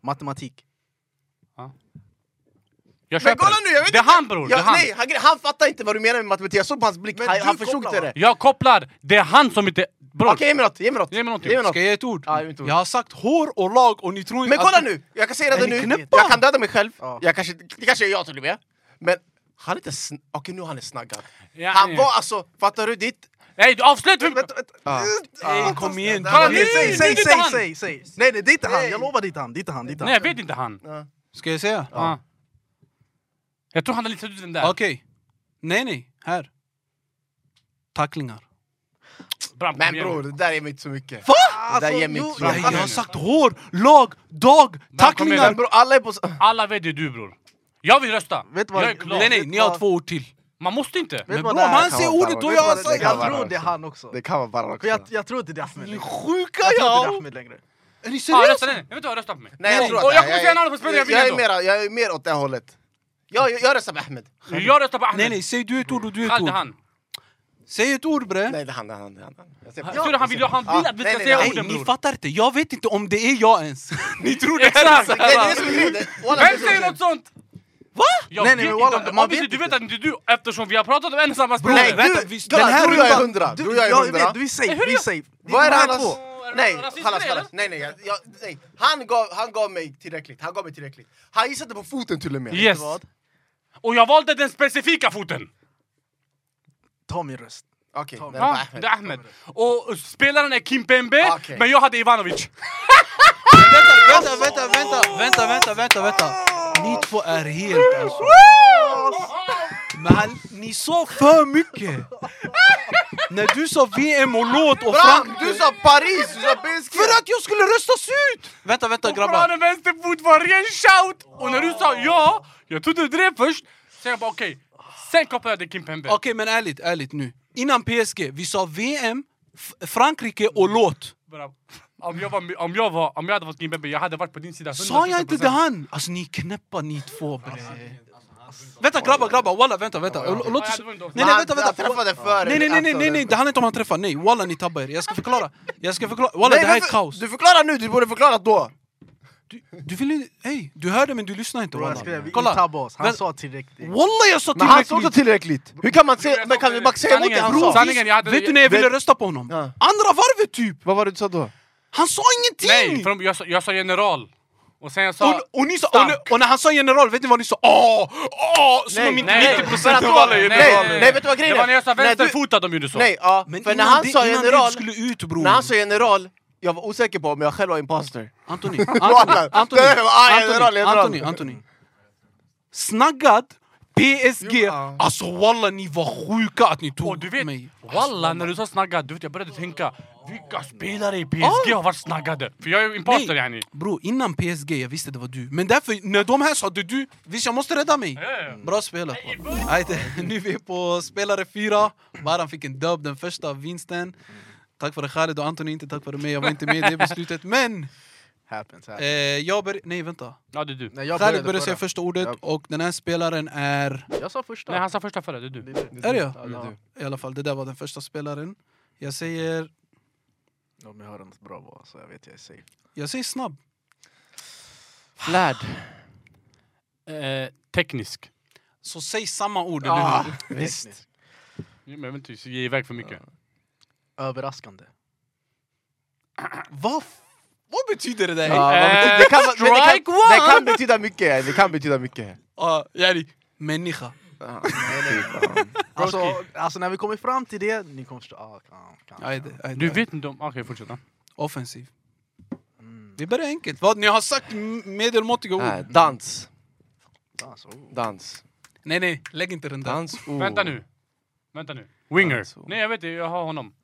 [SPEAKER 2] matematik.
[SPEAKER 4] Jag
[SPEAKER 3] Men
[SPEAKER 4] köper
[SPEAKER 3] kolla nu, jag vet
[SPEAKER 4] Det är han bror! Det
[SPEAKER 3] Ja,
[SPEAKER 4] är han!
[SPEAKER 3] nej, han, han fattar inte vad du menar med matematik, jag såg på hans blick,
[SPEAKER 2] Men
[SPEAKER 3] han,
[SPEAKER 2] du
[SPEAKER 3] han förstod
[SPEAKER 2] kopplar,
[SPEAKER 3] inte
[SPEAKER 2] va?
[SPEAKER 3] det.
[SPEAKER 4] Jag kopplar! Det är han som inte... Bror!
[SPEAKER 3] Okej, ge mig något, ge mig något.
[SPEAKER 4] Ge mig någonting.
[SPEAKER 1] Ska jag ge ett ord?
[SPEAKER 3] Ja, ge mig ett ord.
[SPEAKER 1] Jag har sagt hår och lag och ni tror inte
[SPEAKER 3] Men kolla
[SPEAKER 1] att-
[SPEAKER 3] nu, jag kan säga det
[SPEAKER 2] Är ni
[SPEAKER 3] nu,
[SPEAKER 2] knäppa?
[SPEAKER 3] jag kan döda mig själv,
[SPEAKER 2] Ja.
[SPEAKER 3] jag kanske, det kanske är jag till och med. Men han är inte sn- okej nu är han är snaggad.
[SPEAKER 4] Ja,
[SPEAKER 3] Han
[SPEAKER 4] ja.
[SPEAKER 3] var alltså, fattar du ditt...
[SPEAKER 4] Nej, du avslut! för-
[SPEAKER 2] Vänta, vänta.
[SPEAKER 3] Ja.
[SPEAKER 1] Nej, kom igen!
[SPEAKER 4] Kolla,
[SPEAKER 1] kom igen.
[SPEAKER 4] nu!
[SPEAKER 2] Säg,
[SPEAKER 4] det är
[SPEAKER 2] säg,
[SPEAKER 4] inte
[SPEAKER 2] säg,
[SPEAKER 4] han.
[SPEAKER 2] säg, säg! Nej nej det är inte han,
[SPEAKER 3] Nej.
[SPEAKER 2] jag lovar det är inte han, det är inte han, det är inte
[SPEAKER 4] Nej,
[SPEAKER 2] han.
[SPEAKER 4] jag vet inte han.
[SPEAKER 1] Ska jag säga?
[SPEAKER 4] Ja. Jag tror han har listat ut vem det är.
[SPEAKER 1] Okej. Nej, nej. Här. Tacklingar.
[SPEAKER 4] Bram, kom
[SPEAKER 3] Men
[SPEAKER 4] igen.
[SPEAKER 3] bror, det där är mig inte så mycket.
[SPEAKER 2] Alltså,
[SPEAKER 3] Det där ger mig
[SPEAKER 2] jo,
[SPEAKER 3] inte så
[SPEAKER 1] Nej,
[SPEAKER 3] mycket.
[SPEAKER 1] jag
[SPEAKER 4] Tacklingar.
[SPEAKER 1] har sagt hår, lag, dag,
[SPEAKER 3] Men
[SPEAKER 1] tacklingar!
[SPEAKER 3] bror, alla är på... s-
[SPEAKER 4] Alla vet det är du bror. Jag vill rösta!
[SPEAKER 2] Vet du vad-
[SPEAKER 4] jag är klar.
[SPEAKER 1] Nej, nej, ni har två ord till.
[SPEAKER 4] Man måste inte!
[SPEAKER 2] Vet
[SPEAKER 1] Men
[SPEAKER 2] du vad
[SPEAKER 1] bror,
[SPEAKER 2] det
[SPEAKER 1] om
[SPEAKER 2] här
[SPEAKER 1] han
[SPEAKER 3] kan
[SPEAKER 1] säger
[SPEAKER 3] vara
[SPEAKER 1] ordet
[SPEAKER 3] bara-
[SPEAKER 1] då
[SPEAKER 2] Vet
[SPEAKER 1] är jag
[SPEAKER 2] du vad det-
[SPEAKER 1] säker!
[SPEAKER 3] kan
[SPEAKER 2] Jag
[SPEAKER 3] vara
[SPEAKER 2] tror
[SPEAKER 3] han
[SPEAKER 2] det är
[SPEAKER 3] också.
[SPEAKER 2] han också.
[SPEAKER 3] Det kan vara bara också.
[SPEAKER 2] För jag, jag tror inte det är Ahmed
[SPEAKER 1] Ni är
[SPEAKER 2] längre.
[SPEAKER 1] sjuka
[SPEAKER 2] Jag tror inte det är
[SPEAKER 1] ja!
[SPEAKER 2] Ahmed längre.
[SPEAKER 1] Är ni
[SPEAKER 4] Ah, rösta
[SPEAKER 1] seriösa?
[SPEAKER 4] nej. Jag vet inte vad jag röstar på mig.
[SPEAKER 3] Nej, jag
[SPEAKER 1] Nej.
[SPEAKER 3] tror
[SPEAKER 4] Och
[SPEAKER 3] att
[SPEAKER 4] jag
[SPEAKER 3] det-
[SPEAKER 4] kommer säga namnet på spelaren, jag vinner
[SPEAKER 3] jag, är
[SPEAKER 4] ändå.
[SPEAKER 3] mera, jag är mer åt det hållet. Jag, jag, jag röstar med Ahmed.
[SPEAKER 4] Jag röstar på Ahmed.
[SPEAKER 1] Nej, nej, säg du ett ord och du ett
[SPEAKER 4] Han, det
[SPEAKER 1] ord.
[SPEAKER 4] är han.
[SPEAKER 1] Säg ett ord bre!
[SPEAKER 3] Nej, det är han, det är han. Det är han. Jag ser på-
[SPEAKER 4] Jag tror han vill, han vill att vi
[SPEAKER 3] nej,
[SPEAKER 4] ska
[SPEAKER 3] nej,
[SPEAKER 4] säga
[SPEAKER 3] nej,
[SPEAKER 1] Nej,
[SPEAKER 4] orden
[SPEAKER 1] ni
[SPEAKER 4] bror.
[SPEAKER 1] fattar inte. Jag vet inte om det är jag ens. ni tror det är
[SPEAKER 4] Exakt!
[SPEAKER 3] Nej, det är det som är grejen. Det- Walla, det är
[SPEAKER 4] Vem
[SPEAKER 3] det som är
[SPEAKER 4] säger
[SPEAKER 3] grejen.
[SPEAKER 4] något sånt?
[SPEAKER 1] Va?
[SPEAKER 2] Nej,
[SPEAKER 4] Jag nej,
[SPEAKER 2] nej, men
[SPEAKER 4] nej, vet
[SPEAKER 2] walla,
[SPEAKER 4] inte om
[SPEAKER 2] man
[SPEAKER 4] det. Obviously,
[SPEAKER 2] vet
[SPEAKER 4] du vet
[SPEAKER 2] inte.
[SPEAKER 4] att inte du eftersom vi har pratat om en och samma
[SPEAKER 3] Nej,
[SPEAKER 4] spelare.
[SPEAKER 1] vänta,
[SPEAKER 3] du,
[SPEAKER 1] vi-
[SPEAKER 3] kolla,
[SPEAKER 1] den här
[SPEAKER 3] drog jag är
[SPEAKER 1] rundan-
[SPEAKER 3] hundra.
[SPEAKER 2] Du,
[SPEAKER 3] Drog jag är
[SPEAKER 2] jag vet,
[SPEAKER 3] hundra.
[SPEAKER 2] du är safe,
[SPEAKER 4] Hur
[SPEAKER 2] vi är
[SPEAKER 4] jag-
[SPEAKER 2] safe. Det
[SPEAKER 3] Vad
[SPEAKER 2] de
[SPEAKER 3] är det
[SPEAKER 2] här
[SPEAKER 3] han
[SPEAKER 2] två.
[SPEAKER 3] har... Nej,
[SPEAKER 4] Rasism,
[SPEAKER 3] Hallas,
[SPEAKER 4] eller?
[SPEAKER 3] Hallas. Nej, nej, jag, jag, nej. Han, gav, han gav mig tillräckligt. Han gav mig tillräckligt. Han gissade på foten till och med.
[SPEAKER 4] Yes.
[SPEAKER 2] Vad?
[SPEAKER 4] Och jag valde den specifika foten.
[SPEAKER 2] Ta min röst.
[SPEAKER 3] Okej, okay,
[SPEAKER 4] Ja, det är Ahmed. Och spelaren är Kimpembe,
[SPEAKER 3] Okej.
[SPEAKER 4] men jag hade Ivanovic.
[SPEAKER 1] Vänta, vänta, vänta, vänta, vänta, vänta, vänta. Ni två är helt alltså. Men han- ni sa för mycket. När du sa VM och låt och
[SPEAKER 5] Bram,
[SPEAKER 1] Frank...
[SPEAKER 5] du sa Paris, du sa PSG!
[SPEAKER 1] För att jag skulle röstas ut! Vänta, vänta grabbar.
[SPEAKER 4] Koranen vänsterfot var ren shout! Och när du sa ja, jag trodde du drev först. Sen jag bara okej, sen kopplade jag till Kim Pembe.
[SPEAKER 1] Okej, men ärligt, ärligt nu. Innan PSG, vi sa VM, F- Frankrike och låt.
[SPEAKER 4] Bara, Om jag, var, om, jag var, om jag hade varit Kim Pembe, jag hade varit på din sida.
[SPEAKER 1] Sa jag inte det han? Alltså ni är knäppa ni två bre. Vänta grabbar, grabbar, walla vänta, vänta. Och- och Låt oss... Nej nej
[SPEAKER 5] Han-
[SPEAKER 1] vänta,
[SPEAKER 5] Han
[SPEAKER 1] vänta.
[SPEAKER 5] träffade före.
[SPEAKER 1] Nej nej nej nej, nej nej, det handlar inte om han träffar, nej walla ni tabbar er. Jag ska förklara. Jag ska förklara, walla det här är
[SPEAKER 5] men för-
[SPEAKER 1] kaos.
[SPEAKER 5] Du förklarar nu, du borde förklarat då!
[SPEAKER 1] Du vill inte, hej, du hörde men du lyssnade inte
[SPEAKER 2] Bror jag
[SPEAKER 1] walla.
[SPEAKER 2] skrev, vi
[SPEAKER 1] Kolla, Mm.
[SPEAKER 2] tabbar oss. Han
[SPEAKER 1] Men-
[SPEAKER 2] sa tillräckligt.
[SPEAKER 1] walla jag sa
[SPEAKER 3] Men han sa
[SPEAKER 1] tillräckligt.
[SPEAKER 3] också tillräckligt! Hur kan man säga, men kan man säga emot det han sa?
[SPEAKER 4] Sanningen, jag hade...
[SPEAKER 1] Vet du när jag ville rösta på honom?
[SPEAKER 3] Ja.
[SPEAKER 1] Andra varvet typ!
[SPEAKER 3] Vad var det du sa då?
[SPEAKER 1] Han sa
[SPEAKER 4] Nej,
[SPEAKER 1] ingenting!
[SPEAKER 4] för de- jag, sa- jag sa general. Och sen jag sa...
[SPEAKER 1] Och, och, ni sa, och, när- och när han sa general, vet ni vad ni sa? Åh! Åh! Som om inte
[SPEAKER 4] nej,
[SPEAKER 1] 90%
[SPEAKER 4] för
[SPEAKER 1] av
[SPEAKER 4] att-
[SPEAKER 1] alla
[SPEAKER 4] nej,
[SPEAKER 1] är
[SPEAKER 4] nej,
[SPEAKER 1] generaler!
[SPEAKER 4] nej.
[SPEAKER 5] Nej, vet du vad
[SPEAKER 4] Det
[SPEAKER 5] grejen
[SPEAKER 4] var när jag sa
[SPEAKER 5] Nej, du-
[SPEAKER 4] vänsterfotad de gjorde så.
[SPEAKER 5] Nej, ja.
[SPEAKER 1] Men
[SPEAKER 5] För när
[SPEAKER 1] innan
[SPEAKER 5] han
[SPEAKER 1] det-
[SPEAKER 5] sa
[SPEAKER 1] innan
[SPEAKER 5] general...
[SPEAKER 1] du skulle ut bror!
[SPEAKER 5] När han sa general, jag var osäker på om jag själv var imposter.
[SPEAKER 1] Antoni, Antoni, Antoni,
[SPEAKER 5] Det där var- ah, general,
[SPEAKER 1] Antoni,
[SPEAKER 5] general.
[SPEAKER 1] Antoni, Antoni. Snaggad, PSG, alltså walla ni var sjuka att ni
[SPEAKER 4] Och
[SPEAKER 1] tog
[SPEAKER 4] du vet,
[SPEAKER 1] mig.
[SPEAKER 4] walla när du sa snaggad, du vet jag började tänka vilka spelare i PSG har varit snaggade? För jag är ju imposter yani.
[SPEAKER 1] Bro, innan PSG jag visste det var du. Men därför, när de här sa det du, visst jag måste rädda mig. Bra spelat. Ajde, nu är vi på spelare fyra. Baran fick en dub, den första vinsten. Tack vare Khaled och Antoni, inte tack vare mig. Jag var inte med i det beslutet. Men,
[SPEAKER 2] Happens,
[SPEAKER 1] eh,
[SPEAKER 2] happens.
[SPEAKER 1] jag börjar... Nej, vänta.
[SPEAKER 4] Ja det är du.
[SPEAKER 2] Nej, jag
[SPEAKER 1] Khaled började
[SPEAKER 2] började
[SPEAKER 1] säga
[SPEAKER 2] förra.
[SPEAKER 1] första ordet
[SPEAKER 2] Ja.
[SPEAKER 1] och den här spelaren är...
[SPEAKER 2] Jag sa första.
[SPEAKER 4] Nej han sa första förra, det är du.
[SPEAKER 1] Är det jag?
[SPEAKER 2] Ja, det är
[SPEAKER 1] I alla fall, det där var den första spelaren. Jag säger...
[SPEAKER 2] Om jag hör något bra val så jag vet jag är safe.
[SPEAKER 1] Jag säger snabb.
[SPEAKER 3] Flärd.
[SPEAKER 4] Eh, teknisk.
[SPEAKER 1] Så säg samma ord. eller
[SPEAKER 2] Ah,
[SPEAKER 1] hur?
[SPEAKER 2] visst.
[SPEAKER 4] Men jag vill inte ge iväg för mycket.
[SPEAKER 2] Överraskande.
[SPEAKER 1] Vad, f- vad betyder det där?
[SPEAKER 3] Ja, vad betyder- det, kan, vara- men det,
[SPEAKER 4] strike
[SPEAKER 3] kan, det kan betyda mycket, det kan betyda mycket.
[SPEAKER 1] Ja, yani, människa.
[SPEAKER 2] Alltså, alltså när vi kommer fram till det, ni kommer förstå. Ah, kan, kan.
[SPEAKER 1] Ajde, ajde.
[SPEAKER 4] Du vet inte om... Okej fortsätt. ja.
[SPEAKER 1] Offensiv. Mm. Vi börjar enkelt. Vad, ni har sagt m- medelmåttiga ord.
[SPEAKER 3] Äh, dans.
[SPEAKER 2] Alltså, oh.
[SPEAKER 3] Dans.
[SPEAKER 1] Nej, nej, lägg inte den där.
[SPEAKER 3] Dans. Oh.
[SPEAKER 4] Vänta nu. Vänta nu. Winger.
[SPEAKER 3] Alltså.
[SPEAKER 4] Nej jag vet det, jag har honom.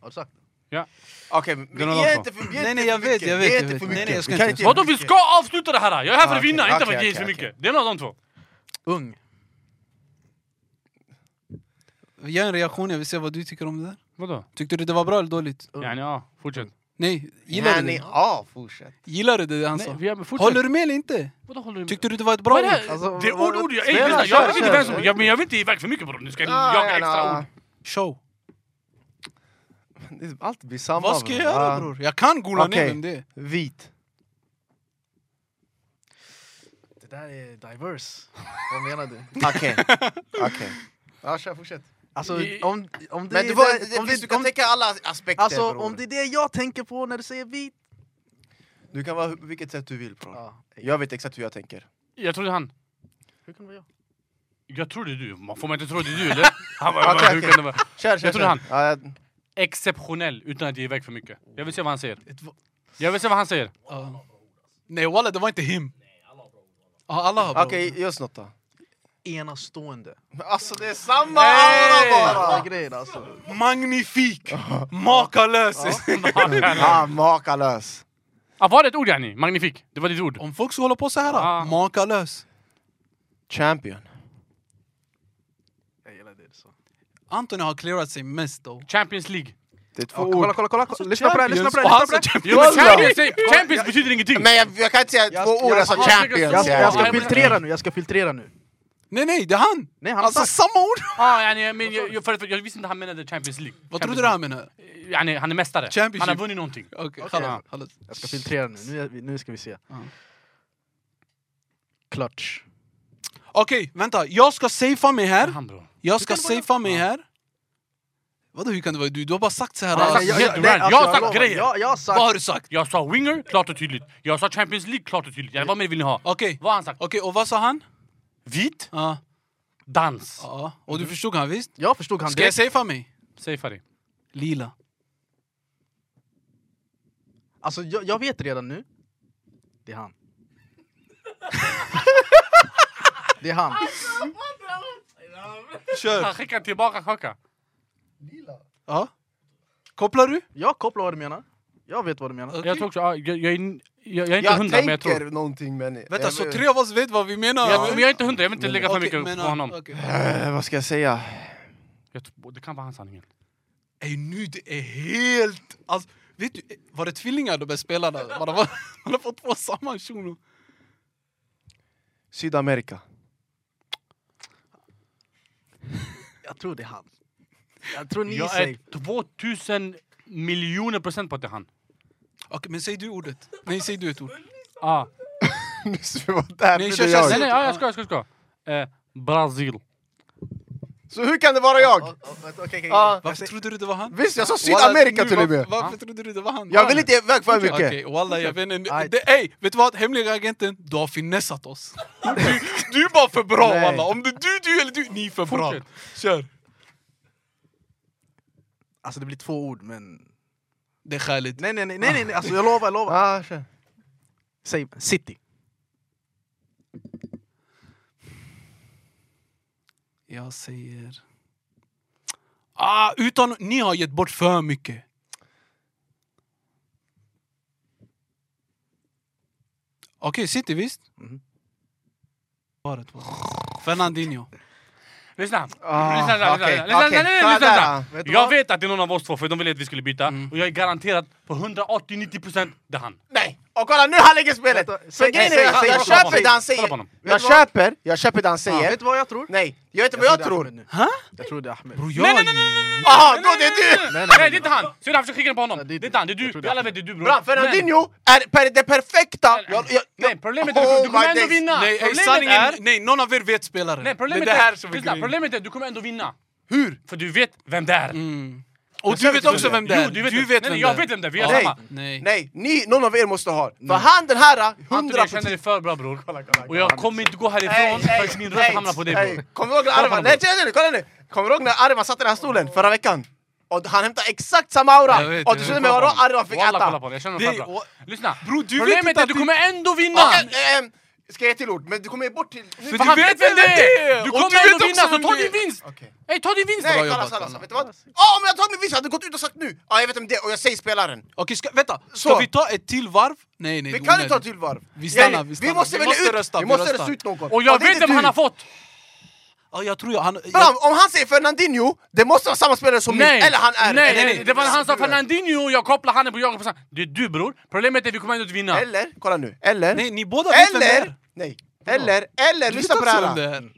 [SPEAKER 2] Har du sagt det?
[SPEAKER 5] Okej, men
[SPEAKER 4] Den har
[SPEAKER 5] ge
[SPEAKER 4] de
[SPEAKER 5] inte för ge
[SPEAKER 1] Nej,
[SPEAKER 5] inte
[SPEAKER 1] nej,
[SPEAKER 5] för
[SPEAKER 1] jag vet,
[SPEAKER 5] mycket,
[SPEAKER 1] jag vet,
[SPEAKER 5] ge
[SPEAKER 1] jag
[SPEAKER 5] inte
[SPEAKER 1] vet.
[SPEAKER 5] för
[SPEAKER 1] Nej,
[SPEAKER 5] mycket.
[SPEAKER 1] nej, jag ska
[SPEAKER 5] Du
[SPEAKER 1] inte
[SPEAKER 5] kan
[SPEAKER 1] göra
[SPEAKER 4] Vadå vi ska avsluta det här! Jag är här för
[SPEAKER 5] Ah,
[SPEAKER 4] att
[SPEAKER 5] okej,
[SPEAKER 4] vinna, inte för
[SPEAKER 5] okej,
[SPEAKER 4] att ge så
[SPEAKER 5] okej,
[SPEAKER 4] mycket. Det är en av de två.
[SPEAKER 2] Ung.
[SPEAKER 1] Gör en reaktion, jag vill se vad du tycker om det där.
[SPEAKER 4] Vadå?
[SPEAKER 1] Tyckte du det var bra eller dåligt?
[SPEAKER 4] Yani ja, fortsätt.
[SPEAKER 1] Nej, gillar
[SPEAKER 5] Nej,
[SPEAKER 1] du
[SPEAKER 5] nej,
[SPEAKER 1] det?
[SPEAKER 5] ja, fortsätt.
[SPEAKER 1] Gillar du det han
[SPEAKER 4] Nej,
[SPEAKER 1] sa?
[SPEAKER 4] vi har, fortsätt.
[SPEAKER 1] Alltså, Håller du med eller inte?
[SPEAKER 4] Vadå håller du med?
[SPEAKER 1] Tyckte du det var ett bra
[SPEAKER 4] Vad är det
[SPEAKER 1] ord?
[SPEAKER 4] här?
[SPEAKER 2] Alltså,
[SPEAKER 4] Det är
[SPEAKER 2] vad-
[SPEAKER 4] ord, ord, jag,
[SPEAKER 2] Spela,
[SPEAKER 4] jag, jag,
[SPEAKER 2] kör,
[SPEAKER 4] jag vet inte
[SPEAKER 2] kör,
[SPEAKER 4] vem som...
[SPEAKER 2] kör.
[SPEAKER 4] Jag, men jag vill inte ge iväg för mycket bror, nu ska jag jaga extra ord.
[SPEAKER 1] Show.
[SPEAKER 3] ord. Allt blir samma.
[SPEAKER 1] Vad ska jag göra
[SPEAKER 3] va?
[SPEAKER 1] bror? Jag kan gola ner
[SPEAKER 3] Okej.
[SPEAKER 1] vem det är.
[SPEAKER 3] Vit.
[SPEAKER 2] Det där är diverse. Vad menar du?
[SPEAKER 3] Okej. Okej. Ja, kör, fortsätt.
[SPEAKER 2] Alltså,
[SPEAKER 4] I-
[SPEAKER 2] om, om det
[SPEAKER 5] Men
[SPEAKER 2] är
[SPEAKER 5] du,
[SPEAKER 2] det-
[SPEAKER 5] får,
[SPEAKER 2] om
[SPEAKER 5] visst,
[SPEAKER 2] det,
[SPEAKER 5] du kan
[SPEAKER 2] om,
[SPEAKER 5] täcka alla aspekter.
[SPEAKER 2] alltså,
[SPEAKER 5] bror.
[SPEAKER 2] om det är det jag tänker på när du säger vit.
[SPEAKER 3] Du kan vara hu- vilket sätt du vill bror.
[SPEAKER 2] Ja, ey,
[SPEAKER 3] Jag vet exakt hur jag tänker.
[SPEAKER 4] Jag trodde han...
[SPEAKER 2] hur kan det vara jag?
[SPEAKER 4] Jag trodde du. Man får man inte tro det är du eller? Han bara,
[SPEAKER 3] Okej,
[SPEAKER 4] okay, hur
[SPEAKER 3] okej.
[SPEAKER 4] kan det vara?
[SPEAKER 3] Kör, kör,
[SPEAKER 4] Jag tror
[SPEAKER 3] kör.
[SPEAKER 4] han.
[SPEAKER 3] Ja, jag-
[SPEAKER 4] Exceptionell, utan att ge iväg för mycket. Jag vill se vad han säger.
[SPEAKER 1] Ett va-
[SPEAKER 4] Jag vill se vad han säger.
[SPEAKER 1] Ja.
[SPEAKER 4] alltså.
[SPEAKER 1] Nej walla, det var inte him. Ja, alla har bra
[SPEAKER 3] Okej,
[SPEAKER 1] ord.
[SPEAKER 3] ge oss något då.
[SPEAKER 2] Enastående.
[SPEAKER 5] Alltså det är samma
[SPEAKER 4] Nej!
[SPEAKER 5] öra bara!
[SPEAKER 2] Såna grejer alltså.
[SPEAKER 1] Magnifik! Makalös!
[SPEAKER 3] Ah, makalös.
[SPEAKER 4] Ah, var det ett ord yani? Magnifik. Det var ditt ord.
[SPEAKER 1] Om folk ska hålla på så här,
[SPEAKER 4] Ah.
[SPEAKER 1] makalös.
[SPEAKER 3] Champion.
[SPEAKER 2] Jag gillar det. det är Så.
[SPEAKER 1] Antoni har clearat sig mest då.
[SPEAKER 4] Champions League.
[SPEAKER 3] Det är två
[SPEAKER 2] Ja, kolla,
[SPEAKER 3] ord.
[SPEAKER 2] kolla, kolla,
[SPEAKER 5] Alltså,
[SPEAKER 2] kolla. Lyssna på det här, lyssna på det här. Lyssna på det här.
[SPEAKER 4] Ja, men Champions, säger- Champions betyder ingenting.
[SPEAKER 5] Men jag, jag kan inte säga
[SPEAKER 2] Jag-
[SPEAKER 5] två ord,
[SPEAKER 2] jag-
[SPEAKER 5] jag sa
[SPEAKER 4] jag-
[SPEAKER 5] champions.
[SPEAKER 3] Alltså,
[SPEAKER 2] Jag, ska- jag ska
[SPEAKER 4] Ja,
[SPEAKER 2] filtrera nu, jag ska filtrera nu.
[SPEAKER 1] Nej nej, det är han!
[SPEAKER 2] Nej, han har
[SPEAKER 1] Alltså
[SPEAKER 2] sagt.
[SPEAKER 1] samma ord!
[SPEAKER 4] Ah, yani, men jag, jag, för, för, jag visste inte han menade Champions League.
[SPEAKER 1] Vad trodde du han menade?
[SPEAKER 4] han yani, Han är mästare.
[SPEAKER 1] Champions
[SPEAKER 4] Han har
[SPEAKER 1] League.
[SPEAKER 4] vunnit någonting.
[SPEAKER 1] Okej,
[SPEAKER 4] Ja.
[SPEAKER 1] okay, okay.
[SPEAKER 2] Jag ska filtrera nu, nu, är vi- nu ska vi se.
[SPEAKER 1] Ja.
[SPEAKER 2] Clutch.
[SPEAKER 1] Okej, vänta. Jag ska safea mig här.
[SPEAKER 4] Han bror.
[SPEAKER 1] Jag ska
[SPEAKER 4] kan börja.
[SPEAKER 1] safea mig här. Vadå hur kan det vara du? Du har bara sagt så här.
[SPEAKER 4] Han har sagt
[SPEAKER 1] alltså.
[SPEAKER 4] helt
[SPEAKER 2] nej,
[SPEAKER 4] random.
[SPEAKER 2] alltså,
[SPEAKER 4] Jag har sagt
[SPEAKER 2] lovar,
[SPEAKER 4] grejer.
[SPEAKER 2] Jag, jag har sagt...
[SPEAKER 1] Vad har du sagt?
[SPEAKER 4] Jag sa winger, klart och tydligt. Jag sa Champions League, klart och tydligt. Yani, vad mer vill ni ha?
[SPEAKER 1] Okej,
[SPEAKER 4] Vad har han sagt?
[SPEAKER 1] okej, och vad sa han?
[SPEAKER 4] Vit,
[SPEAKER 1] Ja,
[SPEAKER 4] dans.
[SPEAKER 1] ja. och du förstod han visst?
[SPEAKER 2] Jag förstod han
[SPEAKER 1] Ska jag safea mig?
[SPEAKER 4] Säg Fari.
[SPEAKER 1] Lila.
[SPEAKER 2] Alltså jag, jag vet redan nu. Det är han. det är han.
[SPEAKER 1] Kör!
[SPEAKER 4] Han skickar tillbaka Kaka.
[SPEAKER 1] Ja. Kopplar du?
[SPEAKER 2] Jag kopplar vad du menar. Jag vet vad du menar.
[SPEAKER 1] Okej.
[SPEAKER 4] Jag tror också, ja, jag, jag, är n- jag, jag är inte
[SPEAKER 3] Jag
[SPEAKER 4] hundra, men jag tror...
[SPEAKER 3] tänker någonting men...
[SPEAKER 1] Vänta, så tre av oss vet vad vi menar?
[SPEAKER 4] Jag, men jag är inte hundra, jag vill inte lägga för
[SPEAKER 1] Okej,
[SPEAKER 4] mycket
[SPEAKER 1] men,
[SPEAKER 4] på
[SPEAKER 1] ja,
[SPEAKER 4] honom.
[SPEAKER 1] okej.
[SPEAKER 3] Eh, vad ska jag säga?
[SPEAKER 4] Jag tror, det kan vara hans sanningen.
[SPEAKER 1] Ey, nu det är helt... Alltså, vet du, eh, var det tvillingar de här spelarna? Man har, man har fått två samma shuno.
[SPEAKER 3] Sydamerika.
[SPEAKER 2] Jag tror det är han. Jag tror ni
[SPEAKER 4] Jag är
[SPEAKER 2] säger...
[SPEAKER 4] 2000 miljoner procent på att det är han.
[SPEAKER 1] Okej, men säg du ordet. Nej, säg du ett ord.
[SPEAKER 4] Ah.
[SPEAKER 3] Nu ska vi vara
[SPEAKER 1] Nej,
[SPEAKER 3] där, nu är
[SPEAKER 1] kör,
[SPEAKER 3] det
[SPEAKER 1] kör,
[SPEAKER 3] jag.
[SPEAKER 1] säg-
[SPEAKER 4] Nej, nej, ja, jag ska, jag ska, jag ska. Eh, Brasil.
[SPEAKER 3] Så hur kan det vara jag? Ja.
[SPEAKER 1] Varför trodde du det var han?
[SPEAKER 3] Visst, jag sa
[SPEAKER 1] Walla,
[SPEAKER 3] Sydamerika
[SPEAKER 1] nu,
[SPEAKER 3] till och
[SPEAKER 1] varför-
[SPEAKER 3] med!
[SPEAKER 1] Varför trodde du det var han?
[SPEAKER 3] Jag vill inte iväg för mycket!
[SPEAKER 1] Okej, walla jag vet inte.
[SPEAKER 2] Aj.
[SPEAKER 1] Det- Ey, vet du vad? Hemliga agenten, du har finessat oss. Du, du är bara för bra
[SPEAKER 3] Nej.
[SPEAKER 1] walla. Om det är du, du eller du, ni är för bra.
[SPEAKER 4] Fortsätt.
[SPEAKER 1] Kör.
[SPEAKER 2] Alltså det blir två ord men...
[SPEAKER 1] Det är skäligt.
[SPEAKER 2] Nej nej nej, nej, nej, nej. Alltså, jag lovar, jag lovar.
[SPEAKER 3] Ah, kör.
[SPEAKER 2] Säg city.
[SPEAKER 1] Jag säger... Ah, utan... Ni har gett bort för mycket. Okej, City visst?
[SPEAKER 2] Mhm.
[SPEAKER 1] Svaret var... Fernandinho.
[SPEAKER 4] Lyssna!
[SPEAKER 3] Ah,
[SPEAKER 4] Lyssna, lyssna,
[SPEAKER 3] okej,
[SPEAKER 4] lyssna, lyssna,
[SPEAKER 3] okej.
[SPEAKER 4] lyssna,
[SPEAKER 3] Ta
[SPEAKER 4] lyssna,
[SPEAKER 3] där,
[SPEAKER 4] lyssna.
[SPEAKER 3] ja. Vet du
[SPEAKER 4] Jag
[SPEAKER 3] vad?
[SPEAKER 4] vet att det är någon av oss två, för de ville att vi skulle byta.
[SPEAKER 1] Mm.
[SPEAKER 4] Och jag är garanterad på 180-90% det är han.
[SPEAKER 5] Nej! Och kolla nu han lägger spelet!
[SPEAKER 2] Vänta,
[SPEAKER 5] För
[SPEAKER 2] säg-
[SPEAKER 5] grejen är,
[SPEAKER 2] säg-
[SPEAKER 5] jag,
[SPEAKER 2] säg-
[SPEAKER 5] jag
[SPEAKER 2] kolla på
[SPEAKER 5] köper det han säger.
[SPEAKER 4] Kolla på honom.
[SPEAKER 3] Jag
[SPEAKER 2] du vad?
[SPEAKER 3] köper, jag köper det han
[SPEAKER 2] Ja,
[SPEAKER 3] säger.
[SPEAKER 2] vet du vad jag tror?
[SPEAKER 5] Nej, jag vet inte vad jag
[SPEAKER 2] det är
[SPEAKER 5] tror.
[SPEAKER 2] Ahmed nu.
[SPEAKER 1] Hä?
[SPEAKER 2] Jag tror det är Ahmed.
[SPEAKER 1] Bro, jag...
[SPEAKER 4] Nej, nej, nej, nej, nej!
[SPEAKER 5] Aha, då det är du!
[SPEAKER 4] Nej,
[SPEAKER 2] nej, nej.
[SPEAKER 4] det är inte han! Så därför skickar jag på
[SPEAKER 2] Nej,
[SPEAKER 4] honom.
[SPEAKER 2] det är
[SPEAKER 4] Det är
[SPEAKER 2] inte
[SPEAKER 4] inte han, det är
[SPEAKER 2] Jag
[SPEAKER 4] du.
[SPEAKER 2] tror
[SPEAKER 4] Vi
[SPEAKER 2] det är
[SPEAKER 4] alla vet att det är du bror.
[SPEAKER 5] Bra, Fernandinho är per, det perfekta! Jag, jag,
[SPEAKER 4] Nej, problemet är att du- du kommer ändå vinna!
[SPEAKER 1] Nej, ey,
[SPEAKER 4] Problemet
[SPEAKER 1] sanningen...
[SPEAKER 4] är...
[SPEAKER 1] Nej, någon av er vet spelaren.
[SPEAKER 4] Nej, problemet
[SPEAKER 1] det är det här
[SPEAKER 4] är...
[SPEAKER 1] som är
[SPEAKER 4] Lyssna,
[SPEAKER 1] grejen.
[SPEAKER 4] problemet är att du kommer ändå vinna.
[SPEAKER 3] Hur?
[SPEAKER 4] För du vet vem det är.
[SPEAKER 1] Mm. Och
[SPEAKER 3] vet
[SPEAKER 1] du vet
[SPEAKER 3] inte
[SPEAKER 1] också
[SPEAKER 3] vem
[SPEAKER 1] vem det är.
[SPEAKER 4] Jo, du vet,
[SPEAKER 1] du
[SPEAKER 4] vem-
[SPEAKER 1] vet
[SPEAKER 4] nej, nej,
[SPEAKER 1] vem
[SPEAKER 4] jag vet vem det är, vi är
[SPEAKER 3] Nej.
[SPEAKER 4] samma.
[SPEAKER 1] Nej.
[SPEAKER 3] Nej, ni, någon av er måste ha. För han den här,
[SPEAKER 4] Anton,
[SPEAKER 3] 100
[SPEAKER 4] jag känner dig för bra bror. Och jag kommer inte gå härifrån förrän min röst hamnar på dig bror.
[SPEAKER 3] Kommer du ihåg när Arvan... Nej, nej, nej, kolla nu! Kommer du ihåg när Arvan satt i den här stolen förra veckan? Och han hämtade exakt samma
[SPEAKER 1] Jag vet,
[SPEAKER 3] aura! Och
[SPEAKER 1] jag
[SPEAKER 3] du
[SPEAKER 1] vet.
[SPEAKER 3] känner mig vadå? Arvan fick
[SPEAKER 4] Walla, kolla
[SPEAKER 3] äta!
[SPEAKER 4] på det. Jag känner
[SPEAKER 1] Det
[SPEAKER 4] mig
[SPEAKER 1] är-
[SPEAKER 4] för bra.
[SPEAKER 1] och-
[SPEAKER 4] Lyssna,
[SPEAKER 1] Bror, du vet
[SPEAKER 4] problemet
[SPEAKER 1] inte
[SPEAKER 4] är
[SPEAKER 1] att
[SPEAKER 4] att du
[SPEAKER 1] du-
[SPEAKER 4] kommer ändå vinna!
[SPEAKER 3] Okej, ehm, Ska jag ge till ord? Men du kommer ge bort till...
[SPEAKER 1] För
[SPEAKER 4] För
[SPEAKER 1] du
[SPEAKER 4] han
[SPEAKER 1] vet
[SPEAKER 4] vet vem det är! Du
[SPEAKER 1] Och
[SPEAKER 4] kommer
[SPEAKER 1] du vet
[SPEAKER 4] ändå vinna,
[SPEAKER 1] också
[SPEAKER 4] så
[SPEAKER 1] vem
[SPEAKER 4] ta
[SPEAKER 1] det är.
[SPEAKER 4] din vinst!
[SPEAKER 3] Okej.
[SPEAKER 4] Ey, ta din vinst!
[SPEAKER 3] Nej,
[SPEAKER 1] Bra
[SPEAKER 3] kolla
[SPEAKER 1] jobbat,
[SPEAKER 3] Salazar,
[SPEAKER 1] Allan.
[SPEAKER 3] vet du vad? Ja, om jag tar min vinst, jag hade gått ut och sagt nu! Ja, jag vet om det och jag säger spelaren.
[SPEAKER 1] Okej, ska, vänta. Ska
[SPEAKER 3] Så.
[SPEAKER 1] vi ta ett till varv? Nej, nej.
[SPEAKER 3] Vi
[SPEAKER 1] det är
[SPEAKER 3] kan inte ta
[SPEAKER 1] onödigt.
[SPEAKER 3] till varv.
[SPEAKER 1] Vi stannar,
[SPEAKER 3] Nej,
[SPEAKER 1] vi stannar.
[SPEAKER 3] måste
[SPEAKER 1] Vi
[SPEAKER 3] välja
[SPEAKER 1] måste
[SPEAKER 3] ut,
[SPEAKER 1] rösta,
[SPEAKER 3] vi
[SPEAKER 1] vi
[SPEAKER 3] måste
[SPEAKER 1] röstar.
[SPEAKER 3] rösta ut någon.
[SPEAKER 4] Och jag
[SPEAKER 3] det är
[SPEAKER 4] vet
[SPEAKER 3] inte
[SPEAKER 4] vem han
[SPEAKER 3] du.
[SPEAKER 4] har fått!
[SPEAKER 1] Ja, jag tror jag... Han, jag
[SPEAKER 3] Bram, om han säger Fernandinho, det måste vara samma spelare som
[SPEAKER 4] Nej!
[SPEAKER 3] min, eller han är...
[SPEAKER 4] Nej,
[SPEAKER 3] eller-
[SPEAKER 4] nej, det var när han sa Fernandinho och jag kopplade handen på Jakob och sa Det är du bror, problemet är att vi kommer ändå inte vinna.
[SPEAKER 3] Eller, kolla nu, eller...
[SPEAKER 1] nej, ni båda vet vem det
[SPEAKER 3] Eller!
[SPEAKER 1] är.
[SPEAKER 3] Nej. Eller, eller,
[SPEAKER 1] Du
[SPEAKER 3] lyssna
[SPEAKER 1] vet
[SPEAKER 3] på det
[SPEAKER 1] också vem
[SPEAKER 3] här.
[SPEAKER 1] är. alltså,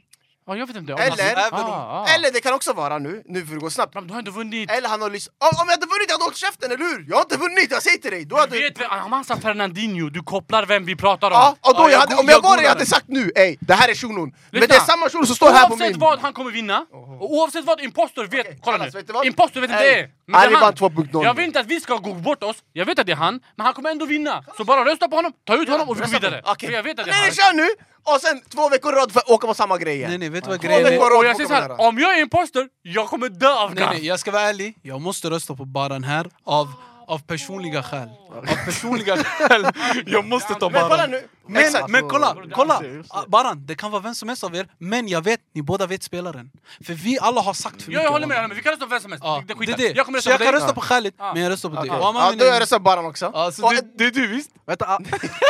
[SPEAKER 4] Ja, jag vet inte.
[SPEAKER 3] Eller-
[SPEAKER 4] ah,
[SPEAKER 1] Även om-
[SPEAKER 4] ah.
[SPEAKER 3] Eller det kan också vara nu, nu får det gå snabbt.
[SPEAKER 4] Bram, Du har ändå vunnit.
[SPEAKER 3] Eller han har lyssnat. Om om jag hade vunnit, jag hade hållit käften, eller hur? Jag har inte vunnit, jag säger till dig! Då
[SPEAKER 4] Du
[SPEAKER 3] hade...
[SPEAKER 4] vet vem, om han sa Fernandinho, du kopplar vem vi pratar om.
[SPEAKER 3] Ja, och då
[SPEAKER 1] Ja, jag
[SPEAKER 3] jag hade,
[SPEAKER 1] go-
[SPEAKER 3] om jag
[SPEAKER 1] jag
[SPEAKER 3] var det,
[SPEAKER 1] godar
[SPEAKER 3] jag hade
[SPEAKER 1] den.
[SPEAKER 3] sagt nu, ey, det här är shunon. Men
[SPEAKER 4] Lyssna.
[SPEAKER 3] det är samma shuno som står här på
[SPEAKER 4] oavsett
[SPEAKER 3] min...
[SPEAKER 4] vad, han kommer vinna. Och oavsett vad, impostor vet... kolla
[SPEAKER 3] Allas,
[SPEAKER 4] nu.
[SPEAKER 3] vet du vad?
[SPEAKER 4] Impostor vet inte
[SPEAKER 3] Ey,
[SPEAKER 4] det är. Men det
[SPEAKER 3] Ali
[SPEAKER 4] är
[SPEAKER 3] vann
[SPEAKER 4] han.
[SPEAKER 3] 2.0.
[SPEAKER 4] Jag vill inte att vi ska gå bort oss. Jag vet att det är han, men han kommer ändå vinna. Så bara rösta på honom, ta ut honom och vi går
[SPEAKER 3] Rösta på-
[SPEAKER 4] vidare.
[SPEAKER 3] okej.
[SPEAKER 4] För jag vet att det
[SPEAKER 3] Nej,
[SPEAKER 4] är
[SPEAKER 3] nej,
[SPEAKER 4] han.
[SPEAKER 3] kör nu! Och sen två veckor i rad för att åka på samma grej igen.
[SPEAKER 1] Nej, nej, vet du vad
[SPEAKER 3] Två
[SPEAKER 1] grejen är?
[SPEAKER 3] veckor i rad
[SPEAKER 4] Eh, Och
[SPEAKER 3] för
[SPEAKER 4] jag
[SPEAKER 3] att
[SPEAKER 4] säger
[SPEAKER 3] åka
[SPEAKER 4] så
[SPEAKER 3] på det
[SPEAKER 4] här, om jag är impostor, jag kommer dö av
[SPEAKER 1] Nej,
[SPEAKER 4] gas.
[SPEAKER 1] nej, jag ska vara ärlig. Jag måste rösta på Baran här av, av personliga skäl. Av personliga skäl. Jag måste ta
[SPEAKER 3] Men kolla
[SPEAKER 1] Baran.
[SPEAKER 3] nu!
[SPEAKER 1] Men,
[SPEAKER 3] Exakt.
[SPEAKER 1] men kolla,
[SPEAKER 4] Alltså,
[SPEAKER 1] kolla!
[SPEAKER 2] det är just det.
[SPEAKER 1] Ah, Baran, det kan vara vem som helst av er, men jag vet, ni båda vet spelaren. För vi alla har sagt för
[SPEAKER 4] Ja,
[SPEAKER 1] mycket.
[SPEAKER 4] jag håller med, jag
[SPEAKER 1] honom.
[SPEAKER 4] håller med. vi kan rösta på vem som helst.
[SPEAKER 1] Ja,
[SPEAKER 4] det,
[SPEAKER 1] det
[SPEAKER 4] det,
[SPEAKER 1] är
[SPEAKER 4] det.
[SPEAKER 1] det.
[SPEAKER 4] Jag kommer
[SPEAKER 1] Så
[SPEAKER 4] rösta
[SPEAKER 1] jag
[SPEAKER 4] på
[SPEAKER 1] kan
[SPEAKER 4] dig.
[SPEAKER 1] rösta på Khalid,
[SPEAKER 4] Ja.
[SPEAKER 1] men jag röstar på dig.
[SPEAKER 3] Okej.
[SPEAKER 1] Ja, man
[SPEAKER 3] Ja,
[SPEAKER 1] menar-
[SPEAKER 3] då har jag röstat Baran också.
[SPEAKER 1] Alltså,
[SPEAKER 3] Och-
[SPEAKER 1] det, det är du visst?
[SPEAKER 2] Vänta, ah,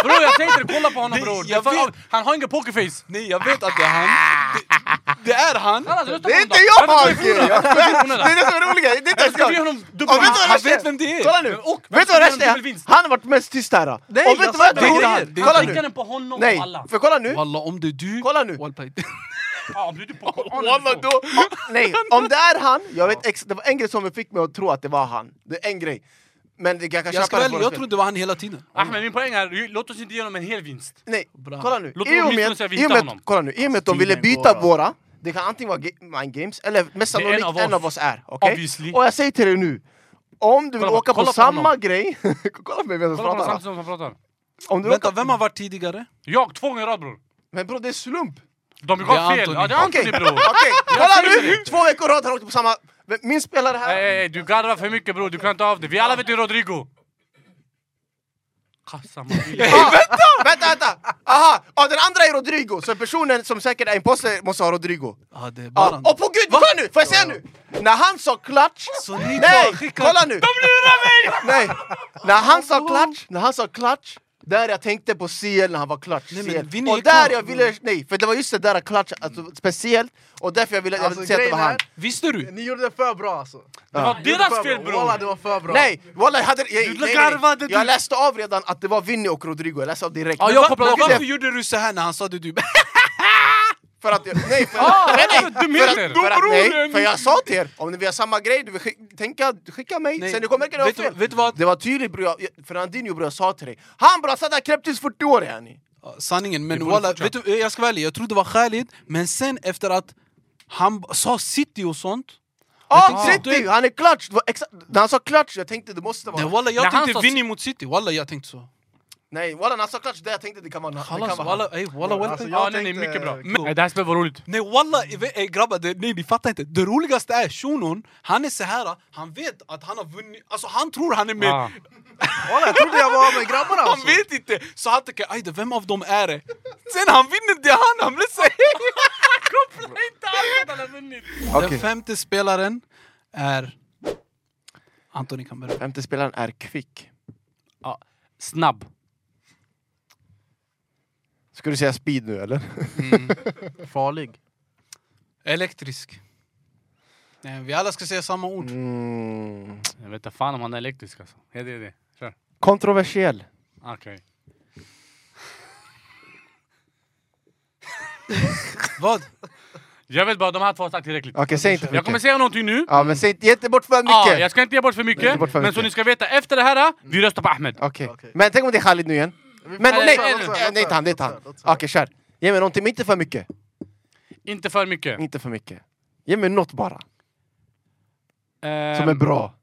[SPEAKER 4] Bror jag tänker inte kolla på honom
[SPEAKER 1] Det-
[SPEAKER 4] bror. Det är
[SPEAKER 1] jag
[SPEAKER 4] för-
[SPEAKER 1] vet.
[SPEAKER 4] Han har ingen pokerface.
[SPEAKER 1] Nej, jag vet att det är han. Det, det är han.
[SPEAKER 4] Alla, rösta
[SPEAKER 3] Det
[SPEAKER 4] på
[SPEAKER 3] är
[SPEAKER 4] honom
[SPEAKER 3] inte
[SPEAKER 4] då.
[SPEAKER 3] jag
[SPEAKER 4] Rösta på dig,
[SPEAKER 3] Mark!
[SPEAKER 4] bror.
[SPEAKER 3] Jag svär, Det är det som är roligt! Det är inte ens
[SPEAKER 4] Ska vi ge
[SPEAKER 3] jag!
[SPEAKER 4] honom dubbel...
[SPEAKER 3] Och vet du vad
[SPEAKER 1] Han
[SPEAKER 3] värsta är?
[SPEAKER 1] vet vem det är.
[SPEAKER 3] Kolla nu!
[SPEAKER 4] Och
[SPEAKER 3] Vet du vad det värsta
[SPEAKER 4] dubbel
[SPEAKER 3] är?
[SPEAKER 4] vinst.
[SPEAKER 3] Han har varit mest tyst här! Och
[SPEAKER 2] Nej,
[SPEAKER 3] vet
[SPEAKER 2] jag
[SPEAKER 3] du vad jag
[SPEAKER 2] sa det.
[SPEAKER 3] tror?
[SPEAKER 1] Det är
[SPEAKER 3] han-
[SPEAKER 1] det.
[SPEAKER 3] Kolla
[SPEAKER 4] Han
[SPEAKER 3] nu!
[SPEAKER 4] skickade den på honom
[SPEAKER 3] Nej,
[SPEAKER 4] och alla.
[SPEAKER 3] för kolla nu!
[SPEAKER 1] Walla, om det är du...
[SPEAKER 3] Kolla nu!
[SPEAKER 1] Walla,
[SPEAKER 4] Ja, om du är på honom.
[SPEAKER 3] Walla då! Nej, om det är han, jag vet ex- det var en grej som fick mig att tro att det var han. Det är en grej. Men det- jag
[SPEAKER 1] jag
[SPEAKER 3] kan
[SPEAKER 1] ska
[SPEAKER 3] köpa det
[SPEAKER 1] välja, jag
[SPEAKER 3] på något
[SPEAKER 1] trodde
[SPEAKER 3] sätt.
[SPEAKER 1] det var han hela tiden.
[SPEAKER 4] Ahmed, min poäng är, låt oss inte ge honom en hel vinst.
[SPEAKER 3] Nej,
[SPEAKER 1] Bra.
[SPEAKER 3] kolla nu!
[SPEAKER 4] Låt
[SPEAKER 3] I och
[SPEAKER 4] åtminstone
[SPEAKER 3] med,
[SPEAKER 4] säga vi
[SPEAKER 3] i och
[SPEAKER 4] hittar
[SPEAKER 3] med,
[SPEAKER 4] honom.
[SPEAKER 3] kolla nu, i och med att de ville
[SPEAKER 2] Tiden går,
[SPEAKER 3] byta
[SPEAKER 2] alltså.
[SPEAKER 3] våra, det kan antingen vara Ga- Mind Games eller mest
[SPEAKER 4] Det är en
[SPEAKER 3] sannolikt
[SPEAKER 4] av oss.
[SPEAKER 3] en av oss är. Okej?
[SPEAKER 4] Obviously.
[SPEAKER 3] Och jag säger till dig nu, om du vill
[SPEAKER 4] Kolla på-
[SPEAKER 3] åka på
[SPEAKER 4] kolla på
[SPEAKER 3] samma
[SPEAKER 4] honom.
[SPEAKER 3] grej... Kolla på mig medan jag
[SPEAKER 4] Kolla på
[SPEAKER 3] pratar.
[SPEAKER 4] honom
[SPEAKER 3] va?
[SPEAKER 4] samtidigt som han pratar.
[SPEAKER 3] Om du
[SPEAKER 1] Vänta,
[SPEAKER 3] råkar-
[SPEAKER 1] vem har varit tidigare?
[SPEAKER 4] Jag, två gånger i rad bror.
[SPEAKER 3] Men bror det är slump!
[SPEAKER 4] De
[SPEAKER 1] Det är
[SPEAKER 4] gav fel.
[SPEAKER 1] Anthony.
[SPEAKER 4] Ja, det är Anthony bror.
[SPEAKER 3] Okej, kolla
[SPEAKER 4] säger
[SPEAKER 3] nu! Två veckor i rad har åkt på samma... Men Min spelare här...
[SPEAKER 4] Ey, ey, du garvar för mycket bror, du klarar inte av det. Vi alla vet ju Rodrigo. Kassa Madrid.
[SPEAKER 3] Ah, vänta, vänta! Aha! Ah, den andra är Rodrigo, så personen som säkert är imposter måste ha Rodrigo.
[SPEAKER 1] Ja, det är
[SPEAKER 3] Ah,
[SPEAKER 1] Baran.
[SPEAKER 3] och på gud, kolla nu! Får jag säga nu? När han sa klatsch...
[SPEAKER 1] Så ni
[SPEAKER 3] Nej!
[SPEAKER 1] bara skickar-
[SPEAKER 3] Kolla nu! De lurar mig! Nej! När han sa klatsch, när han sa klatsch där jag tänkte på CL när han var klatsch.
[SPEAKER 1] Nej,
[SPEAKER 3] Nej,
[SPEAKER 1] men vi ni är
[SPEAKER 3] och där
[SPEAKER 1] kvar.
[SPEAKER 3] jag ville... Nej, för det var just det där klatsch, alltså, speciellt. Och därför jag ville, jag ville
[SPEAKER 2] Alltså,
[SPEAKER 3] säga att det
[SPEAKER 2] grejen
[SPEAKER 3] var han.
[SPEAKER 2] är-
[SPEAKER 1] Visste du?
[SPEAKER 2] Ni gjorde det för bra alltså.
[SPEAKER 4] Det var
[SPEAKER 2] Ni gjorde
[SPEAKER 4] deras
[SPEAKER 2] för
[SPEAKER 4] fel
[SPEAKER 2] bra.
[SPEAKER 4] bror!
[SPEAKER 2] Walla, det var för bra.
[SPEAKER 3] Nej, walla, jag, hade, jag, nej, nej,
[SPEAKER 4] garvade,
[SPEAKER 3] nej.
[SPEAKER 4] du-
[SPEAKER 3] jag läste av redan att det var Vinny och Rodrigo, jag läste av direkt.
[SPEAKER 1] Ja,
[SPEAKER 3] Men
[SPEAKER 1] jag
[SPEAKER 3] va-
[SPEAKER 1] kopplade
[SPEAKER 3] men
[SPEAKER 1] Varför
[SPEAKER 3] det-
[SPEAKER 1] gjorde du så här när han sa det? Du
[SPEAKER 3] För att jag... Nej, för,
[SPEAKER 4] Ah,
[SPEAKER 3] nej, nej, för,
[SPEAKER 4] dumheter!
[SPEAKER 3] att, för, att, nej, för jag sa till er, om ni vill ha samma grej, du vill skicka, tänka, skicka mig,
[SPEAKER 1] Nej,
[SPEAKER 3] sen det kommer
[SPEAKER 1] vet
[SPEAKER 3] verkligen
[SPEAKER 1] du-
[SPEAKER 3] vara fel.
[SPEAKER 1] vet du vad?
[SPEAKER 3] Det var tydligt bror, jag- jag- Fernandinho bror, jag sa till dig. Han bror, han satt där knäpptes 40 år yani.
[SPEAKER 1] Ja, Sanningen,
[SPEAKER 4] Det
[SPEAKER 1] men
[SPEAKER 4] borde
[SPEAKER 1] walla, vet
[SPEAKER 4] fortsätta.
[SPEAKER 1] du, jag ska vara ärlig, jag trodde det var Khalid, men sen efter att han b- sa city och sånt,
[SPEAKER 3] Ja,
[SPEAKER 1] tänkte-
[SPEAKER 3] City! Han är klatsch! Det var exakt- När han sa klatsch, jag tänkte det måste
[SPEAKER 1] det,
[SPEAKER 3] vara...
[SPEAKER 1] walla, jag
[SPEAKER 4] När han
[SPEAKER 1] tänkte
[SPEAKER 4] sa
[SPEAKER 1] Vinny mot city, walla jag tänkte så.
[SPEAKER 3] Nej, walla när han sa klatsch, där jag tänkte det kan vara, det kan
[SPEAKER 1] Kallas,
[SPEAKER 3] vara
[SPEAKER 1] walla,
[SPEAKER 3] han.
[SPEAKER 1] ey, walla, well
[SPEAKER 2] Alltså,
[SPEAKER 1] played.
[SPEAKER 2] jag
[SPEAKER 4] Ja, nej, nej,
[SPEAKER 2] tänkte-
[SPEAKER 4] mycket bra.
[SPEAKER 2] Men-
[SPEAKER 4] Nej, Det här spelet var roligt.
[SPEAKER 1] Nej walla, ey, grabbar, det, nej, ni fattar inte. Det roligaste är shunon, han är så här, han vet att han har vunnit, alltså han tror han är med.
[SPEAKER 4] Ah.
[SPEAKER 2] Walla, jag trodde jag var med grabbarna
[SPEAKER 1] Han
[SPEAKER 2] alltså.
[SPEAKER 1] vet inte! Så han tänker, ajde, vem av dem är det? Sen han vinner det han, han blir så
[SPEAKER 4] Koppla inte allt att han har vunnit!
[SPEAKER 1] Den femte spelaren är... Antoni kan börja.
[SPEAKER 3] Femte spelaren är kvick.
[SPEAKER 4] Snabb.
[SPEAKER 3] Ska du säga speed nu eller?
[SPEAKER 2] Farlig.
[SPEAKER 1] Elektrisk. Nej, vi alla ska säga samma ord.
[SPEAKER 3] Mm.
[SPEAKER 4] Jag vet inte fan om han är elektrisk alltså. Ja, det är det. Kör.
[SPEAKER 3] Kontroversiell.
[SPEAKER 4] Okej.
[SPEAKER 1] Vad?
[SPEAKER 4] Jag vet bara, de här två har sagt tillräckligt.
[SPEAKER 3] Okej, säg inte för
[SPEAKER 4] Jag kommer
[SPEAKER 3] mycket.
[SPEAKER 4] säga någonting nu.
[SPEAKER 3] Ja, men säg inte, ge inte bort
[SPEAKER 1] Ah,
[SPEAKER 3] för
[SPEAKER 4] Ja,
[SPEAKER 3] mycket!
[SPEAKER 4] jag ska inte ge bort för
[SPEAKER 3] Nej,
[SPEAKER 4] mycket,
[SPEAKER 3] inte bort för
[SPEAKER 4] men så
[SPEAKER 3] mycket.
[SPEAKER 4] ni ska veta, efter det här, eh, vi röstar på Ahmed.
[SPEAKER 3] Okej.
[SPEAKER 2] Okej.
[SPEAKER 3] Men tänk om det är Khalid nu igen? Men nej,
[SPEAKER 4] Eller-
[SPEAKER 3] nej,
[SPEAKER 4] eller-
[SPEAKER 3] nej,
[SPEAKER 2] eller-
[SPEAKER 3] nej, inte han, det är inte han.
[SPEAKER 2] eller-
[SPEAKER 3] Okej, kör. Ge mig någonting, men inte för mycket.
[SPEAKER 4] Inte för mycket.
[SPEAKER 3] Inte för mycket. Ge mig något bara, som är
[SPEAKER 4] Ehm,
[SPEAKER 3] bra.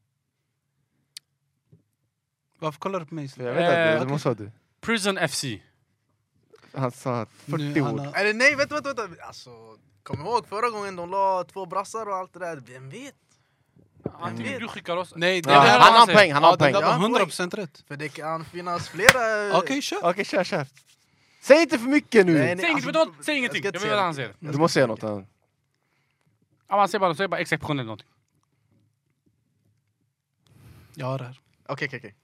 [SPEAKER 1] Varför kollar du på mig?
[SPEAKER 3] Jag
[SPEAKER 4] vet inte, Eh,
[SPEAKER 3] vad sa du?
[SPEAKER 4] Prison FC.
[SPEAKER 3] Han sa
[SPEAKER 1] Nu,
[SPEAKER 3] 40 ord.
[SPEAKER 1] Anna.
[SPEAKER 2] Eller nej, vänta, vänta. vänta. Alltså, kom ihåg förra gången de la två brassar och allt det där. Vem vet? Mm.
[SPEAKER 4] Antingen du skickar oss...
[SPEAKER 1] Nej, det
[SPEAKER 3] Ja,
[SPEAKER 1] där
[SPEAKER 4] här
[SPEAKER 3] han
[SPEAKER 4] han
[SPEAKER 3] har
[SPEAKER 4] säger.
[SPEAKER 3] poäng, han har
[SPEAKER 1] det
[SPEAKER 3] poäng.
[SPEAKER 1] där
[SPEAKER 3] Okej,
[SPEAKER 1] var 100% rätt.
[SPEAKER 2] För det kan finnas flera... eh,
[SPEAKER 1] Okej, kör.
[SPEAKER 3] kör, kör. Säg inte för mycket
[SPEAKER 2] Nej,
[SPEAKER 3] nu!
[SPEAKER 2] nej,
[SPEAKER 4] Säg inget,
[SPEAKER 2] alltså,
[SPEAKER 4] vet du vad? Säg
[SPEAKER 2] jag
[SPEAKER 4] ingenting.
[SPEAKER 2] ska
[SPEAKER 4] Jag
[SPEAKER 2] inte
[SPEAKER 4] vet
[SPEAKER 2] säga
[SPEAKER 4] vad han säger.
[SPEAKER 3] Du måste säga något annat.
[SPEAKER 4] Ja, han säger bara, säger bara exceptionellt någonting.
[SPEAKER 1] Jag har det här.
[SPEAKER 2] Okej, okej, okej.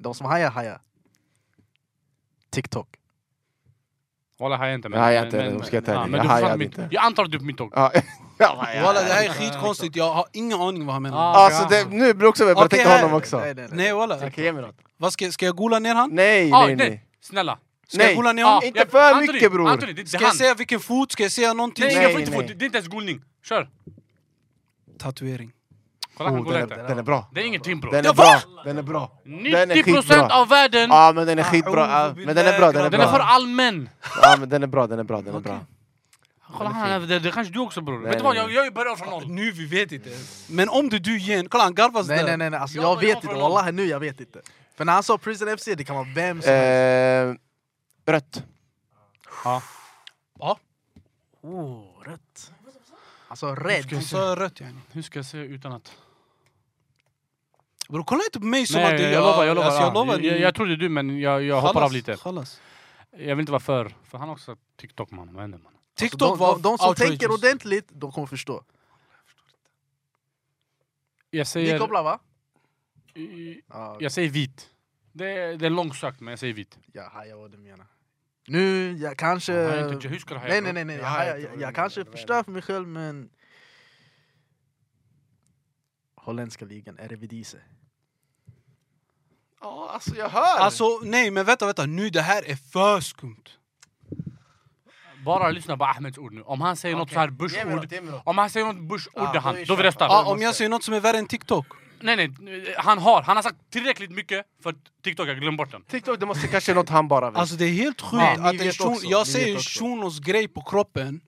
[SPEAKER 2] De som hajar, hajar. TikTok.
[SPEAKER 4] Walla, hajar inte.
[SPEAKER 3] Nej, jag hajar inte heller, om jag ska vara
[SPEAKER 4] ja,
[SPEAKER 3] ärlig.
[SPEAKER 4] men
[SPEAKER 3] Jag
[SPEAKER 4] du förstår
[SPEAKER 3] hajade
[SPEAKER 4] mitt-
[SPEAKER 3] inte.
[SPEAKER 4] Jag antar att du är på mitt tåg.
[SPEAKER 3] Ja, ja, ja.
[SPEAKER 1] Walla, det här är skitkonstigt. Jag har ingen aning vad han menar.
[SPEAKER 4] Ah,
[SPEAKER 3] Alltså, det, nu blir det också jag börjar
[SPEAKER 1] Okej,
[SPEAKER 3] tänka
[SPEAKER 1] här.
[SPEAKER 3] honom också.
[SPEAKER 2] Nej, nej, nej.
[SPEAKER 1] Nej walla.
[SPEAKER 3] Okej, ge mig något.
[SPEAKER 1] Vad ska, ska jag gola ner han?
[SPEAKER 3] Nej,
[SPEAKER 4] Ah,
[SPEAKER 3] nej, nej.
[SPEAKER 4] Snälla.
[SPEAKER 1] Ska jag
[SPEAKER 3] Nej.
[SPEAKER 1] gola ner
[SPEAKER 4] Ja,
[SPEAKER 1] honom?
[SPEAKER 3] inte
[SPEAKER 4] jag-
[SPEAKER 3] för
[SPEAKER 4] Anthony,
[SPEAKER 3] mycket, bror.
[SPEAKER 4] Anthony, det är inte
[SPEAKER 1] Ska jag
[SPEAKER 4] han.
[SPEAKER 1] säga vilken fot? Ska jag säga någonting?
[SPEAKER 4] Nej, jag
[SPEAKER 3] Nej,
[SPEAKER 4] får inte få.
[SPEAKER 3] nej.
[SPEAKER 4] Det det är inte ens golning. Kör.
[SPEAKER 1] Tatuering.
[SPEAKER 4] Kolla, han
[SPEAKER 3] Oh,
[SPEAKER 4] golar
[SPEAKER 3] den, är,
[SPEAKER 4] inte.
[SPEAKER 3] den är bra.
[SPEAKER 4] Det är ingenting bror.
[SPEAKER 3] Den är bra. Den är bra. Den är
[SPEAKER 4] 90%
[SPEAKER 3] skitbra.
[SPEAKER 4] av världen,
[SPEAKER 3] Ja, men den är skitbra. Ja, Men den är bra, den är
[SPEAKER 4] den är för
[SPEAKER 3] bra.
[SPEAKER 4] allmän.
[SPEAKER 3] Ja, men den är bra, den är bra, den är bra.
[SPEAKER 4] Kolla, han är- det det kanske du också bror.
[SPEAKER 3] Nej,
[SPEAKER 4] Vet du vad,
[SPEAKER 3] nej,
[SPEAKER 4] jag
[SPEAKER 3] nej.
[SPEAKER 4] jag börjar från noll.
[SPEAKER 1] Nu, vi vet inte. Men om det du ger en... Kolla, han garvas
[SPEAKER 2] Nej,
[SPEAKER 1] där.
[SPEAKER 2] nej, nej, nej. Alltså,
[SPEAKER 4] Jag
[SPEAKER 2] jag,
[SPEAKER 4] var- jag
[SPEAKER 2] vet
[SPEAKER 4] var
[SPEAKER 2] inte.
[SPEAKER 4] från London.
[SPEAKER 2] Wallahi, nu jag vet inte. För när han sa Prison FC, det kan vara vem som helst.
[SPEAKER 3] Eh, rött.
[SPEAKER 1] Ja,
[SPEAKER 2] Oh, rött. Alltså,
[SPEAKER 1] hon
[SPEAKER 2] rädd.
[SPEAKER 1] sa rött yani.
[SPEAKER 4] Hur ska jag säga utan att...
[SPEAKER 1] Bror, kolla inte på mig som
[SPEAKER 4] Nej,
[SPEAKER 1] att
[SPEAKER 4] jag, lovar, jag lovar.
[SPEAKER 1] Alltså, jag
[SPEAKER 4] ja.
[SPEAKER 1] lovar.
[SPEAKER 4] jag, jag trodde du, men jag, jag hoppar
[SPEAKER 1] Khalas,
[SPEAKER 4] av lite.
[SPEAKER 2] Alltså,
[SPEAKER 1] khalas.
[SPEAKER 4] Jag vill inte vara för... För han har också TikTok man, vad händer man?
[SPEAKER 1] TikTok
[SPEAKER 2] De,
[SPEAKER 1] var
[SPEAKER 2] de, de som
[SPEAKER 1] outrageous.
[SPEAKER 2] tänker ordentligt, de kommer förstå.
[SPEAKER 4] Jag
[SPEAKER 2] Ni
[SPEAKER 4] säger...
[SPEAKER 2] kopplar, va?
[SPEAKER 4] i-
[SPEAKER 2] Ja,
[SPEAKER 4] Jag säger vit. Det är, det är långsökt, men jag säger vit.
[SPEAKER 2] jag hajar vad du menar. Nu, jag kanske...
[SPEAKER 4] Han har inte- Hur ska du haja,
[SPEAKER 2] Eh, Nej, nej,
[SPEAKER 4] bror?
[SPEAKER 2] nej. nej. Jag,
[SPEAKER 3] Jag hajar
[SPEAKER 2] hajar-
[SPEAKER 3] inte vad
[SPEAKER 2] jag,
[SPEAKER 3] du
[SPEAKER 2] jag
[SPEAKER 3] menar,
[SPEAKER 2] kanske
[SPEAKER 3] vad du
[SPEAKER 2] förstör för mig själv, men... Holländska ligan, Eredivisie.
[SPEAKER 3] Ja, alltså jag hör!
[SPEAKER 1] Alltså, nej men vänta, vänta. Nu, det här är för skumt.
[SPEAKER 4] Bara lyssna på Ahmeds ord nu. Om han säger något så här bush-ord... Om han säger något bush-ord,
[SPEAKER 3] Ja,
[SPEAKER 4] det är
[SPEAKER 3] då är
[SPEAKER 4] han.
[SPEAKER 3] det
[SPEAKER 4] Då vi
[SPEAKER 3] kört.
[SPEAKER 4] röstar.
[SPEAKER 1] Ja, Ah, om jag säger något som är värre än TikTok.
[SPEAKER 4] Nej, nej. Han har. Han har sagt tillräckligt mycket för att TikTok. Jag glömde bort den.
[SPEAKER 3] TikTok, det måste kanske något han bara vet.
[SPEAKER 1] Alltså det är helt sjukt
[SPEAKER 2] Nej, ni
[SPEAKER 1] att en
[SPEAKER 2] vet
[SPEAKER 1] shun,
[SPEAKER 2] också,
[SPEAKER 1] jag
[SPEAKER 2] ni
[SPEAKER 1] säger
[SPEAKER 2] vet också.
[SPEAKER 1] shunos grej på kroppen.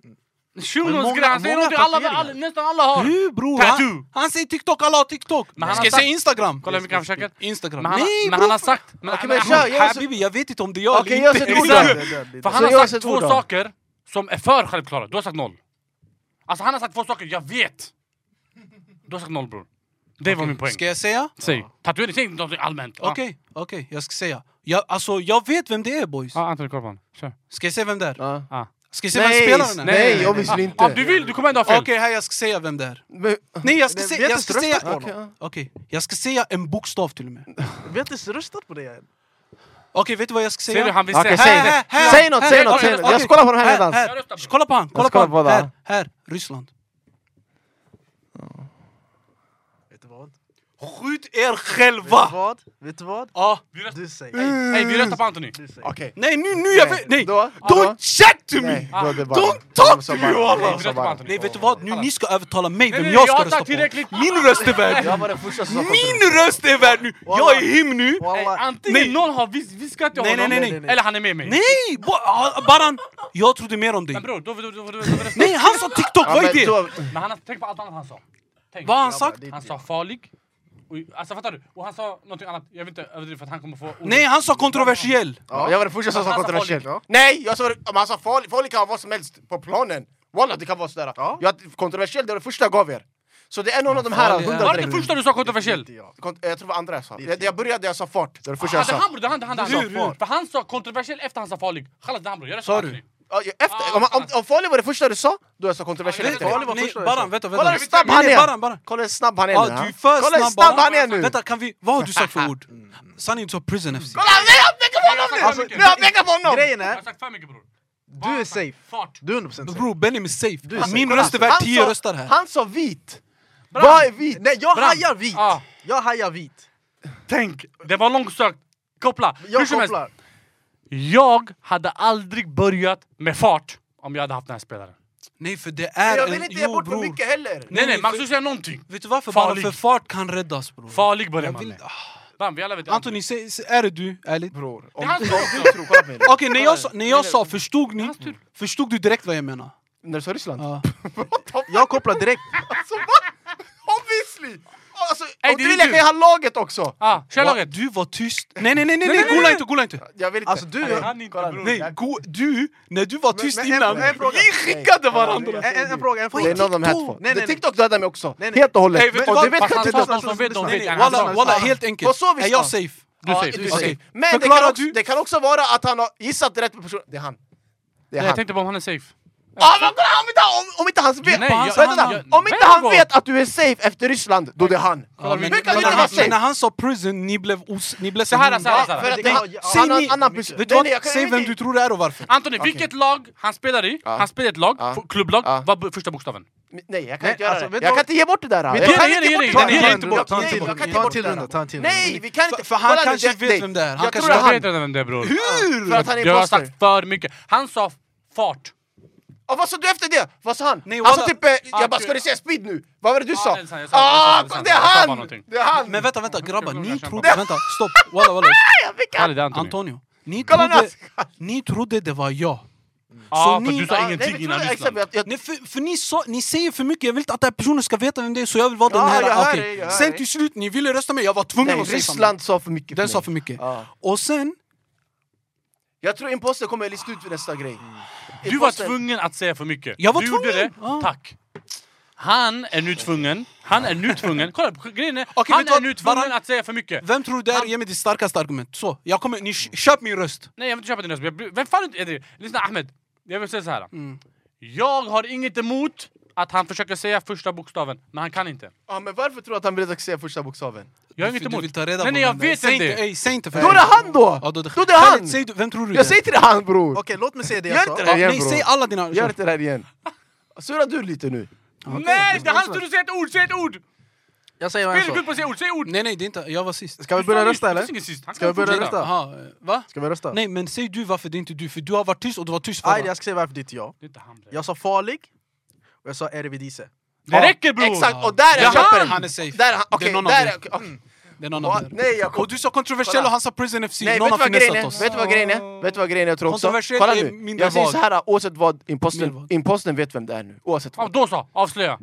[SPEAKER 4] Shunons
[SPEAKER 2] många-
[SPEAKER 4] grej. Han säger
[SPEAKER 2] många
[SPEAKER 4] något alla,
[SPEAKER 2] tatueringar.
[SPEAKER 4] alla, nästan alla har.
[SPEAKER 1] Hur bror?
[SPEAKER 4] Tattoo.
[SPEAKER 1] Han, han säger TikTok, alla har TikTok.
[SPEAKER 4] Men
[SPEAKER 1] Men
[SPEAKER 4] han
[SPEAKER 1] Ska
[SPEAKER 4] har
[SPEAKER 1] jag säga
[SPEAKER 4] sagt-
[SPEAKER 1] Instagram?
[SPEAKER 4] Kolla hur mycket han försöker.
[SPEAKER 1] Instagram.
[SPEAKER 4] Men han,
[SPEAKER 1] nej
[SPEAKER 4] men
[SPEAKER 1] bror!
[SPEAKER 4] han har sagt... Men, men
[SPEAKER 3] Okej, men
[SPEAKER 4] han-
[SPEAKER 3] kör, gör så-
[SPEAKER 1] Habibi, jag vet inte om det är jag
[SPEAKER 3] Okej,
[SPEAKER 1] eller
[SPEAKER 3] jag
[SPEAKER 1] inte.
[SPEAKER 3] säger
[SPEAKER 4] Exakt.
[SPEAKER 3] Jordan.
[SPEAKER 4] För han
[SPEAKER 3] Så
[SPEAKER 4] har
[SPEAKER 3] jag
[SPEAKER 4] sagt
[SPEAKER 3] sätter
[SPEAKER 4] två
[SPEAKER 3] ord då.
[SPEAKER 4] saker som är för självklara. Du har sagt noll. Alltså han har sagt två saker, jag vet! Du har sagt noll bror. Det var min poäng.
[SPEAKER 1] Ska jag säga?
[SPEAKER 4] Säg. Tatuering, säg någonting allmänt. Ja.
[SPEAKER 1] Okej, okej, jag ska säga. Jag, alltså, jag vet vem det är boys.
[SPEAKER 4] Ja, Ah. Anton Korpan. Kör.
[SPEAKER 1] Ska jag säga vem det är?
[SPEAKER 3] Ja.
[SPEAKER 4] Ja.
[SPEAKER 1] Ska jag säga vem spelaren är?
[SPEAKER 3] nej, obviously inte.
[SPEAKER 4] Om du vill, du kommer ändå ha fel.
[SPEAKER 1] Okej, här jag ska säga vem det är.
[SPEAKER 3] Men,
[SPEAKER 1] Nej, jag ska,
[SPEAKER 2] Det-
[SPEAKER 1] se,
[SPEAKER 2] vet
[SPEAKER 1] jag
[SPEAKER 2] du,
[SPEAKER 1] ska
[SPEAKER 2] rösta
[SPEAKER 1] säga...
[SPEAKER 2] på honom.
[SPEAKER 1] Okej, okej. jag ska säga en bokstav till och med. Okej,
[SPEAKER 2] Vi har inte röstat på det än.
[SPEAKER 1] vet du vad jag ska säga?
[SPEAKER 4] Ser du, han vill säga...
[SPEAKER 3] Okej, säg
[SPEAKER 1] Här, här, här,
[SPEAKER 3] Säg något,
[SPEAKER 1] här,
[SPEAKER 3] säg något,
[SPEAKER 1] okej,
[SPEAKER 3] säg något. Jag
[SPEAKER 1] okej.
[SPEAKER 3] kollar på den här
[SPEAKER 1] Här,
[SPEAKER 3] redan.
[SPEAKER 1] här.
[SPEAKER 4] Jag röstar på
[SPEAKER 1] Kolla på han, kolla på
[SPEAKER 3] kollar på
[SPEAKER 1] han.
[SPEAKER 3] det här.
[SPEAKER 1] Här, här, Ryssland.
[SPEAKER 2] Vet du vad?
[SPEAKER 1] Skjut er
[SPEAKER 2] Vet
[SPEAKER 1] själva!
[SPEAKER 2] du vad? Vet du vad?
[SPEAKER 1] Ja.
[SPEAKER 2] Du säger.
[SPEAKER 4] Hej, vi röstar på Anthony.
[SPEAKER 2] Du säger.
[SPEAKER 3] Okej.
[SPEAKER 1] Nej, nu, nu, jag vet... Nej!
[SPEAKER 3] Då?
[SPEAKER 1] Don't chat to me!
[SPEAKER 3] Nej,
[SPEAKER 2] Ah.
[SPEAKER 3] då det är bara...
[SPEAKER 1] Don't talk to
[SPEAKER 3] Så
[SPEAKER 1] me,
[SPEAKER 3] bara-
[SPEAKER 1] wallah.
[SPEAKER 3] så bara-
[SPEAKER 1] Nej, vet du vad? Nu ni ska övertala mig
[SPEAKER 4] Nej,
[SPEAKER 1] vem
[SPEAKER 4] nej,
[SPEAKER 1] jag
[SPEAKER 4] jag
[SPEAKER 1] ska
[SPEAKER 4] har
[SPEAKER 1] rösta
[SPEAKER 4] sagt
[SPEAKER 1] på.
[SPEAKER 4] tillräckligt.
[SPEAKER 1] Min röst är värd.
[SPEAKER 3] Jag var den första som sa det.
[SPEAKER 1] Min röst är värd nu! Jag är him nu!
[SPEAKER 4] Nej,
[SPEAKER 2] Walla.
[SPEAKER 4] antingen
[SPEAKER 1] Nej.
[SPEAKER 4] någon har vis- viskat till
[SPEAKER 1] Nej,
[SPEAKER 4] honom,
[SPEAKER 1] nej, nej,
[SPEAKER 2] nej, nej.
[SPEAKER 4] eller han är med mig.
[SPEAKER 1] Nej! bo- ah, Baran, jag trodde mer om dig.
[SPEAKER 4] Men bror, då, då, då, då, då, då röstar
[SPEAKER 1] Nej, han sa TikTok,
[SPEAKER 3] Ja,
[SPEAKER 1] vad är
[SPEAKER 3] men
[SPEAKER 1] det?
[SPEAKER 3] då-
[SPEAKER 4] Men han, har- tänk på allt annat han sa. Tänk.
[SPEAKER 1] Vad har han sagt?
[SPEAKER 4] Han sa farlig. Och, alltså fattar du? Och han sa någonting annat. Jag vill inte överdriva för att han kommer få... ordet.
[SPEAKER 1] Nej, han sa kontroversiell.
[SPEAKER 3] Ja, Jag var den första som sa
[SPEAKER 4] Han sa
[SPEAKER 3] kontroversiellt.
[SPEAKER 4] farlig.
[SPEAKER 3] Nej, jag sa om han sa farlig, farlig kan vara vad som helst på planen. Wallah, det kan vara sådär.
[SPEAKER 2] Ja.
[SPEAKER 3] Jag, kontroversiellt, det var det första jag gav er. Så det är någon av de här
[SPEAKER 1] farlig är-
[SPEAKER 3] hundra
[SPEAKER 4] Var det det
[SPEAKER 3] direkt.
[SPEAKER 4] första du sa kontroversiell?
[SPEAKER 2] Inte jag.
[SPEAKER 3] Kont- Jag tror det var andra jag sa. Jag, jag började, jag sa fart. Det var det första
[SPEAKER 4] Ah,
[SPEAKER 3] jag
[SPEAKER 4] det är
[SPEAKER 3] sa.
[SPEAKER 4] han bror, det är han, det är han, det är han.
[SPEAKER 1] Hur, hur?
[SPEAKER 4] För han sa kontroversiell efter han sa farlig. Chalas, det är han bror, jag
[SPEAKER 1] Sa
[SPEAKER 4] röstar
[SPEAKER 1] du?
[SPEAKER 4] Anthony.
[SPEAKER 3] Ah, Ja, jag- Efter, om, om, om farlig var det första du sa, då jag sa kontroversiellt
[SPEAKER 4] Ja,
[SPEAKER 3] efter.
[SPEAKER 4] jag
[SPEAKER 3] det.
[SPEAKER 2] Farlig var
[SPEAKER 1] Nej,
[SPEAKER 2] första jag sa.
[SPEAKER 1] Baran, vänta,
[SPEAKER 3] Kolla
[SPEAKER 1] vänta.
[SPEAKER 3] hur snabb
[SPEAKER 1] Nej,
[SPEAKER 3] han
[SPEAKER 1] nej,
[SPEAKER 3] är!
[SPEAKER 1] Baran, Baran.
[SPEAKER 3] Kolla hur snabb han är
[SPEAKER 1] Ja,
[SPEAKER 3] nu!
[SPEAKER 1] du
[SPEAKER 3] ha?
[SPEAKER 1] är för
[SPEAKER 3] Kolla hur
[SPEAKER 1] snabb
[SPEAKER 3] snabb
[SPEAKER 1] Baran.
[SPEAKER 3] han är nu! Mm.
[SPEAKER 1] Vänta, kan vi... Vad har du sagt för ord? Sanningen, du sa prison FC.
[SPEAKER 3] Kolla, nu har jag pekat på honom nu!
[SPEAKER 4] Alltså,
[SPEAKER 3] nu har jag pekat på honom!
[SPEAKER 2] Grejen
[SPEAKER 4] Jag har
[SPEAKER 2] är,
[SPEAKER 4] sagt för mycket bror.
[SPEAKER 2] du är safe.
[SPEAKER 4] Fart.
[SPEAKER 2] Du är 100% safe.
[SPEAKER 1] Bror, Benim är safe.
[SPEAKER 2] safe.
[SPEAKER 1] Min
[SPEAKER 3] Kolla,
[SPEAKER 1] röst är värd
[SPEAKER 3] han
[SPEAKER 1] 10
[SPEAKER 3] sa-
[SPEAKER 1] röster här.
[SPEAKER 3] Han sa vit! Vad är vit?
[SPEAKER 2] Nej, jag
[SPEAKER 4] Bram.
[SPEAKER 2] hajar vit!
[SPEAKER 4] Ah.
[SPEAKER 2] Jag hajar vit.
[SPEAKER 4] Tänk! Det var långsökt. Koppla. Hur
[SPEAKER 2] Jag
[SPEAKER 4] som helst.
[SPEAKER 2] kopplar.
[SPEAKER 4] Jag hade aldrig börjat med fart om jag hade haft den här spelaren.
[SPEAKER 1] Nej, för det är
[SPEAKER 3] Jag
[SPEAKER 1] en...
[SPEAKER 3] vill inte ge
[SPEAKER 1] Jo,
[SPEAKER 3] bort för
[SPEAKER 1] bror.
[SPEAKER 3] mycket heller!
[SPEAKER 4] Nej nej,
[SPEAKER 1] för-
[SPEAKER 4] man ska säga någonting.
[SPEAKER 1] Vet du varför? Bara
[SPEAKER 4] Farlig.
[SPEAKER 1] för fart kan räddas bror.
[SPEAKER 4] Farlig börjar
[SPEAKER 1] Jag
[SPEAKER 4] man
[SPEAKER 1] vill-
[SPEAKER 4] med.
[SPEAKER 1] Ah,
[SPEAKER 4] Bam, vi alla vet
[SPEAKER 1] Anthony, säg- säg- är det du? Ärligt?
[SPEAKER 3] Bror,
[SPEAKER 4] Det
[SPEAKER 3] om
[SPEAKER 4] är hans
[SPEAKER 3] om
[SPEAKER 4] tur
[SPEAKER 3] du tror, kolla på mig nu.
[SPEAKER 1] Okej, när jag, sa- när jag sa förstod ni,
[SPEAKER 4] Hans tur.
[SPEAKER 1] förstod du direkt vad jag menar?
[SPEAKER 3] När du sa Ryssland?
[SPEAKER 1] Ja.
[SPEAKER 2] Jag kopplar direkt.
[SPEAKER 3] Alltså va? Obviously! Alltså,
[SPEAKER 4] Nej,
[SPEAKER 3] om
[SPEAKER 4] det
[SPEAKER 3] du
[SPEAKER 4] är
[SPEAKER 3] vill
[SPEAKER 4] ju
[SPEAKER 3] jag kan ju ha laget också!
[SPEAKER 4] Ah, kör
[SPEAKER 1] Va?
[SPEAKER 4] laget!
[SPEAKER 1] Du var tyst. Nej, nej, nej, nej, nej, gola inte, gola inte.
[SPEAKER 3] Jag vill inte.
[SPEAKER 2] Alltså, du-
[SPEAKER 3] Okej,
[SPEAKER 4] Han inte,
[SPEAKER 3] kolla nu.
[SPEAKER 4] bror.
[SPEAKER 1] Nej, go, du, när du var tyst
[SPEAKER 2] men en
[SPEAKER 1] innan,
[SPEAKER 2] fråga, en fråga.
[SPEAKER 1] vi skickade varandra.
[SPEAKER 3] Nej,
[SPEAKER 2] En, en, en fråga, en fråga.
[SPEAKER 3] Det är någon av de här
[SPEAKER 1] TikTok.
[SPEAKER 3] två.
[SPEAKER 2] Nej, nej,
[SPEAKER 3] Det-
[SPEAKER 2] nej.
[SPEAKER 3] TikTok dödar mig också,
[SPEAKER 2] Nej, nej.
[SPEAKER 3] helt och hållet!
[SPEAKER 1] Nej, vet du
[SPEAKER 3] Och
[SPEAKER 1] vad?
[SPEAKER 3] du vet
[SPEAKER 4] Fast
[SPEAKER 3] att
[SPEAKER 4] han
[SPEAKER 3] det
[SPEAKER 4] sa
[SPEAKER 3] dödar...
[SPEAKER 4] något som vet, de
[SPEAKER 2] Nej,
[SPEAKER 4] vet.
[SPEAKER 2] nej,
[SPEAKER 4] Han
[SPEAKER 2] walla,
[SPEAKER 4] sa-
[SPEAKER 1] Walla,
[SPEAKER 2] Snälla,
[SPEAKER 1] walla,
[SPEAKER 2] snälla.
[SPEAKER 1] helt enkelt.
[SPEAKER 3] Vad sa vi
[SPEAKER 1] Är jag
[SPEAKER 3] sa?
[SPEAKER 1] safe?
[SPEAKER 3] Ja,
[SPEAKER 4] safe,
[SPEAKER 3] du
[SPEAKER 4] du
[SPEAKER 3] är
[SPEAKER 4] är
[SPEAKER 3] safe.
[SPEAKER 1] safe.
[SPEAKER 3] Men det
[SPEAKER 1] Förklara
[SPEAKER 3] kan, också,
[SPEAKER 1] du-
[SPEAKER 3] det kan också vara att han har gissat rätt på personen. Det är han. Det är
[SPEAKER 4] Jag
[SPEAKER 3] han.
[SPEAKER 4] tänkte bara om han är safe.
[SPEAKER 3] Ah, men kolla, om, inte, han- om, om inte han vet,
[SPEAKER 4] Nej, jag-
[SPEAKER 3] Vänta, vänta.
[SPEAKER 4] jag-
[SPEAKER 3] om inte han
[SPEAKER 4] Vänta.
[SPEAKER 3] vet att du är safe efter Ryssland, då det är han.
[SPEAKER 1] Ja, men, men,
[SPEAKER 3] Hur kan du inte
[SPEAKER 1] när
[SPEAKER 3] vara
[SPEAKER 1] han, men när
[SPEAKER 3] safe?
[SPEAKER 1] han sa prison, ni blev os... Ni blev
[SPEAKER 4] Så här,
[SPEAKER 1] hundra.
[SPEAKER 4] så här, så här.
[SPEAKER 3] För att
[SPEAKER 2] Det-
[SPEAKER 3] han,
[SPEAKER 2] ja,
[SPEAKER 3] han har
[SPEAKER 1] ni-
[SPEAKER 3] en annan
[SPEAKER 2] mycket.
[SPEAKER 3] person.
[SPEAKER 1] Vet du
[SPEAKER 3] Nej,
[SPEAKER 1] vad?
[SPEAKER 3] nej, jag kan-
[SPEAKER 1] Säg
[SPEAKER 3] jag vet
[SPEAKER 1] vem du tror det är och varför.
[SPEAKER 4] Anthony, vilket lag han spelar i, han spelar i ett lag,
[SPEAKER 3] Ja.
[SPEAKER 4] f- klubblag,
[SPEAKER 3] Ja.
[SPEAKER 4] vad är första bokstaven?
[SPEAKER 3] inte. Nej, jag kan
[SPEAKER 2] Nej,
[SPEAKER 3] inte göra
[SPEAKER 2] alltså,
[SPEAKER 3] det.
[SPEAKER 2] vet du
[SPEAKER 3] Jag
[SPEAKER 2] vad?
[SPEAKER 3] kan inte ge bort det där.
[SPEAKER 2] Vi-
[SPEAKER 3] Jag
[SPEAKER 4] Ge
[SPEAKER 3] kan
[SPEAKER 4] det,
[SPEAKER 3] inte
[SPEAKER 4] ge det,
[SPEAKER 3] bort
[SPEAKER 4] ge det, ge det.
[SPEAKER 3] det. Nej,
[SPEAKER 4] Ge
[SPEAKER 3] jag
[SPEAKER 4] det.
[SPEAKER 3] kan
[SPEAKER 2] Ta en
[SPEAKER 3] inte
[SPEAKER 2] till
[SPEAKER 3] bort
[SPEAKER 2] runda,
[SPEAKER 3] det.
[SPEAKER 2] ta en till runda, ta en till runda.
[SPEAKER 3] Nej, vi kan inte...
[SPEAKER 1] För- för han
[SPEAKER 3] Kolla nu,
[SPEAKER 1] kanske
[SPEAKER 3] det-
[SPEAKER 1] vet
[SPEAKER 3] nej.
[SPEAKER 1] vem det är. Han
[SPEAKER 3] Jag
[SPEAKER 1] kanske
[SPEAKER 3] tror det är
[SPEAKER 4] Jag
[SPEAKER 3] han.
[SPEAKER 4] vet redan vem det är bror.
[SPEAKER 3] För att han är
[SPEAKER 4] Jag har
[SPEAKER 3] imposter.
[SPEAKER 4] sagt för mycket. Han sa fart.
[SPEAKER 3] Och vad sa du efter det? Vad sa han?
[SPEAKER 1] Nej,
[SPEAKER 3] han sa
[SPEAKER 1] walla.
[SPEAKER 3] typ, eh, jag bara
[SPEAKER 4] du-
[SPEAKER 3] ska du säga speed nu? Vad var det du sa?
[SPEAKER 4] det är sant, jag sa-
[SPEAKER 3] Ah,
[SPEAKER 4] jag sa- jag sa-
[SPEAKER 3] det
[SPEAKER 4] jag sa bara
[SPEAKER 3] är han!
[SPEAKER 4] någonting.
[SPEAKER 3] Det är han!
[SPEAKER 1] Men vänta, vänta grabbar,
[SPEAKER 4] Jag
[SPEAKER 1] ni
[SPEAKER 4] kämpar.
[SPEAKER 1] trodde... Vänta, stopp. Walla, walla.
[SPEAKER 4] Kalle, det är Anthony.
[SPEAKER 1] Antonio. Ni
[SPEAKER 3] Kolla nu,
[SPEAKER 1] trodde,
[SPEAKER 3] alltså.
[SPEAKER 1] ni trodde det var jag.
[SPEAKER 4] Ja,
[SPEAKER 1] Så
[SPEAKER 4] för
[SPEAKER 1] ni-
[SPEAKER 4] du sa
[SPEAKER 3] Ja, nej,
[SPEAKER 4] ingenting
[SPEAKER 3] men
[SPEAKER 4] innan
[SPEAKER 3] tror jag-
[SPEAKER 4] Ryssland.
[SPEAKER 3] exakt, jag- jag-
[SPEAKER 1] Nej, för, för ni, sa, ni säger för mycket, jag vill inte att den här personen ska veta vem det är så jag vill vara
[SPEAKER 3] Ja,
[SPEAKER 1] den här...
[SPEAKER 3] jag hör
[SPEAKER 1] okej.
[SPEAKER 3] dig, jag hör
[SPEAKER 1] Sen
[SPEAKER 3] dig.
[SPEAKER 1] till slut, ni ville rösta mig, jag var tvungen
[SPEAKER 3] Nej,
[SPEAKER 1] att säga samma.
[SPEAKER 3] Ryssland sa för mycket
[SPEAKER 1] Den
[SPEAKER 3] för
[SPEAKER 1] sa
[SPEAKER 3] mig.
[SPEAKER 1] för mycket.
[SPEAKER 3] Ja.
[SPEAKER 1] Och sen,
[SPEAKER 3] Jag tror imposter kommer lista ut vid nästa grej.
[SPEAKER 4] Du var
[SPEAKER 3] Imposter-
[SPEAKER 4] tvungen att säga för mycket.
[SPEAKER 1] Jag var
[SPEAKER 4] du
[SPEAKER 1] tvungen.
[SPEAKER 4] gjorde det,
[SPEAKER 1] Ja.
[SPEAKER 4] tack. Han är nu tvungen, han är nu tvungen, kolla grejen är,
[SPEAKER 1] Okej,
[SPEAKER 4] han
[SPEAKER 1] vet du
[SPEAKER 4] är
[SPEAKER 1] vad?
[SPEAKER 4] nu tvungen
[SPEAKER 1] Bara-
[SPEAKER 4] att säga för mycket.
[SPEAKER 1] vem tror du det är? Ge mig ditt starkaste argument. Så, jag kommer, ni kö- köp min röst.
[SPEAKER 4] Nej jag vill inte köpa din röst, Jag bryr- vem fan är det? Lyssna Ahmed, jag vill säga så här. Jag har inget emot att han försöker säga första bokstaven, men han kan inte.
[SPEAKER 3] Ja, men varför tror du att han ville säga första bokstaven?
[SPEAKER 4] Jag
[SPEAKER 1] Du-
[SPEAKER 4] har inget
[SPEAKER 1] Du vill
[SPEAKER 4] emot.
[SPEAKER 1] ta reda
[SPEAKER 4] Nej
[SPEAKER 1] på
[SPEAKER 4] nej
[SPEAKER 1] vem
[SPEAKER 4] jag
[SPEAKER 1] det är.
[SPEAKER 4] vet
[SPEAKER 1] säg
[SPEAKER 4] inte!
[SPEAKER 1] ej, säg inte för
[SPEAKER 3] Då är det han då!
[SPEAKER 1] Ja, då,
[SPEAKER 3] Då är det han!
[SPEAKER 1] Säg, du- vem tror du det
[SPEAKER 3] Jag
[SPEAKER 1] är?
[SPEAKER 3] säger till det han bror!
[SPEAKER 2] Okej, låt mig säga det
[SPEAKER 3] Gör
[SPEAKER 2] jag
[SPEAKER 3] inte
[SPEAKER 2] sa.
[SPEAKER 3] det.
[SPEAKER 1] Ja,
[SPEAKER 3] igen,
[SPEAKER 1] nej,
[SPEAKER 3] bror.
[SPEAKER 1] säg alla dina...
[SPEAKER 3] Gör inte det här igen. Surrar du lite nu?
[SPEAKER 4] Nej! Det är hans tur att säga ett ord, säg ett ord!
[SPEAKER 2] Jag säger vad jag
[SPEAKER 1] Alltså.
[SPEAKER 4] Fel gud
[SPEAKER 2] sa.
[SPEAKER 4] på att säga ord, säg ord!
[SPEAKER 1] Nej, nej, det är inte... Jag var sist.
[SPEAKER 2] Ska vi börja rösta eller? Ska
[SPEAKER 4] Ska
[SPEAKER 2] vi börja rösta?
[SPEAKER 1] Aha, eh, va?
[SPEAKER 2] Ska vi rösta?
[SPEAKER 1] Nej, men säg du varför det är inte du, för du har varit tyst och du var tyst
[SPEAKER 2] Aj,
[SPEAKER 1] förra.
[SPEAKER 2] jag ska säga varför det inte är jag.
[SPEAKER 4] Det är inte han, det.
[SPEAKER 2] Jag sa farlig, och jag sa Eredivisie.
[SPEAKER 4] Det räcker bror!
[SPEAKER 3] Exakt, och där
[SPEAKER 4] Ja,
[SPEAKER 3] jag köper
[SPEAKER 1] Han är
[SPEAKER 3] den!
[SPEAKER 1] safe.
[SPEAKER 3] Där, han-
[SPEAKER 1] Det är
[SPEAKER 3] okej,
[SPEAKER 1] någon av
[SPEAKER 3] där...
[SPEAKER 1] er.
[SPEAKER 3] okej, okej.
[SPEAKER 1] Det är någon
[SPEAKER 3] Va?
[SPEAKER 1] av er.
[SPEAKER 3] Nej, jag kom-
[SPEAKER 1] Och du sa kontroversiell
[SPEAKER 3] Kolla.
[SPEAKER 1] och han sa prison FC,
[SPEAKER 3] Nej,
[SPEAKER 1] någon
[SPEAKER 3] vet
[SPEAKER 1] har
[SPEAKER 3] du vad grejen
[SPEAKER 1] finessat
[SPEAKER 3] är?
[SPEAKER 1] oss.
[SPEAKER 3] Vet du vad grejen är? Vet du vad grejen är? Jag tror också...
[SPEAKER 1] Kontroversiellt
[SPEAKER 3] Kolla
[SPEAKER 1] är
[SPEAKER 3] nu,
[SPEAKER 1] mindre
[SPEAKER 3] jag säger
[SPEAKER 1] val.
[SPEAKER 3] så här, oavsett vad,
[SPEAKER 1] Mindre
[SPEAKER 3] imposten,
[SPEAKER 1] val.
[SPEAKER 3] imposten vet vem det är nu. Oavsett
[SPEAKER 4] Ja,
[SPEAKER 3] vad.
[SPEAKER 4] Då så, avslöja!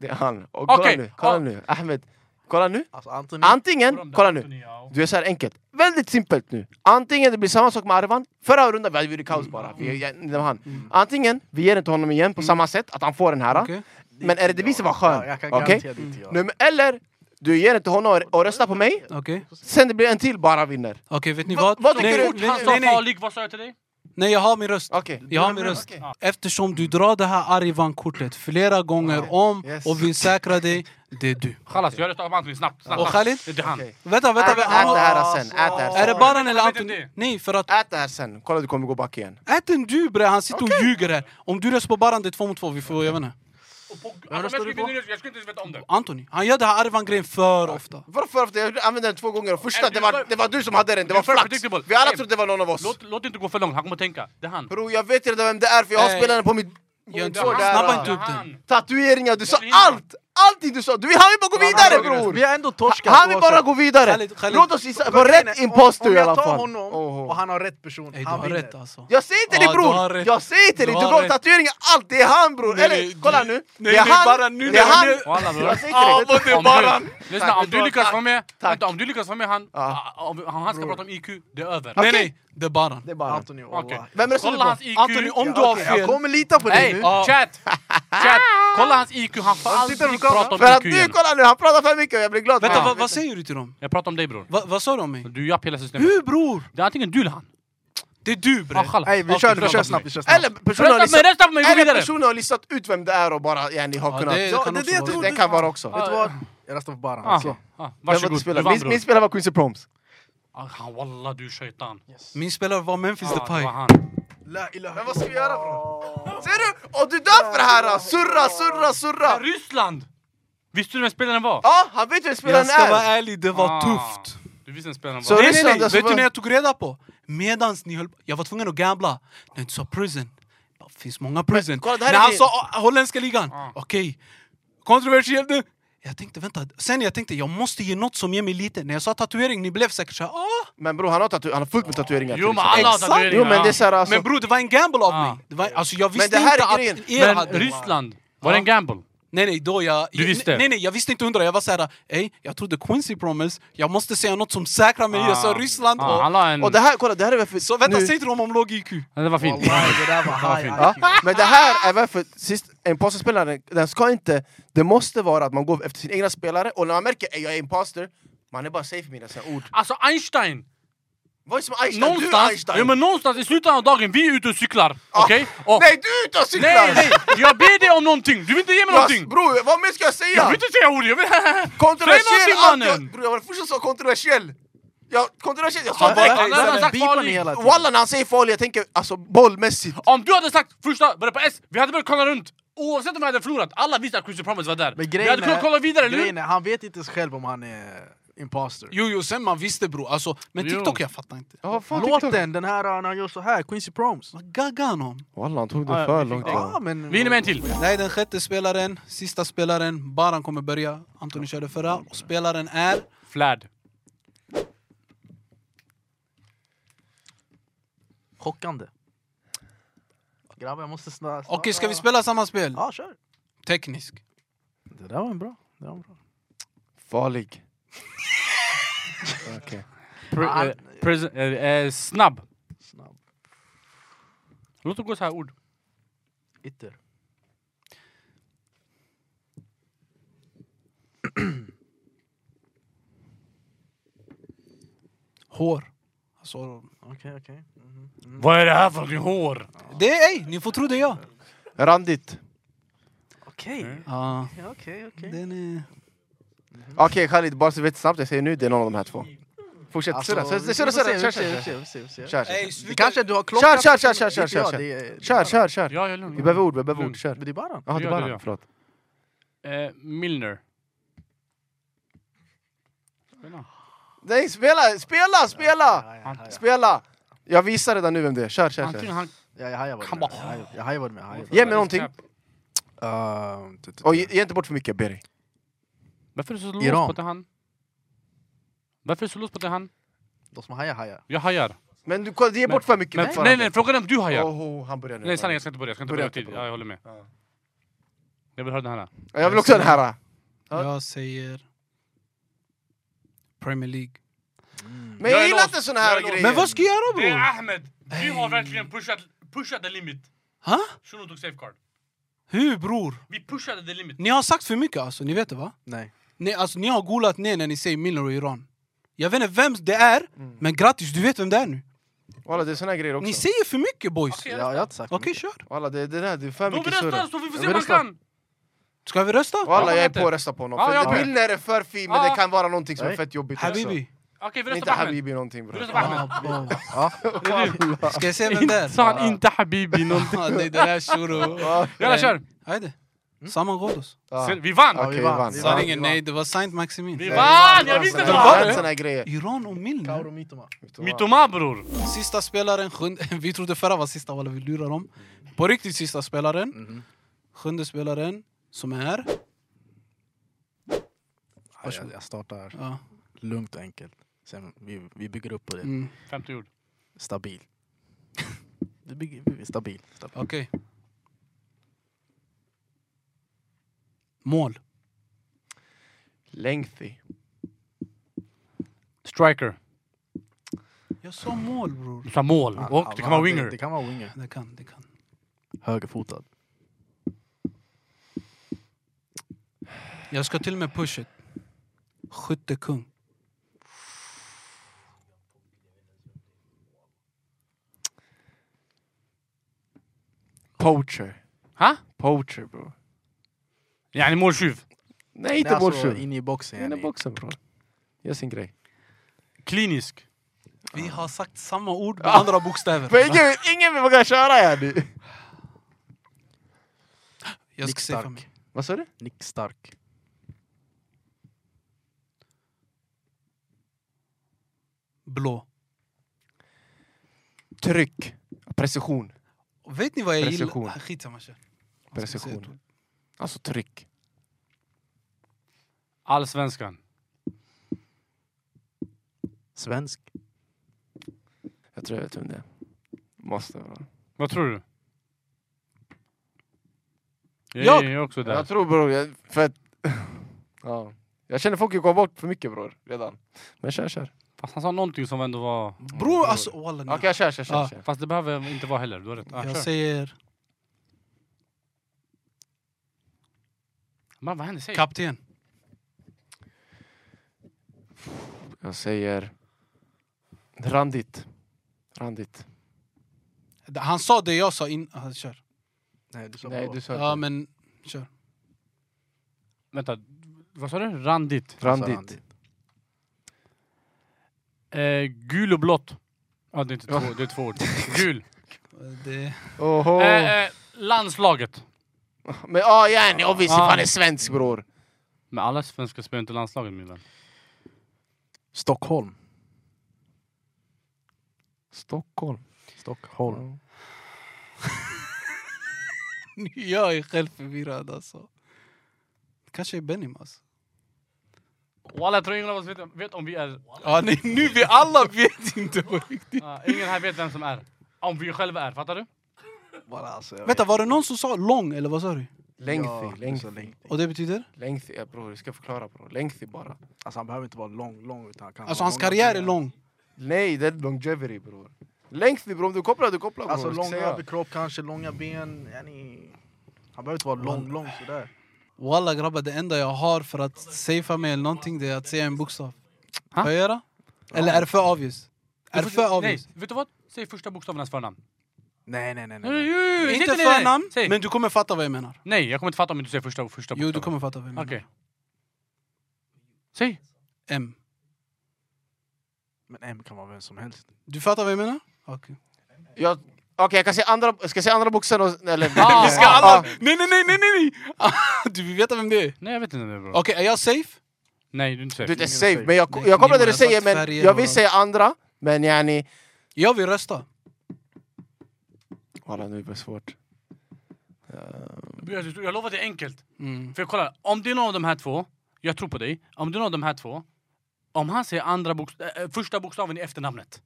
[SPEAKER 3] Det är han. Och
[SPEAKER 4] Okej,
[SPEAKER 3] kolla nu, kolla
[SPEAKER 4] ja.
[SPEAKER 3] nu. Ahmed, kolla
[SPEAKER 1] Mm.
[SPEAKER 3] nu.
[SPEAKER 2] Alltså Anthony.
[SPEAKER 3] Antingen, kolla nu. Du är så här enkelt. Väldigt simpelt nu. Antingen det blir samma sak med Arvan. Förra rundan vi hade vi kaos bara. Vi,
[SPEAKER 1] Mm.
[SPEAKER 3] jag, det var han. Antingen, vi ger den till honom igen på samma sätt, att han får den här.
[SPEAKER 1] Okej.
[SPEAKER 3] Men är det det var
[SPEAKER 2] Ja,
[SPEAKER 3] skön.
[SPEAKER 2] jag kan
[SPEAKER 3] Okej? Mm.
[SPEAKER 2] garantera det inte jag.
[SPEAKER 3] Nu, men- Eller, Du ger den till honom och röstar på mig,
[SPEAKER 1] Okej,
[SPEAKER 3] sen det blir en till bara vinner.
[SPEAKER 1] Okej, vet ni
[SPEAKER 3] Va-
[SPEAKER 1] vad?
[SPEAKER 3] vad tycker
[SPEAKER 1] nej,
[SPEAKER 3] du?
[SPEAKER 1] nej,
[SPEAKER 4] Han
[SPEAKER 1] nej,
[SPEAKER 4] sa
[SPEAKER 1] nej,
[SPEAKER 4] farlig, vad sa jag till dig?
[SPEAKER 1] nej, jag har min röst.
[SPEAKER 3] Okej.
[SPEAKER 1] Jag har min röst. Eftersom du drar det här Arivan-kortet flera gånger om
[SPEAKER 3] Yes.
[SPEAKER 1] och vill säkra dig, det är du.
[SPEAKER 4] Chalas, jag röstar på Anthony snabbt. snabbt.
[SPEAKER 1] Och
[SPEAKER 4] snabbt.
[SPEAKER 1] Khalid?
[SPEAKER 4] Det är han.
[SPEAKER 3] Okej.
[SPEAKER 1] Vänta, vänta,
[SPEAKER 3] Ät,
[SPEAKER 1] vänta.
[SPEAKER 3] ät det
[SPEAKER 1] han-
[SPEAKER 3] här alltså. sen, ät det här
[SPEAKER 1] Är det
[SPEAKER 3] sen.
[SPEAKER 1] Baran eller
[SPEAKER 4] Jag vet
[SPEAKER 1] Anthony?
[SPEAKER 4] inte.
[SPEAKER 1] Nej, för att
[SPEAKER 3] Ät det här sen, kolla du kommer gå back igen.
[SPEAKER 1] ät en du bre, han sitter och ljuger här. Om du röstar på Baran, det är två mot två. Vi får, jag vet inte.
[SPEAKER 4] Och på- alltså, om jag skulle vinna nu, jag skulle inte ens veta om det.
[SPEAKER 1] Anthony, han gör det här Arivan-grejen för ofta.
[SPEAKER 3] Vadå för ofta? Jag använde den två gånger och första,
[SPEAKER 4] Äh, du
[SPEAKER 3] det var,
[SPEAKER 4] var-
[SPEAKER 3] det var du som hade den, det var
[SPEAKER 4] Du var
[SPEAKER 3] flax!
[SPEAKER 4] predictable.
[SPEAKER 3] Vi alla
[SPEAKER 4] Hey.
[SPEAKER 3] trodde det var någon av oss.
[SPEAKER 4] Låt, låt det inte gå för långt, han kommer tänka. Det är han.
[SPEAKER 3] Bro, jag vet redan vem det är för jag har
[SPEAKER 1] Äh,
[SPEAKER 3] spelaren på mitt...
[SPEAKER 1] Gör inte
[SPEAKER 3] Det var
[SPEAKER 1] så,
[SPEAKER 3] där,
[SPEAKER 1] snabba
[SPEAKER 3] va?
[SPEAKER 1] inte upp den.
[SPEAKER 3] Tatueringar, du sa
[SPEAKER 4] hinner.
[SPEAKER 3] allt! Allting du sa! Du han vill bara gå vidare
[SPEAKER 2] Vi
[SPEAKER 3] bror!
[SPEAKER 2] har ändå torskat
[SPEAKER 3] Han vill bara
[SPEAKER 2] oavsett.
[SPEAKER 3] gå vidare!
[SPEAKER 1] Khalid, Khalid.
[SPEAKER 3] Låt oss gissa på rätt imposter
[SPEAKER 2] om, om
[SPEAKER 3] i alla
[SPEAKER 2] jag tar
[SPEAKER 3] fall!
[SPEAKER 2] honom
[SPEAKER 3] Oho.
[SPEAKER 2] och han har rätt person,
[SPEAKER 1] Ey, du
[SPEAKER 2] han
[SPEAKER 1] har
[SPEAKER 2] vinner.
[SPEAKER 1] rätt alltså.
[SPEAKER 3] Jag säger till dig
[SPEAKER 1] Ja, du har
[SPEAKER 3] bror!
[SPEAKER 1] rätt.
[SPEAKER 3] jag säger till dig!
[SPEAKER 1] Du
[SPEAKER 3] Du
[SPEAKER 1] har
[SPEAKER 3] gav
[SPEAKER 1] rätt.
[SPEAKER 3] tatueringen allt! Det är han bror!
[SPEAKER 1] Nej,
[SPEAKER 3] Eller
[SPEAKER 1] nej,
[SPEAKER 3] kolla
[SPEAKER 1] du-
[SPEAKER 3] nu!
[SPEAKER 1] nej,
[SPEAKER 3] Det är
[SPEAKER 1] nej, bara
[SPEAKER 3] han!
[SPEAKER 1] nu
[SPEAKER 3] Det är
[SPEAKER 1] när du-
[SPEAKER 3] han!
[SPEAKER 4] Walla bror.
[SPEAKER 3] Jag säger till dig!
[SPEAKER 4] Om du, lyssna,
[SPEAKER 3] Tack,
[SPEAKER 4] om du
[SPEAKER 3] tack,
[SPEAKER 4] lyckas
[SPEAKER 3] tack,
[SPEAKER 4] vara med,
[SPEAKER 3] tack.
[SPEAKER 4] vänta, om du lyckas vara med han,
[SPEAKER 3] Ja.
[SPEAKER 4] ah, om om han ska prata om IQ, det är över.
[SPEAKER 1] Nej,
[SPEAKER 3] Okej.
[SPEAKER 1] nej, det är Baran.
[SPEAKER 3] Det är bara
[SPEAKER 2] Anthony,
[SPEAKER 4] Okej.
[SPEAKER 2] wallah.
[SPEAKER 3] Vem röstar du
[SPEAKER 4] Kolla
[SPEAKER 3] på?
[SPEAKER 4] hans IQ.
[SPEAKER 1] Anthony, om du har
[SPEAKER 2] Okej, Jag
[SPEAKER 1] fel...
[SPEAKER 2] kommer lita på dig
[SPEAKER 4] Nej,
[SPEAKER 2] nu.
[SPEAKER 1] Ja.
[SPEAKER 4] chat! Chat! Kolla hans IQ, han får
[SPEAKER 2] tittar
[SPEAKER 4] aldrig
[SPEAKER 2] på kameran.
[SPEAKER 4] prata om
[SPEAKER 3] För att
[SPEAKER 4] IQ
[SPEAKER 3] nu,
[SPEAKER 4] igen.
[SPEAKER 3] kolla nu! Han pratar för mycket och jag blir glad!
[SPEAKER 1] Vänta,
[SPEAKER 3] Ja.
[SPEAKER 1] vad, vad säger du till dem?
[SPEAKER 4] Jag pratar om dig bror.
[SPEAKER 1] Va, vad sa du om mig?
[SPEAKER 4] Du japp hela systemet.
[SPEAKER 1] Hur bror?
[SPEAKER 4] Det är antingen du eller han.
[SPEAKER 1] Det är du bre.
[SPEAKER 4] Ah, chalas.
[SPEAKER 2] Nej, vi
[SPEAKER 4] Okej,
[SPEAKER 2] kör, vi
[SPEAKER 4] förlåt,
[SPEAKER 2] kör
[SPEAKER 4] Anthony.
[SPEAKER 2] snabbt. Vi kör snabbt.
[SPEAKER 3] Eller personen har
[SPEAKER 4] Rösta på mig,
[SPEAKER 3] listat,
[SPEAKER 4] rösta på mig, gå
[SPEAKER 3] eller
[SPEAKER 4] vidare!
[SPEAKER 3] personen har listat ut vem det är och bara yani har
[SPEAKER 1] Ja,
[SPEAKER 3] kunnat...
[SPEAKER 1] det-
[SPEAKER 3] Ja,
[SPEAKER 1] kan
[SPEAKER 2] det är
[SPEAKER 1] också
[SPEAKER 2] det jag
[SPEAKER 1] vara.
[SPEAKER 2] tror.
[SPEAKER 3] Det kan vara också.
[SPEAKER 2] Vet du vad? Jag röstar på Baran.
[SPEAKER 4] Ah,
[SPEAKER 2] alltså.
[SPEAKER 4] ah,
[SPEAKER 3] Vem var
[SPEAKER 4] Varsågod,
[SPEAKER 3] din
[SPEAKER 4] du
[SPEAKER 3] spelare?
[SPEAKER 4] vann
[SPEAKER 3] Min, min
[SPEAKER 4] bror.
[SPEAKER 3] spelare var Quincy Proms.
[SPEAKER 4] Ah, Wallah du shaitan.
[SPEAKER 1] Min spelare var Memphis
[SPEAKER 4] Ah, det
[SPEAKER 1] Depay.
[SPEAKER 4] var han.
[SPEAKER 2] La ilaha
[SPEAKER 3] Men vad ska vi göra bro? Ser du? Och du dör för det här! då. Surra, surra, surra!
[SPEAKER 4] Ryssland! Visste du vem spelaren var?
[SPEAKER 3] Ja, han vet vem
[SPEAKER 1] Jag
[SPEAKER 3] spelaren
[SPEAKER 1] ska vara
[SPEAKER 3] är!
[SPEAKER 1] ärlig, det var
[SPEAKER 4] Ah.
[SPEAKER 1] tufft.
[SPEAKER 4] Du visste vem spelaren
[SPEAKER 3] Så-
[SPEAKER 4] var?
[SPEAKER 1] Nej, nej,
[SPEAKER 3] Ryssland,
[SPEAKER 1] nej.
[SPEAKER 3] alltså,
[SPEAKER 1] Vet du
[SPEAKER 3] vad-
[SPEAKER 1] när jag tog reda på? Medans ni höll Jag var tvungen att gambla. När du sa prison. bara, finns många prison.
[SPEAKER 3] kolla, det här
[SPEAKER 1] när
[SPEAKER 3] är
[SPEAKER 1] han
[SPEAKER 3] det-
[SPEAKER 1] sa "Ah, holländska ligan.
[SPEAKER 4] Ja.
[SPEAKER 1] Okej. Kontroversiellt nu. Jag tänkte vänta. Sen jag tänkte jag måste ge något som ger mig lite. När jag sa tatuering, ni blev säkert såhär ah.
[SPEAKER 3] Men bror han har, tatu- han har fullt med tatueringar
[SPEAKER 4] Jo
[SPEAKER 3] till
[SPEAKER 4] men
[SPEAKER 3] exempel.
[SPEAKER 4] alla har
[SPEAKER 1] Exakt.
[SPEAKER 4] tatueringar.
[SPEAKER 3] Jo men det är
[SPEAKER 4] ja.
[SPEAKER 3] såhär alltså...
[SPEAKER 1] Men bror det var en gamble av
[SPEAKER 4] Ja.
[SPEAKER 1] mig. Det var, alltså, jag visste
[SPEAKER 3] det här
[SPEAKER 1] inte
[SPEAKER 3] är grejen.
[SPEAKER 1] att er
[SPEAKER 4] Ah. Men
[SPEAKER 1] hade...
[SPEAKER 4] Ryssland, var det en gamble?
[SPEAKER 1] Nej nej, då jag...
[SPEAKER 4] Du visste?
[SPEAKER 1] Nej nej, jag visste inte hundra. Jag var såhär, ey, jag trodde Quincy Promise. Jag måste säga något som säkrar mig. Jag sa Ryssland
[SPEAKER 4] Ah,
[SPEAKER 1] och...
[SPEAKER 4] han la en...
[SPEAKER 3] Och det här, kolla det här är varför...
[SPEAKER 1] Så vänta,
[SPEAKER 3] nu-
[SPEAKER 1] säg till dem om låg IQ.
[SPEAKER 4] Ja, Det var fint.
[SPEAKER 2] Wallah, det där
[SPEAKER 4] var
[SPEAKER 2] var high.
[SPEAKER 4] fint.
[SPEAKER 3] Ja?
[SPEAKER 2] IQ.
[SPEAKER 3] Men det här är varför sist, imposterspelaren, den ska inte... Det måste vara att man går efter sin egna spelare och när man märker att jag är imposter, man är bara safe med sina ord.
[SPEAKER 4] Alltså Einstein!
[SPEAKER 3] Vad är som Einstein? Du är
[SPEAKER 4] Någonstans,
[SPEAKER 3] Einstein!
[SPEAKER 4] ja, men någonstans i slutet av dagen, vi är ute och cyklar. Okej? Och-
[SPEAKER 3] Nej du är ute och cyklar!
[SPEAKER 4] nej, nej! Jag ber dig om någonting, du vill inte ge mig någonting!
[SPEAKER 3] Bror vad mer ska jag säga?
[SPEAKER 4] Jag vill inte säga ord, jag vill...
[SPEAKER 3] Kontroversiell!
[SPEAKER 4] Säg
[SPEAKER 3] allt
[SPEAKER 4] någonting,
[SPEAKER 3] jag-
[SPEAKER 4] mannen!
[SPEAKER 3] Bror jag var den första som sa kontroversiell! Jag, kontroversiell, jag sa
[SPEAKER 2] Han
[SPEAKER 3] direkt!
[SPEAKER 4] han har sagt
[SPEAKER 2] beepar
[SPEAKER 4] farlig.
[SPEAKER 2] ni hela tiden.
[SPEAKER 3] Walla när han säger farlig, jag tänker alltså bollmässigt
[SPEAKER 4] Om du hade sagt första, börja på S, vi hade börjat kolla runt. Oavsett om vi hade förlorat, alla visste att Christer Promise var där.
[SPEAKER 2] Men
[SPEAKER 4] Vi hade
[SPEAKER 2] grejen
[SPEAKER 4] kunnat
[SPEAKER 2] är-
[SPEAKER 4] kolla vidare, eller hur?
[SPEAKER 2] Grejen är, han vet inte ens själv om han är imposter.
[SPEAKER 1] Jo, jo, sen man visste bror. Alltså, men
[SPEAKER 4] Jo.
[SPEAKER 1] TikTok, jag fattar inte.
[SPEAKER 3] Ja, fan,
[SPEAKER 2] Låten, den här uh, när han gör så här, Quincy Proms.
[SPEAKER 1] Vad gaggar han om?
[SPEAKER 3] Walla han tog det
[SPEAKER 4] Ja,
[SPEAKER 3] för
[SPEAKER 4] vi fick
[SPEAKER 3] långt
[SPEAKER 4] det.
[SPEAKER 3] ja.
[SPEAKER 2] Ja, men...
[SPEAKER 4] Vi hinner med en till.
[SPEAKER 1] Nej, den sjätte spelaren, sista spelaren, Baran kommer börja. Antoni körde förra. Och spelaren är...
[SPEAKER 4] Flad.
[SPEAKER 2] Chockande. Grabbar, jag måste snabbt...
[SPEAKER 1] Okej, ska vi spela samma spel?
[SPEAKER 2] Ja, kör.
[SPEAKER 1] Teknisk.
[SPEAKER 2] Det där var en bra. Det där var en bra.
[SPEAKER 3] Farlig Okej.
[SPEAKER 2] Ah,
[SPEAKER 4] Pr- eh, prison- eh, eh, snabb.
[SPEAKER 2] Snabb.
[SPEAKER 4] Låt det gå så här ord.
[SPEAKER 2] Ytter.
[SPEAKER 1] Hår. Alltså,
[SPEAKER 2] Okej, okej. Mhm.
[SPEAKER 4] Vad är det här för hår?
[SPEAKER 1] det är ej, ni får tro det är jag.
[SPEAKER 3] Randigt
[SPEAKER 2] Okej,
[SPEAKER 1] Ja,
[SPEAKER 2] Mm. okej, okej.
[SPEAKER 1] den är...
[SPEAKER 3] Okej Khalid, bara så du vet snabbt, jag säger nu det är någon av de här två Fortsätt,
[SPEAKER 2] Alltså,
[SPEAKER 3] surra, surra,
[SPEAKER 2] vi
[SPEAKER 3] surra,
[SPEAKER 2] får se,
[SPEAKER 3] surra,
[SPEAKER 2] vi
[SPEAKER 3] kör,
[SPEAKER 2] får
[SPEAKER 3] kör,
[SPEAKER 2] se,
[SPEAKER 3] kör,
[SPEAKER 2] vi får se, vi får se.
[SPEAKER 3] kör,
[SPEAKER 1] Ey,
[SPEAKER 3] kör.
[SPEAKER 2] Det
[SPEAKER 1] sluta!
[SPEAKER 2] kanske du har klockat...
[SPEAKER 3] kör, kör, kör, kör,
[SPEAKER 2] Inte jag,
[SPEAKER 3] kör.
[SPEAKER 2] det är-
[SPEAKER 3] Kör, kör, kör!
[SPEAKER 4] Ja, jag är lugn.
[SPEAKER 3] Vi behöver ord, vi behöver ord, kör
[SPEAKER 2] Det är bara...
[SPEAKER 3] Jaha,
[SPEAKER 4] Det
[SPEAKER 3] det
[SPEAKER 4] Mm. gör
[SPEAKER 3] var
[SPEAKER 4] det,
[SPEAKER 3] han,
[SPEAKER 4] ja.
[SPEAKER 3] förlåt
[SPEAKER 4] Eh, Milner.
[SPEAKER 3] Nej spela, spela, spela!
[SPEAKER 2] Ja, ja, ja, ja.
[SPEAKER 3] Spela! Jag visar redan nu vem det är, kör, kör,
[SPEAKER 4] Antingen
[SPEAKER 3] kör
[SPEAKER 4] han...
[SPEAKER 2] Ja, Jag hajar vad
[SPEAKER 4] Come
[SPEAKER 2] det
[SPEAKER 4] on.
[SPEAKER 2] är. Jag hajar- Jag hajar vad det är. jag hajar vad det
[SPEAKER 3] Ge mig någonting,
[SPEAKER 2] är. Ehm, t- t-
[SPEAKER 3] och ge ge inte bort för mycket, jag ber dig
[SPEAKER 4] Varför är du så låst
[SPEAKER 2] Iran.
[SPEAKER 4] på att det är han? Varför är du så låst på att det är han?
[SPEAKER 2] De som hajar hajar.
[SPEAKER 4] Jag hajar.
[SPEAKER 3] Men du, kolla, det är bort för mycket
[SPEAKER 4] Men,
[SPEAKER 3] fortfarande.
[SPEAKER 4] nej, nej, frågan är om du hajar.
[SPEAKER 3] Åh, han börjar nu.
[SPEAKER 4] nej, sanningen, jag ska inte börja. Jag ska inte
[SPEAKER 3] Börja
[SPEAKER 4] börja
[SPEAKER 3] typ. inte
[SPEAKER 4] tid.
[SPEAKER 3] på
[SPEAKER 4] Ja, jag håller med. Jag vill höra den här.
[SPEAKER 3] Ja, Jag vill också ha den här.
[SPEAKER 1] Jag säger... Premier League.
[SPEAKER 3] Men
[SPEAKER 4] Jag
[SPEAKER 3] jag
[SPEAKER 4] är
[SPEAKER 3] gillar
[SPEAKER 4] lost.
[SPEAKER 3] inte såna
[SPEAKER 4] Jag
[SPEAKER 3] här
[SPEAKER 4] är lost.
[SPEAKER 3] grejer.
[SPEAKER 1] Men vad ska jag göra
[SPEAKER 4] Det
[SPEAKER 1] bror?
[SPEAKER 4] är Ahmed! Du har verkligen pushat, pushat the limit.
[SPEAKER 1] Ha?
[SPEAKER 4] Shunon tog safeguard.
[SPEAKER 1] Hur bror?
[SPEAKER 4] Vi pushade the limit.
[SPEAKER 1] Ni har sagt för mycket alltså, ni vet det va?
[SPEAKER 2] Nej.
[SPEAKER 1] Nej, alltså, ni har golat ner när ni säger Miller och Iran. Jag vet inte vem det är, men grattis, du vet vem det är nu.
[SPEAKER 3] Walla det är såna här grejer också.
[SPEAKER 1] Ni säger för mycket boys. Okej,
[SPEAKER 4] Okej,
[SPEAKER 2] Ja, jag har inte sagt mycket.
[SPEAKER 1] kör.
[SPEAKER 3] Walla det, det där, det är
[SPEAKER 4] Då
[SPEAKER 3] för
[SPEAKER 4] vi
[SPEAKER 3] mycket surr.
[SPEAKER 4] röstar så vi får
[SPEAKER 3] Ja,
[SPEAKER 4] se
[SPEAKER 3] vi
[SPEAKER 4] om man
[SPEAKER 3] röstar.
[SPEAKER 4] kan!
[SPEAKER 1] Ska vi rösta?
[SPEAKER 3] Walla jag är
[SPEAKER 4] Mohammed.
[SPEAKER 3] på att rösta på honom.
[SPEAKER 4] Ja, jag
[SPEAKER 3] för
[SPEAKER 4] med.
[SPEAKER 3] bilden är för fin men
[SPEAKER 4] Ja.
[SPEAKER 3] det kan vara någonting som är
[SPEAKER 2] Nej.
[SPEAKER 3] fett jobbigt också.
[SPEAKER 1] Habibi.
[SPEAKER 4] Okej, vi
[SPEAKER 3] Nej,
[SPEAKER 4] röstar
[SPEAKER 3] Inte
[SPEAKER 4] på Ahmed.
[SPEAKER 3] Habibi någonting bror.
[SPEAKER 4] Vi röstar på Ahmed.
[SPEAKER 1] Ah,
[SPEAKER 2] Ja.
[SPEAKER 1] bom. Ska jag se vem det är?
[SPEAKER 4] Sa han inte Habibi någonting?
[SPEAKER 1] Ah, Nej, det där är shuro.
[SPEAKER 4] Jalla kör!
[SPEAKER 1] Hajde. Samman Ghoddos.
[SPEAKER 3] Ja.
[SPEAKER 4] Sen- Vi vann!
[SPEAKER 3] Okej, vi vann.
[SPEAKER 2] Vi
[SPEAKER 1] Sa
[SPEAKER 2] vann.
[SPEAKER 1] ingen nej, Mm. det var Saint
[SPEAKER 4] Vi
[SPEAKER 1] Maximin.
[SPEAKER 4] vann! Jag visste det!
[SPEAKER 3] Såna
[SPEAKER 4] var
[SPEAKER 3] här-
[SPEAKER 4] det.
[SPEAKER 3] såna här grejer.
[SPEAKER 1] Iran och Milner.
[SPEAKER 2] Kauro Mitoma.
[SPEAKER 4] Mitoma bror!
[SPEAKER 1] Sista spelaren, sjunde, vi trodde förra var sista, walla vi lurar dem. På riktigt sista spelaren.
[SPEAKER 3] Mhm.
[SPEAKER 1] Sjunde spelaren, som är...
[SPEAKER 2] Ja, jag, jag startar
[SPEAKER 1] Ja.
[SPEAKER 2] lugnt och enkelt. Sen vi, vi bygger upp på det.
[SPEAKER 1] Mm.
[SPEAKER 4] Femte ord.
[SPEAKER 2] Stabil. vi bygger vi, stabil. stabil.
[SPEAKER 1] Okej. Mål.
[SPEAKER 3] Lengthy.
[SPEAKER 4] Striker.
[SPEAKER 1] Jag sa mål, bror.
[SPEAKER 4] Du sa mål.
[SPEAKER 2] Han-
[SPEAKER 4] Och
[SPEAKER 2] han-
[SPEAKER 4] det kan vara
[SPEAKER 2] han- Det,
[SPEAKER 4] winger.
[SPEAKER 2] kan vara winger.
[SPEAKER 1] Det kan, det kan.
[SPEAKER 2] Högerfotad.
[SPEAKER 1] Jag ska till och med pusha. Skyttekung.
[SPEAKER 3] Poacher.
[SPEAKER 4] Ha?
[SPEAKER 3] Poacher bror.
[SPEAKER 4] Yani måltjuv.
[SPEAKER 3] Nej inte
[SPEAKER 2] Nej, alltså,
[SPEAKER 3] Poacher.
[SPEAKER 2] Inne i boxen.
[SPEAKER 3] Inne i
[SPEAKER 2] yani.
[SPEAKER 3] boxen bror. Gör sin grej.
[SPEAKER 4] Klinisk.
[SPEAKER 1] Vi har sagt samma ord med andra bokstäver.
[SPEAKER 3] Men ingen, ingen vill våga köra här nu.
[SPEAKER 1] Jag
[SPEAKER 2] Nick
[SPEAKER 1] ska säga för
[SPEAKER 2] Stark.
[SPEAKER 1] mig.
[SPEAKER 3] Vad sa du?
[SPEAKER 2] Nick Stark.
[SPEAKER 1] Blå.
[SPEAKER 3] Tryck. Precision.
[SPEAKER 1] Och vet ni vad jag
[SPEAKER 3] Precision.
[SPEAKER 1] gillar? Skitsamma, kör. Vad ska jag säga då?
[SPEAKER 3] Precision. Alltså tryck.
[SPEAKER 4] Allsvenskan.
[SPEAKER 2] Svensk.
[SPEAKER 3] Jag tror jag vet vem det är. Måste vara.
[SPEAKER 4] Vad tror du?
[SPEAKER 1] Jag.
[SPEAKER 4] Jag är också där.
[SPEAKER 3] Jag tror bror, jag, för att... ja. Jag känner folk går bort för mycket bror, redan. Men kör, kör.
[SPEAKER 4] Fast han sa någonting som ändå var...
[SPEAKER 1] Bror, alltså walla.
[SPEAKER 3] Okej,
[SPEAKER 1] nej.
[SPEAKER 3] okay, kör, kör, kör.
[SPEAKER 1] Ja.
[SPEAKER 3] kör.
[SPEAKER 4] Fast det behöver inte vara heller, du har rätt. Ah,
[SPEAKER 1] Jag
[SPEAKER 4] kör.
[SPEAKER 1] säger
[SPEAKER 4] Man, vad händer? Säg.
[SPEAKER 1] kapten.
[SPEAKER 3] Jag säger... Randigt. Randigt.
[SPEAKER 1] Han sa det jag sa in... Ah, kör.
[SPEAKER 2] Nej, du sa
[SPEAKER 3] Nej,
[SPEAKER 2] blå.
[SPEAKER 3] du sa
[SPEAKER 1] Ja,
[SPEAKER 3] inte.
[SPEAKER 1] men eh, kör.
[SPEAKER 4] Vänta, vad sa du? Randigt.
[SPEAKER 2] Du sa
[SPEAKER 3] Randigt.
[SPEAKER 4] Eh, gul och blått. Ja, det är inte två, det är två ord. Gul.
[SPEAKER 1] Det...
[SPEAKER 3] Oho.
[SPEAKER 4] Eh, eh, landslaget.
[SPEAKER 3] Men ja, igen, obviously,
[SPEAKER 4] Ah.
[SPEAKER 3] fan är svensk bror.
[SPEAKER 4] Men alla svenskar spelar inte i landslaget min vän.
[SPEAKER 2] Stockholm.
[SPEAKER 3] Stockholm.
[SPEAKER 2] Stockholm.
[SPEAKER 1] Jag är själv förvirrad alltså. Kanske är Benim alltså.
[SPEAKER 4] Och alla tror ingen av oss vet, vet om vi är...
[SPEAKER 1] Ja, nej, nu vi alla vet inte på riktigt.
[SPEAKER 4] Ah, ingen här vet vem som är. Om vi själva är, fattar du?
[SPEAKER 2] Bara, alltså, jag
[SPEAKER 1] Vänta,
[SPEAKER 2] vet-
[SPEAKER 1] var det någon som sa lång eller vad sa du?
[SPEAKER 3] Lengthy,
[SPEAKER 2] Ja, du sa
[SPEAKER 3] lengthy.
[SPEAKER 2] lengthy.
[SPEAKER 1] Och det betyder?
[SPEAKER 3] Lengthy, ja, bror, jag ska förklara bror. Lengthy bara.
[SPEAKER 2] Alltså, han behöver inte vara lång, lång. Utan han kan
[SPEAKER 1] Alltså
[SPEAKER 2] vara
[SPEAKER 1] hans
[SPEAKER 2] många
[SPEAKER 1] karriär är
[SPEAKER 2] pengar.
[SPEAKER 1] lång.
[SPEAKER 3] Nej, det är longevity bror. Lengthy bror, om du kopplar, du kopplar bror.
[SPEAKER 2] Alltså
[SPEAKER 3] Vad ska
[SPEAKER 2] lång
[SPEAKER 3] jag säga?
[SPEAKER 2] överkropp kanske, långa ben. Yani... Han behöver inte vara lång, lång sådär.
[SPEAKER 1] Walla grabbar, det enda jag har för att safea mig eller någonting det är att säga en bokstav.
[SPEAKER 4] Ha?
[SPEAKER 1] Får jag göra? Eller är det för obvious? Är det för
[SPEAKER 4] Nej,
[SPEAKER 1] obvious?
[SPEAKER 4] vet du vad? Säg första bokstaven i hans förnamn.
[SPEAKER 2] Nej, nej, nej.
[SPEAKER 4] Nej,
[SPEAKER 2] nej.
[SPEAKER 4] nej, nej, nej,
[SPEAKER 1] Inte
[SPEAKER 4] nej, nej, nej.
[SPEAKER 1] förnamn,
[SPEAKER 4] Säg.
[SPEAKER 1] men du kommer fatta vad jag menar.
[SPEAKER 4] Nej, jag kommer inte fatta om du inte säger första, första
[SPEAKER 1] Jo,
[SPEAKER 4] bokstaven.
[SPEAKER 1] du kommer fatta vad jag menar.
[SPEAKER 4] Okej. Säg.
[SPEAKER 1] M.
[SPEAKER 2] Men M kan vara vem som helst.
[SPEAKER 1] Du fattar vad jag menar? Okej.
[SPEAKER 3] Jag- Okej, jag kan säga andra, ska jag säga andra boxen och, eller?
[SPEAKER 4] Ah,
[SPEAKER 3] Vi
[SPEAKER 1] Ska
[SPEAKER 3] ah,
[SPEAKER 1] alla...
[SPEAKER 3] ah.
[SPEAKER 1] Nej, nej, nej, nej, nej! nej. Du vill veta vem det är?
[SPEAKER 4] Nej, jag vet inte nu bror.
[SPEAKER 1] Okej, är jag safe?
[SPEAKER 4] Nej, du är inte
[SPEAKER 3] Du
[SPEAKER 4] säker.
[SPEAKER 3] är
[SPEAKER 2] Ingen
[SPEAKER 3] safe,
[SPEAKER 2] safe.
[SPEAKER 3] men jag,
[SPEAKER 1] Nej,
[SPEAKER 3] jag kopplar det
[SPEAKER 1] Neymar
[SPEAKER 3] du
[SPEAKER 1] har
[SPEAKER 3] säger
[SPEAKER 1] sagt
[SPEAKER 3] men
[SPEAKER 1] Sverige
[SPEAKER 3] jag vill
[SPEAKER 1] och-
[SPEAKER 3] säga andra, men yani...
[SPEAKER 1] Jag vill rösta.
[SPEAKER 3] Walla nu blir det svårt.
[SPEAKER 4] Jag, jag lovar det är enkelt.
[SPEAKER 1] Mm.
[SPEAKER 4] För kolla, om det är någon av de här två, jag tror på dig. Om det är någon av de här två, om han säger andra bokst- äh, äh, första bokstaven i efternamnet.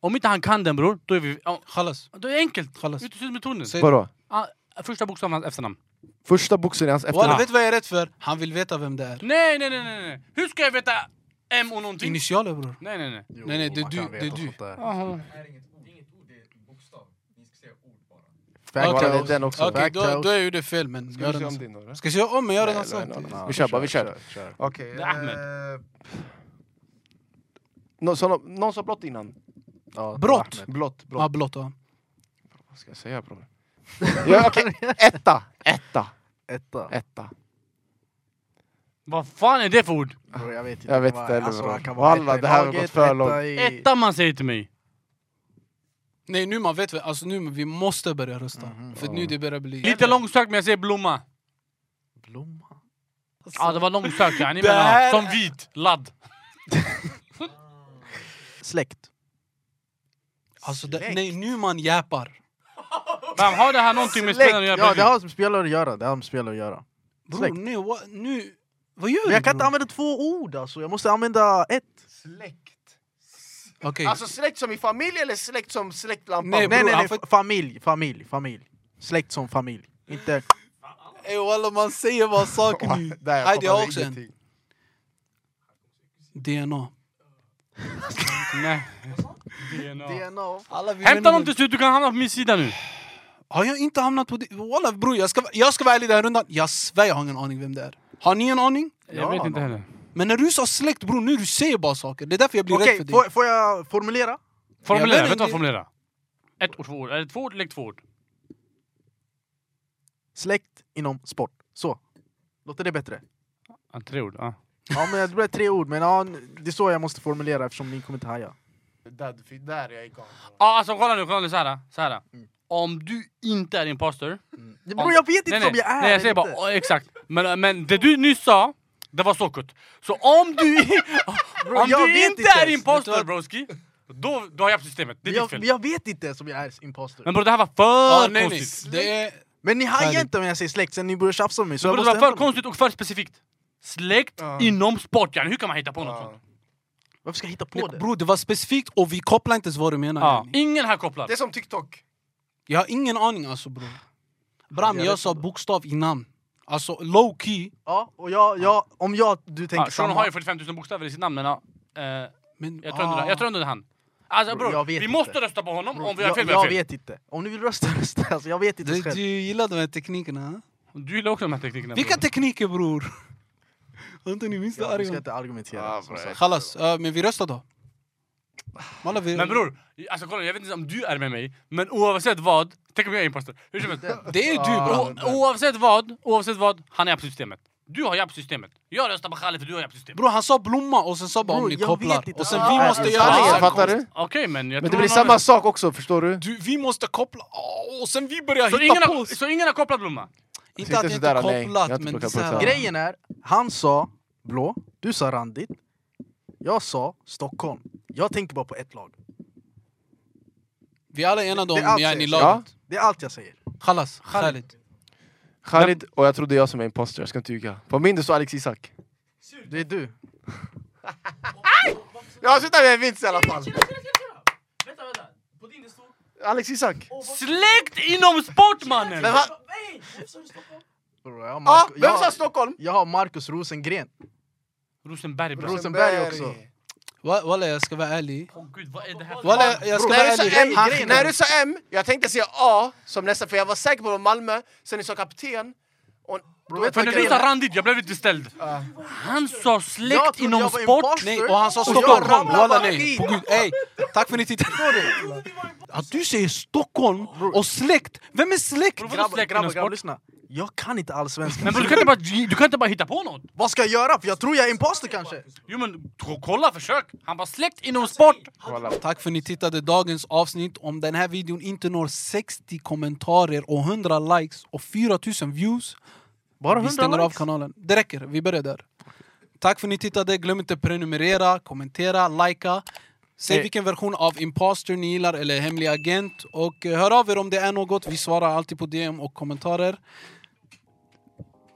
[SPEAKER 4] Om inte han kan den bror, då är vi... ja,
[SPEAKER 1] Chalas.
[SPEAKER 4] då är det enkelt.
[SPEAKER 1] Chalas.
[SPEAKER 4] Uteslut metoden.
[SPEAKER 1] Säg-
[SPEAKER 3] Vadå?
[SPEAKER 4] Ah, första bokstaven i hans efternamn.
[SPEAKER 3] Första boxen i hans
[SPEAKER 1] Walla,
[SPEAKER 3] efternamn.
[SPEAKER 1] vet du vad jag är rädd för? Han vill veta vem det är.
[SPEAKER 4] Nej, nej, nej, nej, nej. Hur ska jag veta M och någonting?
[SPEAKER 1] Initialer bror.
[SPEAKER 4] Nej, nej, nej.
[SPEAKER 2] Jo,
[SPEAKER 1] Nej, nej, det är
[SPEAKER 2] man
[SPEAKER 1] du-
[SPEAKER 2] kan veta
[SPEAKER 1] det är du.
[SPEAKER 2] sånt där.
[SPEAKER 4] Aha.
[SPEAKER 1] Okej,
[SPEAKER 3] Bara den också.
[SPEAKER 1] Okej, då,
[SPEAKER 2] Backtails.
[SPEAKER 1] då gjorde jag fel men
[SPEAKER 3] Ska
[SPEAKER 1] gör
[SPEAKER 3] vi se
[SPEAKER 1] den
[SPEAKER 3] om
[SPEAKER 1] så.
[SPEAKER 3] din då? eller?
[SPEAKER 1] Ska jag köra om men jag har redan
[SPEAKER 3] Nej,
[SPEAKER 1] sagt
[SPEAKER 3] nej,
[SPEAKER 1] det.
[SPEAKER 3] nej,
[SPEAKER 2] typ.
[SPEAKER 3] nej.
[SPEAKER 5] Vi kör bara, vi kör.
[SPEAKER 3] Okej.
[SPEAKER 4] Det är Ahmed.
[SPEAKER 3] eh,
[SPEAKER 5] Nå- så- Någon sa blått innan.
[SPEAKER 2] Ja,
[SPEAKER 1] Brott.
[SPEAKER 2] Ahmed.
[SPEAKER 5] Blått, blått.
[SPEAKER 1] Ja, blått ja.
[SPEAKER 5] Vad ska jag säga bror? ja, okej, etta, etta,
[SPEAKER 2] Etta.
[SPEAKER 5] etta.
[SPEAKER 4] Vad fan är det för ord?
[SPEAKER 2] Bro, jag vet inte.
[SPEAKER 5] Jag vet
[SPEAKER 2] vad-
[SPEAKER 5] inte heller,
[SPEAKER 2] alltså,
[SPEAKER 5] bro.
[SPEAKER 2] han kan vara
[SPEAKER 5] Walla,
[SPEAKER 2] etta i
[SPEAKER 5] det här har
[SPEAKER 2] laget,
[SPEAKER 5] gått för
[SPEAKER 2] etta
[SPEAKER 5] långt.
[SPEAKER 2] i-
[SPEAKER 4] Etta man säger till mig.
[SPEAKER 1] Nej nu man vet, väl, alltså nu vi måste börja rösta. För nu det börjar bli...
[SPEAKER 4] Lite långsökt men jag säger blomma.
[SPEAKER 2] Blomma.
[SPEAKER 4] Ja Alltså- det var långsökt yani.
[SPEAKER 1] Det
[SPEAKER 4] men ja.
[SPEAKER 1] här-
[SPEAKER 4] Som vit, ladd.
[SPEAKER 2] Släkt.
[SPEAKER 1] Alltså, det, nej nu man jäpar.
[SPEAKER 4] Men har det här någonting med spelen att göra?
[SPEAKER 2] Ja, det har med spelare att göra. Det har med spelare att göra.
[SPEAKER 1] Bror
[SPEAKER 2] Släkt.
[SPEAKER 1] nej what, nu... Vad gör
[SPEAKER 2] Men jag
[SPEAKER 1] du
[SPEAKER 2] kan inte
[SPEAKER 1] bror?
[SPEAKER 2] använda två ord alltså. Jag måste använda ett.
[SPEAKER 5] Släkt.
[SPEAKER 1] Okej.
[SPEAKER 5] Alltså släkt som i familj eller släkt som släktlampan?
[SPEAKER 1] Nej,
[SPEAKER 2] Nej, nej,
[SPEAKER 1] bror,
[SPEAKER 2] nej.
[SPEAKER 1] han får-
[SPEAKER 2] fa- Familj, familj, familj. Släkt som familj. Inte...
[SPEAKER 1] Ey walla man säger bara saker nu.
[SPEAKER 5] Där,
[SPEAKER 1] Nej, det
[SPEAKER 5] fattade
[SPEAKER 1] har också en.
[SPEAKER 5] ingenting.
[SPEAKER 1] DNA.
[SPEAKER 4] Nej.
[SPEAKER 2] DNA.
[SPEAKER 1] Alla, vi
[SPEAKER 4] Hämta
[SPEAKER 1] vänner-
[SPEAKER 4] någon till slut, du kan hamna på min sida nu.
[SPEAKER 1] Har jag inte hamnat på det? Walla bror, jag ska, jag ska vara ärlig den här rundan. Jag svär jag har ingen aning vem det är. Har ni en aning?
[SPEAKER 4] Jag vet inte heller.
[SPEAKER 1] Men när du sa släkt bror, nu du säger bara saker. Det är därför jag blir rädd
[SPEAKER 2] Okej,
[SPEAKER 1] för dig.
[SPEAKER 2] får, får jag formulera?
[SPEAKER 1] Jag
[SPEAKER 4] Formulera,
[SPEAKER 1] vet
[SPEAKER 4] vet du vad
[SPEAKER 1] inte.
[SPEAKER 4] formulera? Ett ord, två ord. Är det två ord? Lägg två ord.
[SPEAKER 2] Släkt inom sport. Så. Låter det bättre?
[SPEAKER 4] Ja, tre ord, ja.
[SPEAKER 2] Ja, men det blev tre ord. Men ja, det är så jag måste formulera eftersom ni kommer inte haja.
[SPEAKER 5] Där, du fick- där är jag igång.
[SPEAKER 4] Ja, alltså kolla nu, kolla nu så här. Så här.
[SPEAKER 2] Mm.
[SPEAKER 4] Om du inte är imposter...
[SPEAKER 2] Det beror, jag vet
[SPEAKER 4] Nej,
[SPEAKER 2] inte
[SPEAKER 4] nej,
[SPEAKER 2] om jag är
[SPEAKER 4] nej, jag
[SPEAKER 2] eller
[SPEAKER 4] säger bara,
[SPEAKER 2] inte.
[SPEAKER 4] ja, exakt. Men, äh, men det du nyss sa, det var sockut. Så om du, om
[SPEAKER 2] jag
[SPEAKER 4] du
[SPEAKER 2] vet inte
[SPEAKER 4] inte är
[SPEAKER 2] ens. Vet du
[SPEAKER 4] imposter
[SPEAKER 2] vad-
[SPEAKER 4] broski, då, då har jag haft systemet. Det är ditt
[SPEAKER 2] Jag,
[SPEAKER 4] fel.
[SPEAKER 2] jag vet inte ens om jag är imposter.
[SPEAKER 4] Men bror det här var för
[SPEAKER 1] Ja, nej, nej.
[SPEAKER 4] konstigt.
[SPEAKER 1] Det är...
[SPEAKER 2] Men ni hajar
[SPEAKER 1] Härligt.
[SPEAKER 2] inte om jag säger släkt sen ni börjar tjafsa med mig. Så jag
[SPEAKER 4] Bror, det
[SPEAKER 2] måste
[SPEAKER 4] var för
[SPEAKER 2] hämta mig.
[SPEAKER 4] konstigt och för specifikt. Släkt
[SPEAKER 5] Ja.
[SPEAKER 4] inom sport, yani. hur kan man hitta på något
[SPEAKER 5] Ja.
[SPEAKER 4] sånt?
[SPEAKER 2] Varför ska jag hitta på det?
[SPEAKER 1] Bror det var specifikt och vi kopplar inte ens vad du menar.
[SPEAKER 4] Ja.
[SPEAKER 1] yani.
[SPEAKER 4] Ingen här kopplar.
[SPEAKER 5] Det är som TikTok.
[SPEAKER 1] Jag har ingen aning alltså bror. Bram,
[SPEAKER 2] Jag
[SPEAKER 1] jag
[SPEAKER 2] vet
[SPEAKER 1] sa
[SPEAKER 2] inte.
[SPEAKER 1] bokstav i namn. Alltså low key.
[SPEAKER 2] Ja, och jag, jag, om jag, du tänker
[SPEAKER 4] Ja, Ah, Sean
[SPEAKER 2] samma.
[SPEAKER 4] har ju 45 000 bokstäver i sitt namn men ja. Eh, jag
[SPEAKER 1] Men, ah.
[SPEAKER 4] tror ändå det- jag tror ändå det är han. Alltså
[SPEAKER 2] Bror,
[SPEAKER 4] bror,
[SPEAKER 2] jag
[SPEAKER 4] vi
[SPEAKER 2] vet inte.
[SPEAKER 4] måste rösta på honom om vi har
[SPEAKER 2] jag,
[SPEAKER 4] fel, vi har
[SPEAKER 2] jag
[SPEAKER 4] fel.
[SPEAKER 2] vet inte. Om ni vill rösta, rösta. Alltså, jag vet inte
[SPEAKER 1] du,
[SPEAKER 2] själv.
[SPEAKER 1] du gillar de här teknikerna? ha?
[SPEAKER 4] Du gillar också de här teknikerna.
[SPEAKER 1] Vilka
[SPEAKER 4] bror.
[SPEAKER 1] tekniker bror? Antoni, minns du
[SPEAKER 2] Ja, vi ska
[SPEAKER 1] Arjan?
[SPEAKER 2] inte argumentera.
[SPEAKER 4] Ah,
[SPEAKER 5] Ja,
[SPEAKER 2] som
[SPEAKER 5] bra.
[SPEAKER 2] sagt.
[SPEAKER 1] Chalas, ja, eh, men vi röstar då. Walla, vi...
[SPEAKER 4] Men bror, alltså kolla jag vet inte om du är med mig, men oavsett vad, tänk om jag är imposter. Hur som helst.
[SPEAKER 1] Det är du
[SPEAKER 2] Ah,
[SPEAKER 1] bror.
[SPEAKER 4] O- Oavsett vad, oavsett vad, han är systemet. Du har japp-systemet. Jag röstar på Khaled för du har japp-systemet.
[SPEAKER 1] Bror han sa blomma och sen sa bara om
[SPEAKER 2] Bror,
[SPEAKER 1] ni
[SPEAKER 2] jag
[SPEAKER 1] kopplar.
[SPEAKER 2] vet inte.
[SPEAKER 1] Och sen
[SPEAKER 2] Ah,
[SPEAKER 1] vi måste
[SPEAKER 2] det är
[SPEAKER 1] göra
[SPEAKER 2] sanningen.
[SPEAKER 1] så här.
[SPEAKER 5] fattar du?
[SPEAKER 4] Okej men jag
[SPEAKER 5] Men det
[SPEAKER 4] tror
[SPEAKER 5] blir
[SPEAKER 4] han har
[SPEAKER 5] samma
[SPEAKER 4] rätt.
[SPEAKER 5] sak också, förstår du?
[SPEAKER 1] Du, vi måste koppla Åh, och sen vi börjar
[SPEAKER 4] Så
[SPEAKER 1] hitta
[SPEAKER 4] ingen,
[SPEAKER 1] på
[SPEAKER 4] har,
[SPEAKER 1] oss.
[SPEAKER 4] så ingen har kopplat Blomma?
[SPEAKER 1] Inte
[SPEAKER 5] Sitter
[SPEAKER 1] att jag inte
[SPEAKER 5] sådär, nej.
[SPEAKER 1] kopplat
[SPEAKER 5] Jag har inte
[SPEAKER 1] men
[SPEAKER 5] plockat
[SPEAKER 1] så
[SPEAKER 5] på
[SPEAKER 1] här.
[SPEAKER 5] samma.
[SPEAKER 2] Grejen är, han sa blå, du sa randigt. Jag sa Stockholm. Jag tänker bara på ett lag.
[SPEAKER 1] Vi alla är enade om
[SPEAKER 2] Det är allt
[SPEAKER 1] yani
[SPEAKER 2] sägs.
[SPEAKER 1] laget.
[SPEAKER 2] Det är allt jag säger.
[SPEAKER 1] Chalas, Khalid.
[SPEAKER 5] Khalid, och jag trodde jag som är imposter, jag ska inte ljuga. På min det står Alex Isak.
[SPEAKER 2] Det är du.
[SPEAKER 5] Jag slutar med en vinst i alla fall.
[SPEAKER 4] Vänta, vänta. På din det stod...
[SPEAKER 5] Alex Isak.
[SPEAKER 4] Släkt inom sport mannen!
[SPEAKER 5] Men han,
[SPEAKER 2] Bro, jag, har
[SPEAKER 5] ah,
[SPEAKER 2] Marco,
[SPEAKER 5] vem sa
[SPEAKER 2] jag,
[SPEAKER 5] Stockholm?
[SPEAKER 2] jag har Marcus Rosengren.
[SPEAKER 4] Rosenberg bror.
[SPEAKER 2] Ros- Rosenberg också.
[SPEAKER 1] Wa- Walla jag ska vara ärlig.
[SPEAKER 4] Åh gud vad är det här för
[SPEAKER 1] Walla
[SPEAKER 4] Walla.
[SPEAKER 1] jag- jag ska vara
[SPEAKER 5] När du, sa
[SPEAKER 1] ärlig.
[SPEAKER 5] M,
[SPEAKER 1] Han-
[SPEAKER 5] när du sa M, jag tänkte säga A som nästa, för jag var säker på det var Malmö. Sen du sa kapten. Och,
[SPEAKER 2] Bro, vet du vad
[SPEAKER 4] Men när du
[SPEAKER 2] grejen
[SPEAKER 4] sa
[SPEAKER 2] är?
[SPEAKER 4] randigt, jag blev lite ställd. Han sa
[SPEAKER 2] Jag
[SPEAKER 4] släkt
[SPEAKER 2] trodde
[SPEAKER 4] inom
[SPEAKER 2] jag var
[SPEAKER 4] sport.
[SPEAKER 2] imposter.
[SPEAKER 1] Nej, och han sa
[SPEAKER 2] Och jag
[SPEAKER 1] Stockholm.
[SPEAKER 2] ramlar
[SPEAKER 1] Walla
[SPEAKER 2] bara
[SPEAKER 1] nej.
[SPEAKER 2] dit.
[SPEAKER 1] På gud, ey. Tack för att ni tittade. Att du säger Stockholm och släkt. Vem är släkt?
[SPEAKER 4] Bror, vadå
[SPEAKER 2] Grabbar,
[SPEAKER 4] släkt
[SPEAKER 2] grabbar,
[SPEAKER 4] inom
[SPEAKER 2] grabbar,
[SPEAKER 4] sport?
[SPEAKER 2] lyssna. Jag kan inte alls svenska.
[SPEAKER 4] Men bror du kan inte bara, du kan inte bara hitta på något.
[SPEAKER 2] Vad ska jag göra? För jag tror jag är imposter kanske.
[SPEAKER 4] Jo men t- kolla, försök! Han bara släkt inom sport!
[SPEAKER 1] Tack för att ni tittade dagens avsnitt. Om den här videon inte når 60 kommentarer och 100 likes och 4000 views
[SPEAKER 2] Bara
[SPEAKER 1] Vi
[SPEAKER 2] 100
[SPEAKER 1] stänger av
[SPEAKER 2] likes?
[SPEAKER 1] kanalen. Det räcker, vi börjar där. Tack för att ni tittade. Glöm inte prenumerera, kommentera, likea. Säg
[SPEAKER 5] Eh.
[SPEAKER 1] vilken version av Imposter ni gillar eller Hemlig Agent. Och eh, hör av er om det är något. Vi svarar alltid på DM och kommentarer.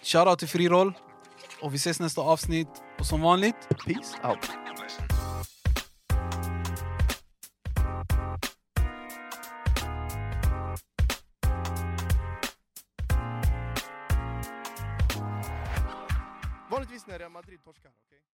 [SPEAKER 1] Shoutout till Friroll. Och vi ses nästa avsnitt. Och som vanligt,
[SPEAKER 5] Peace out. Vanligtvis när Real Madrid torskar, okej?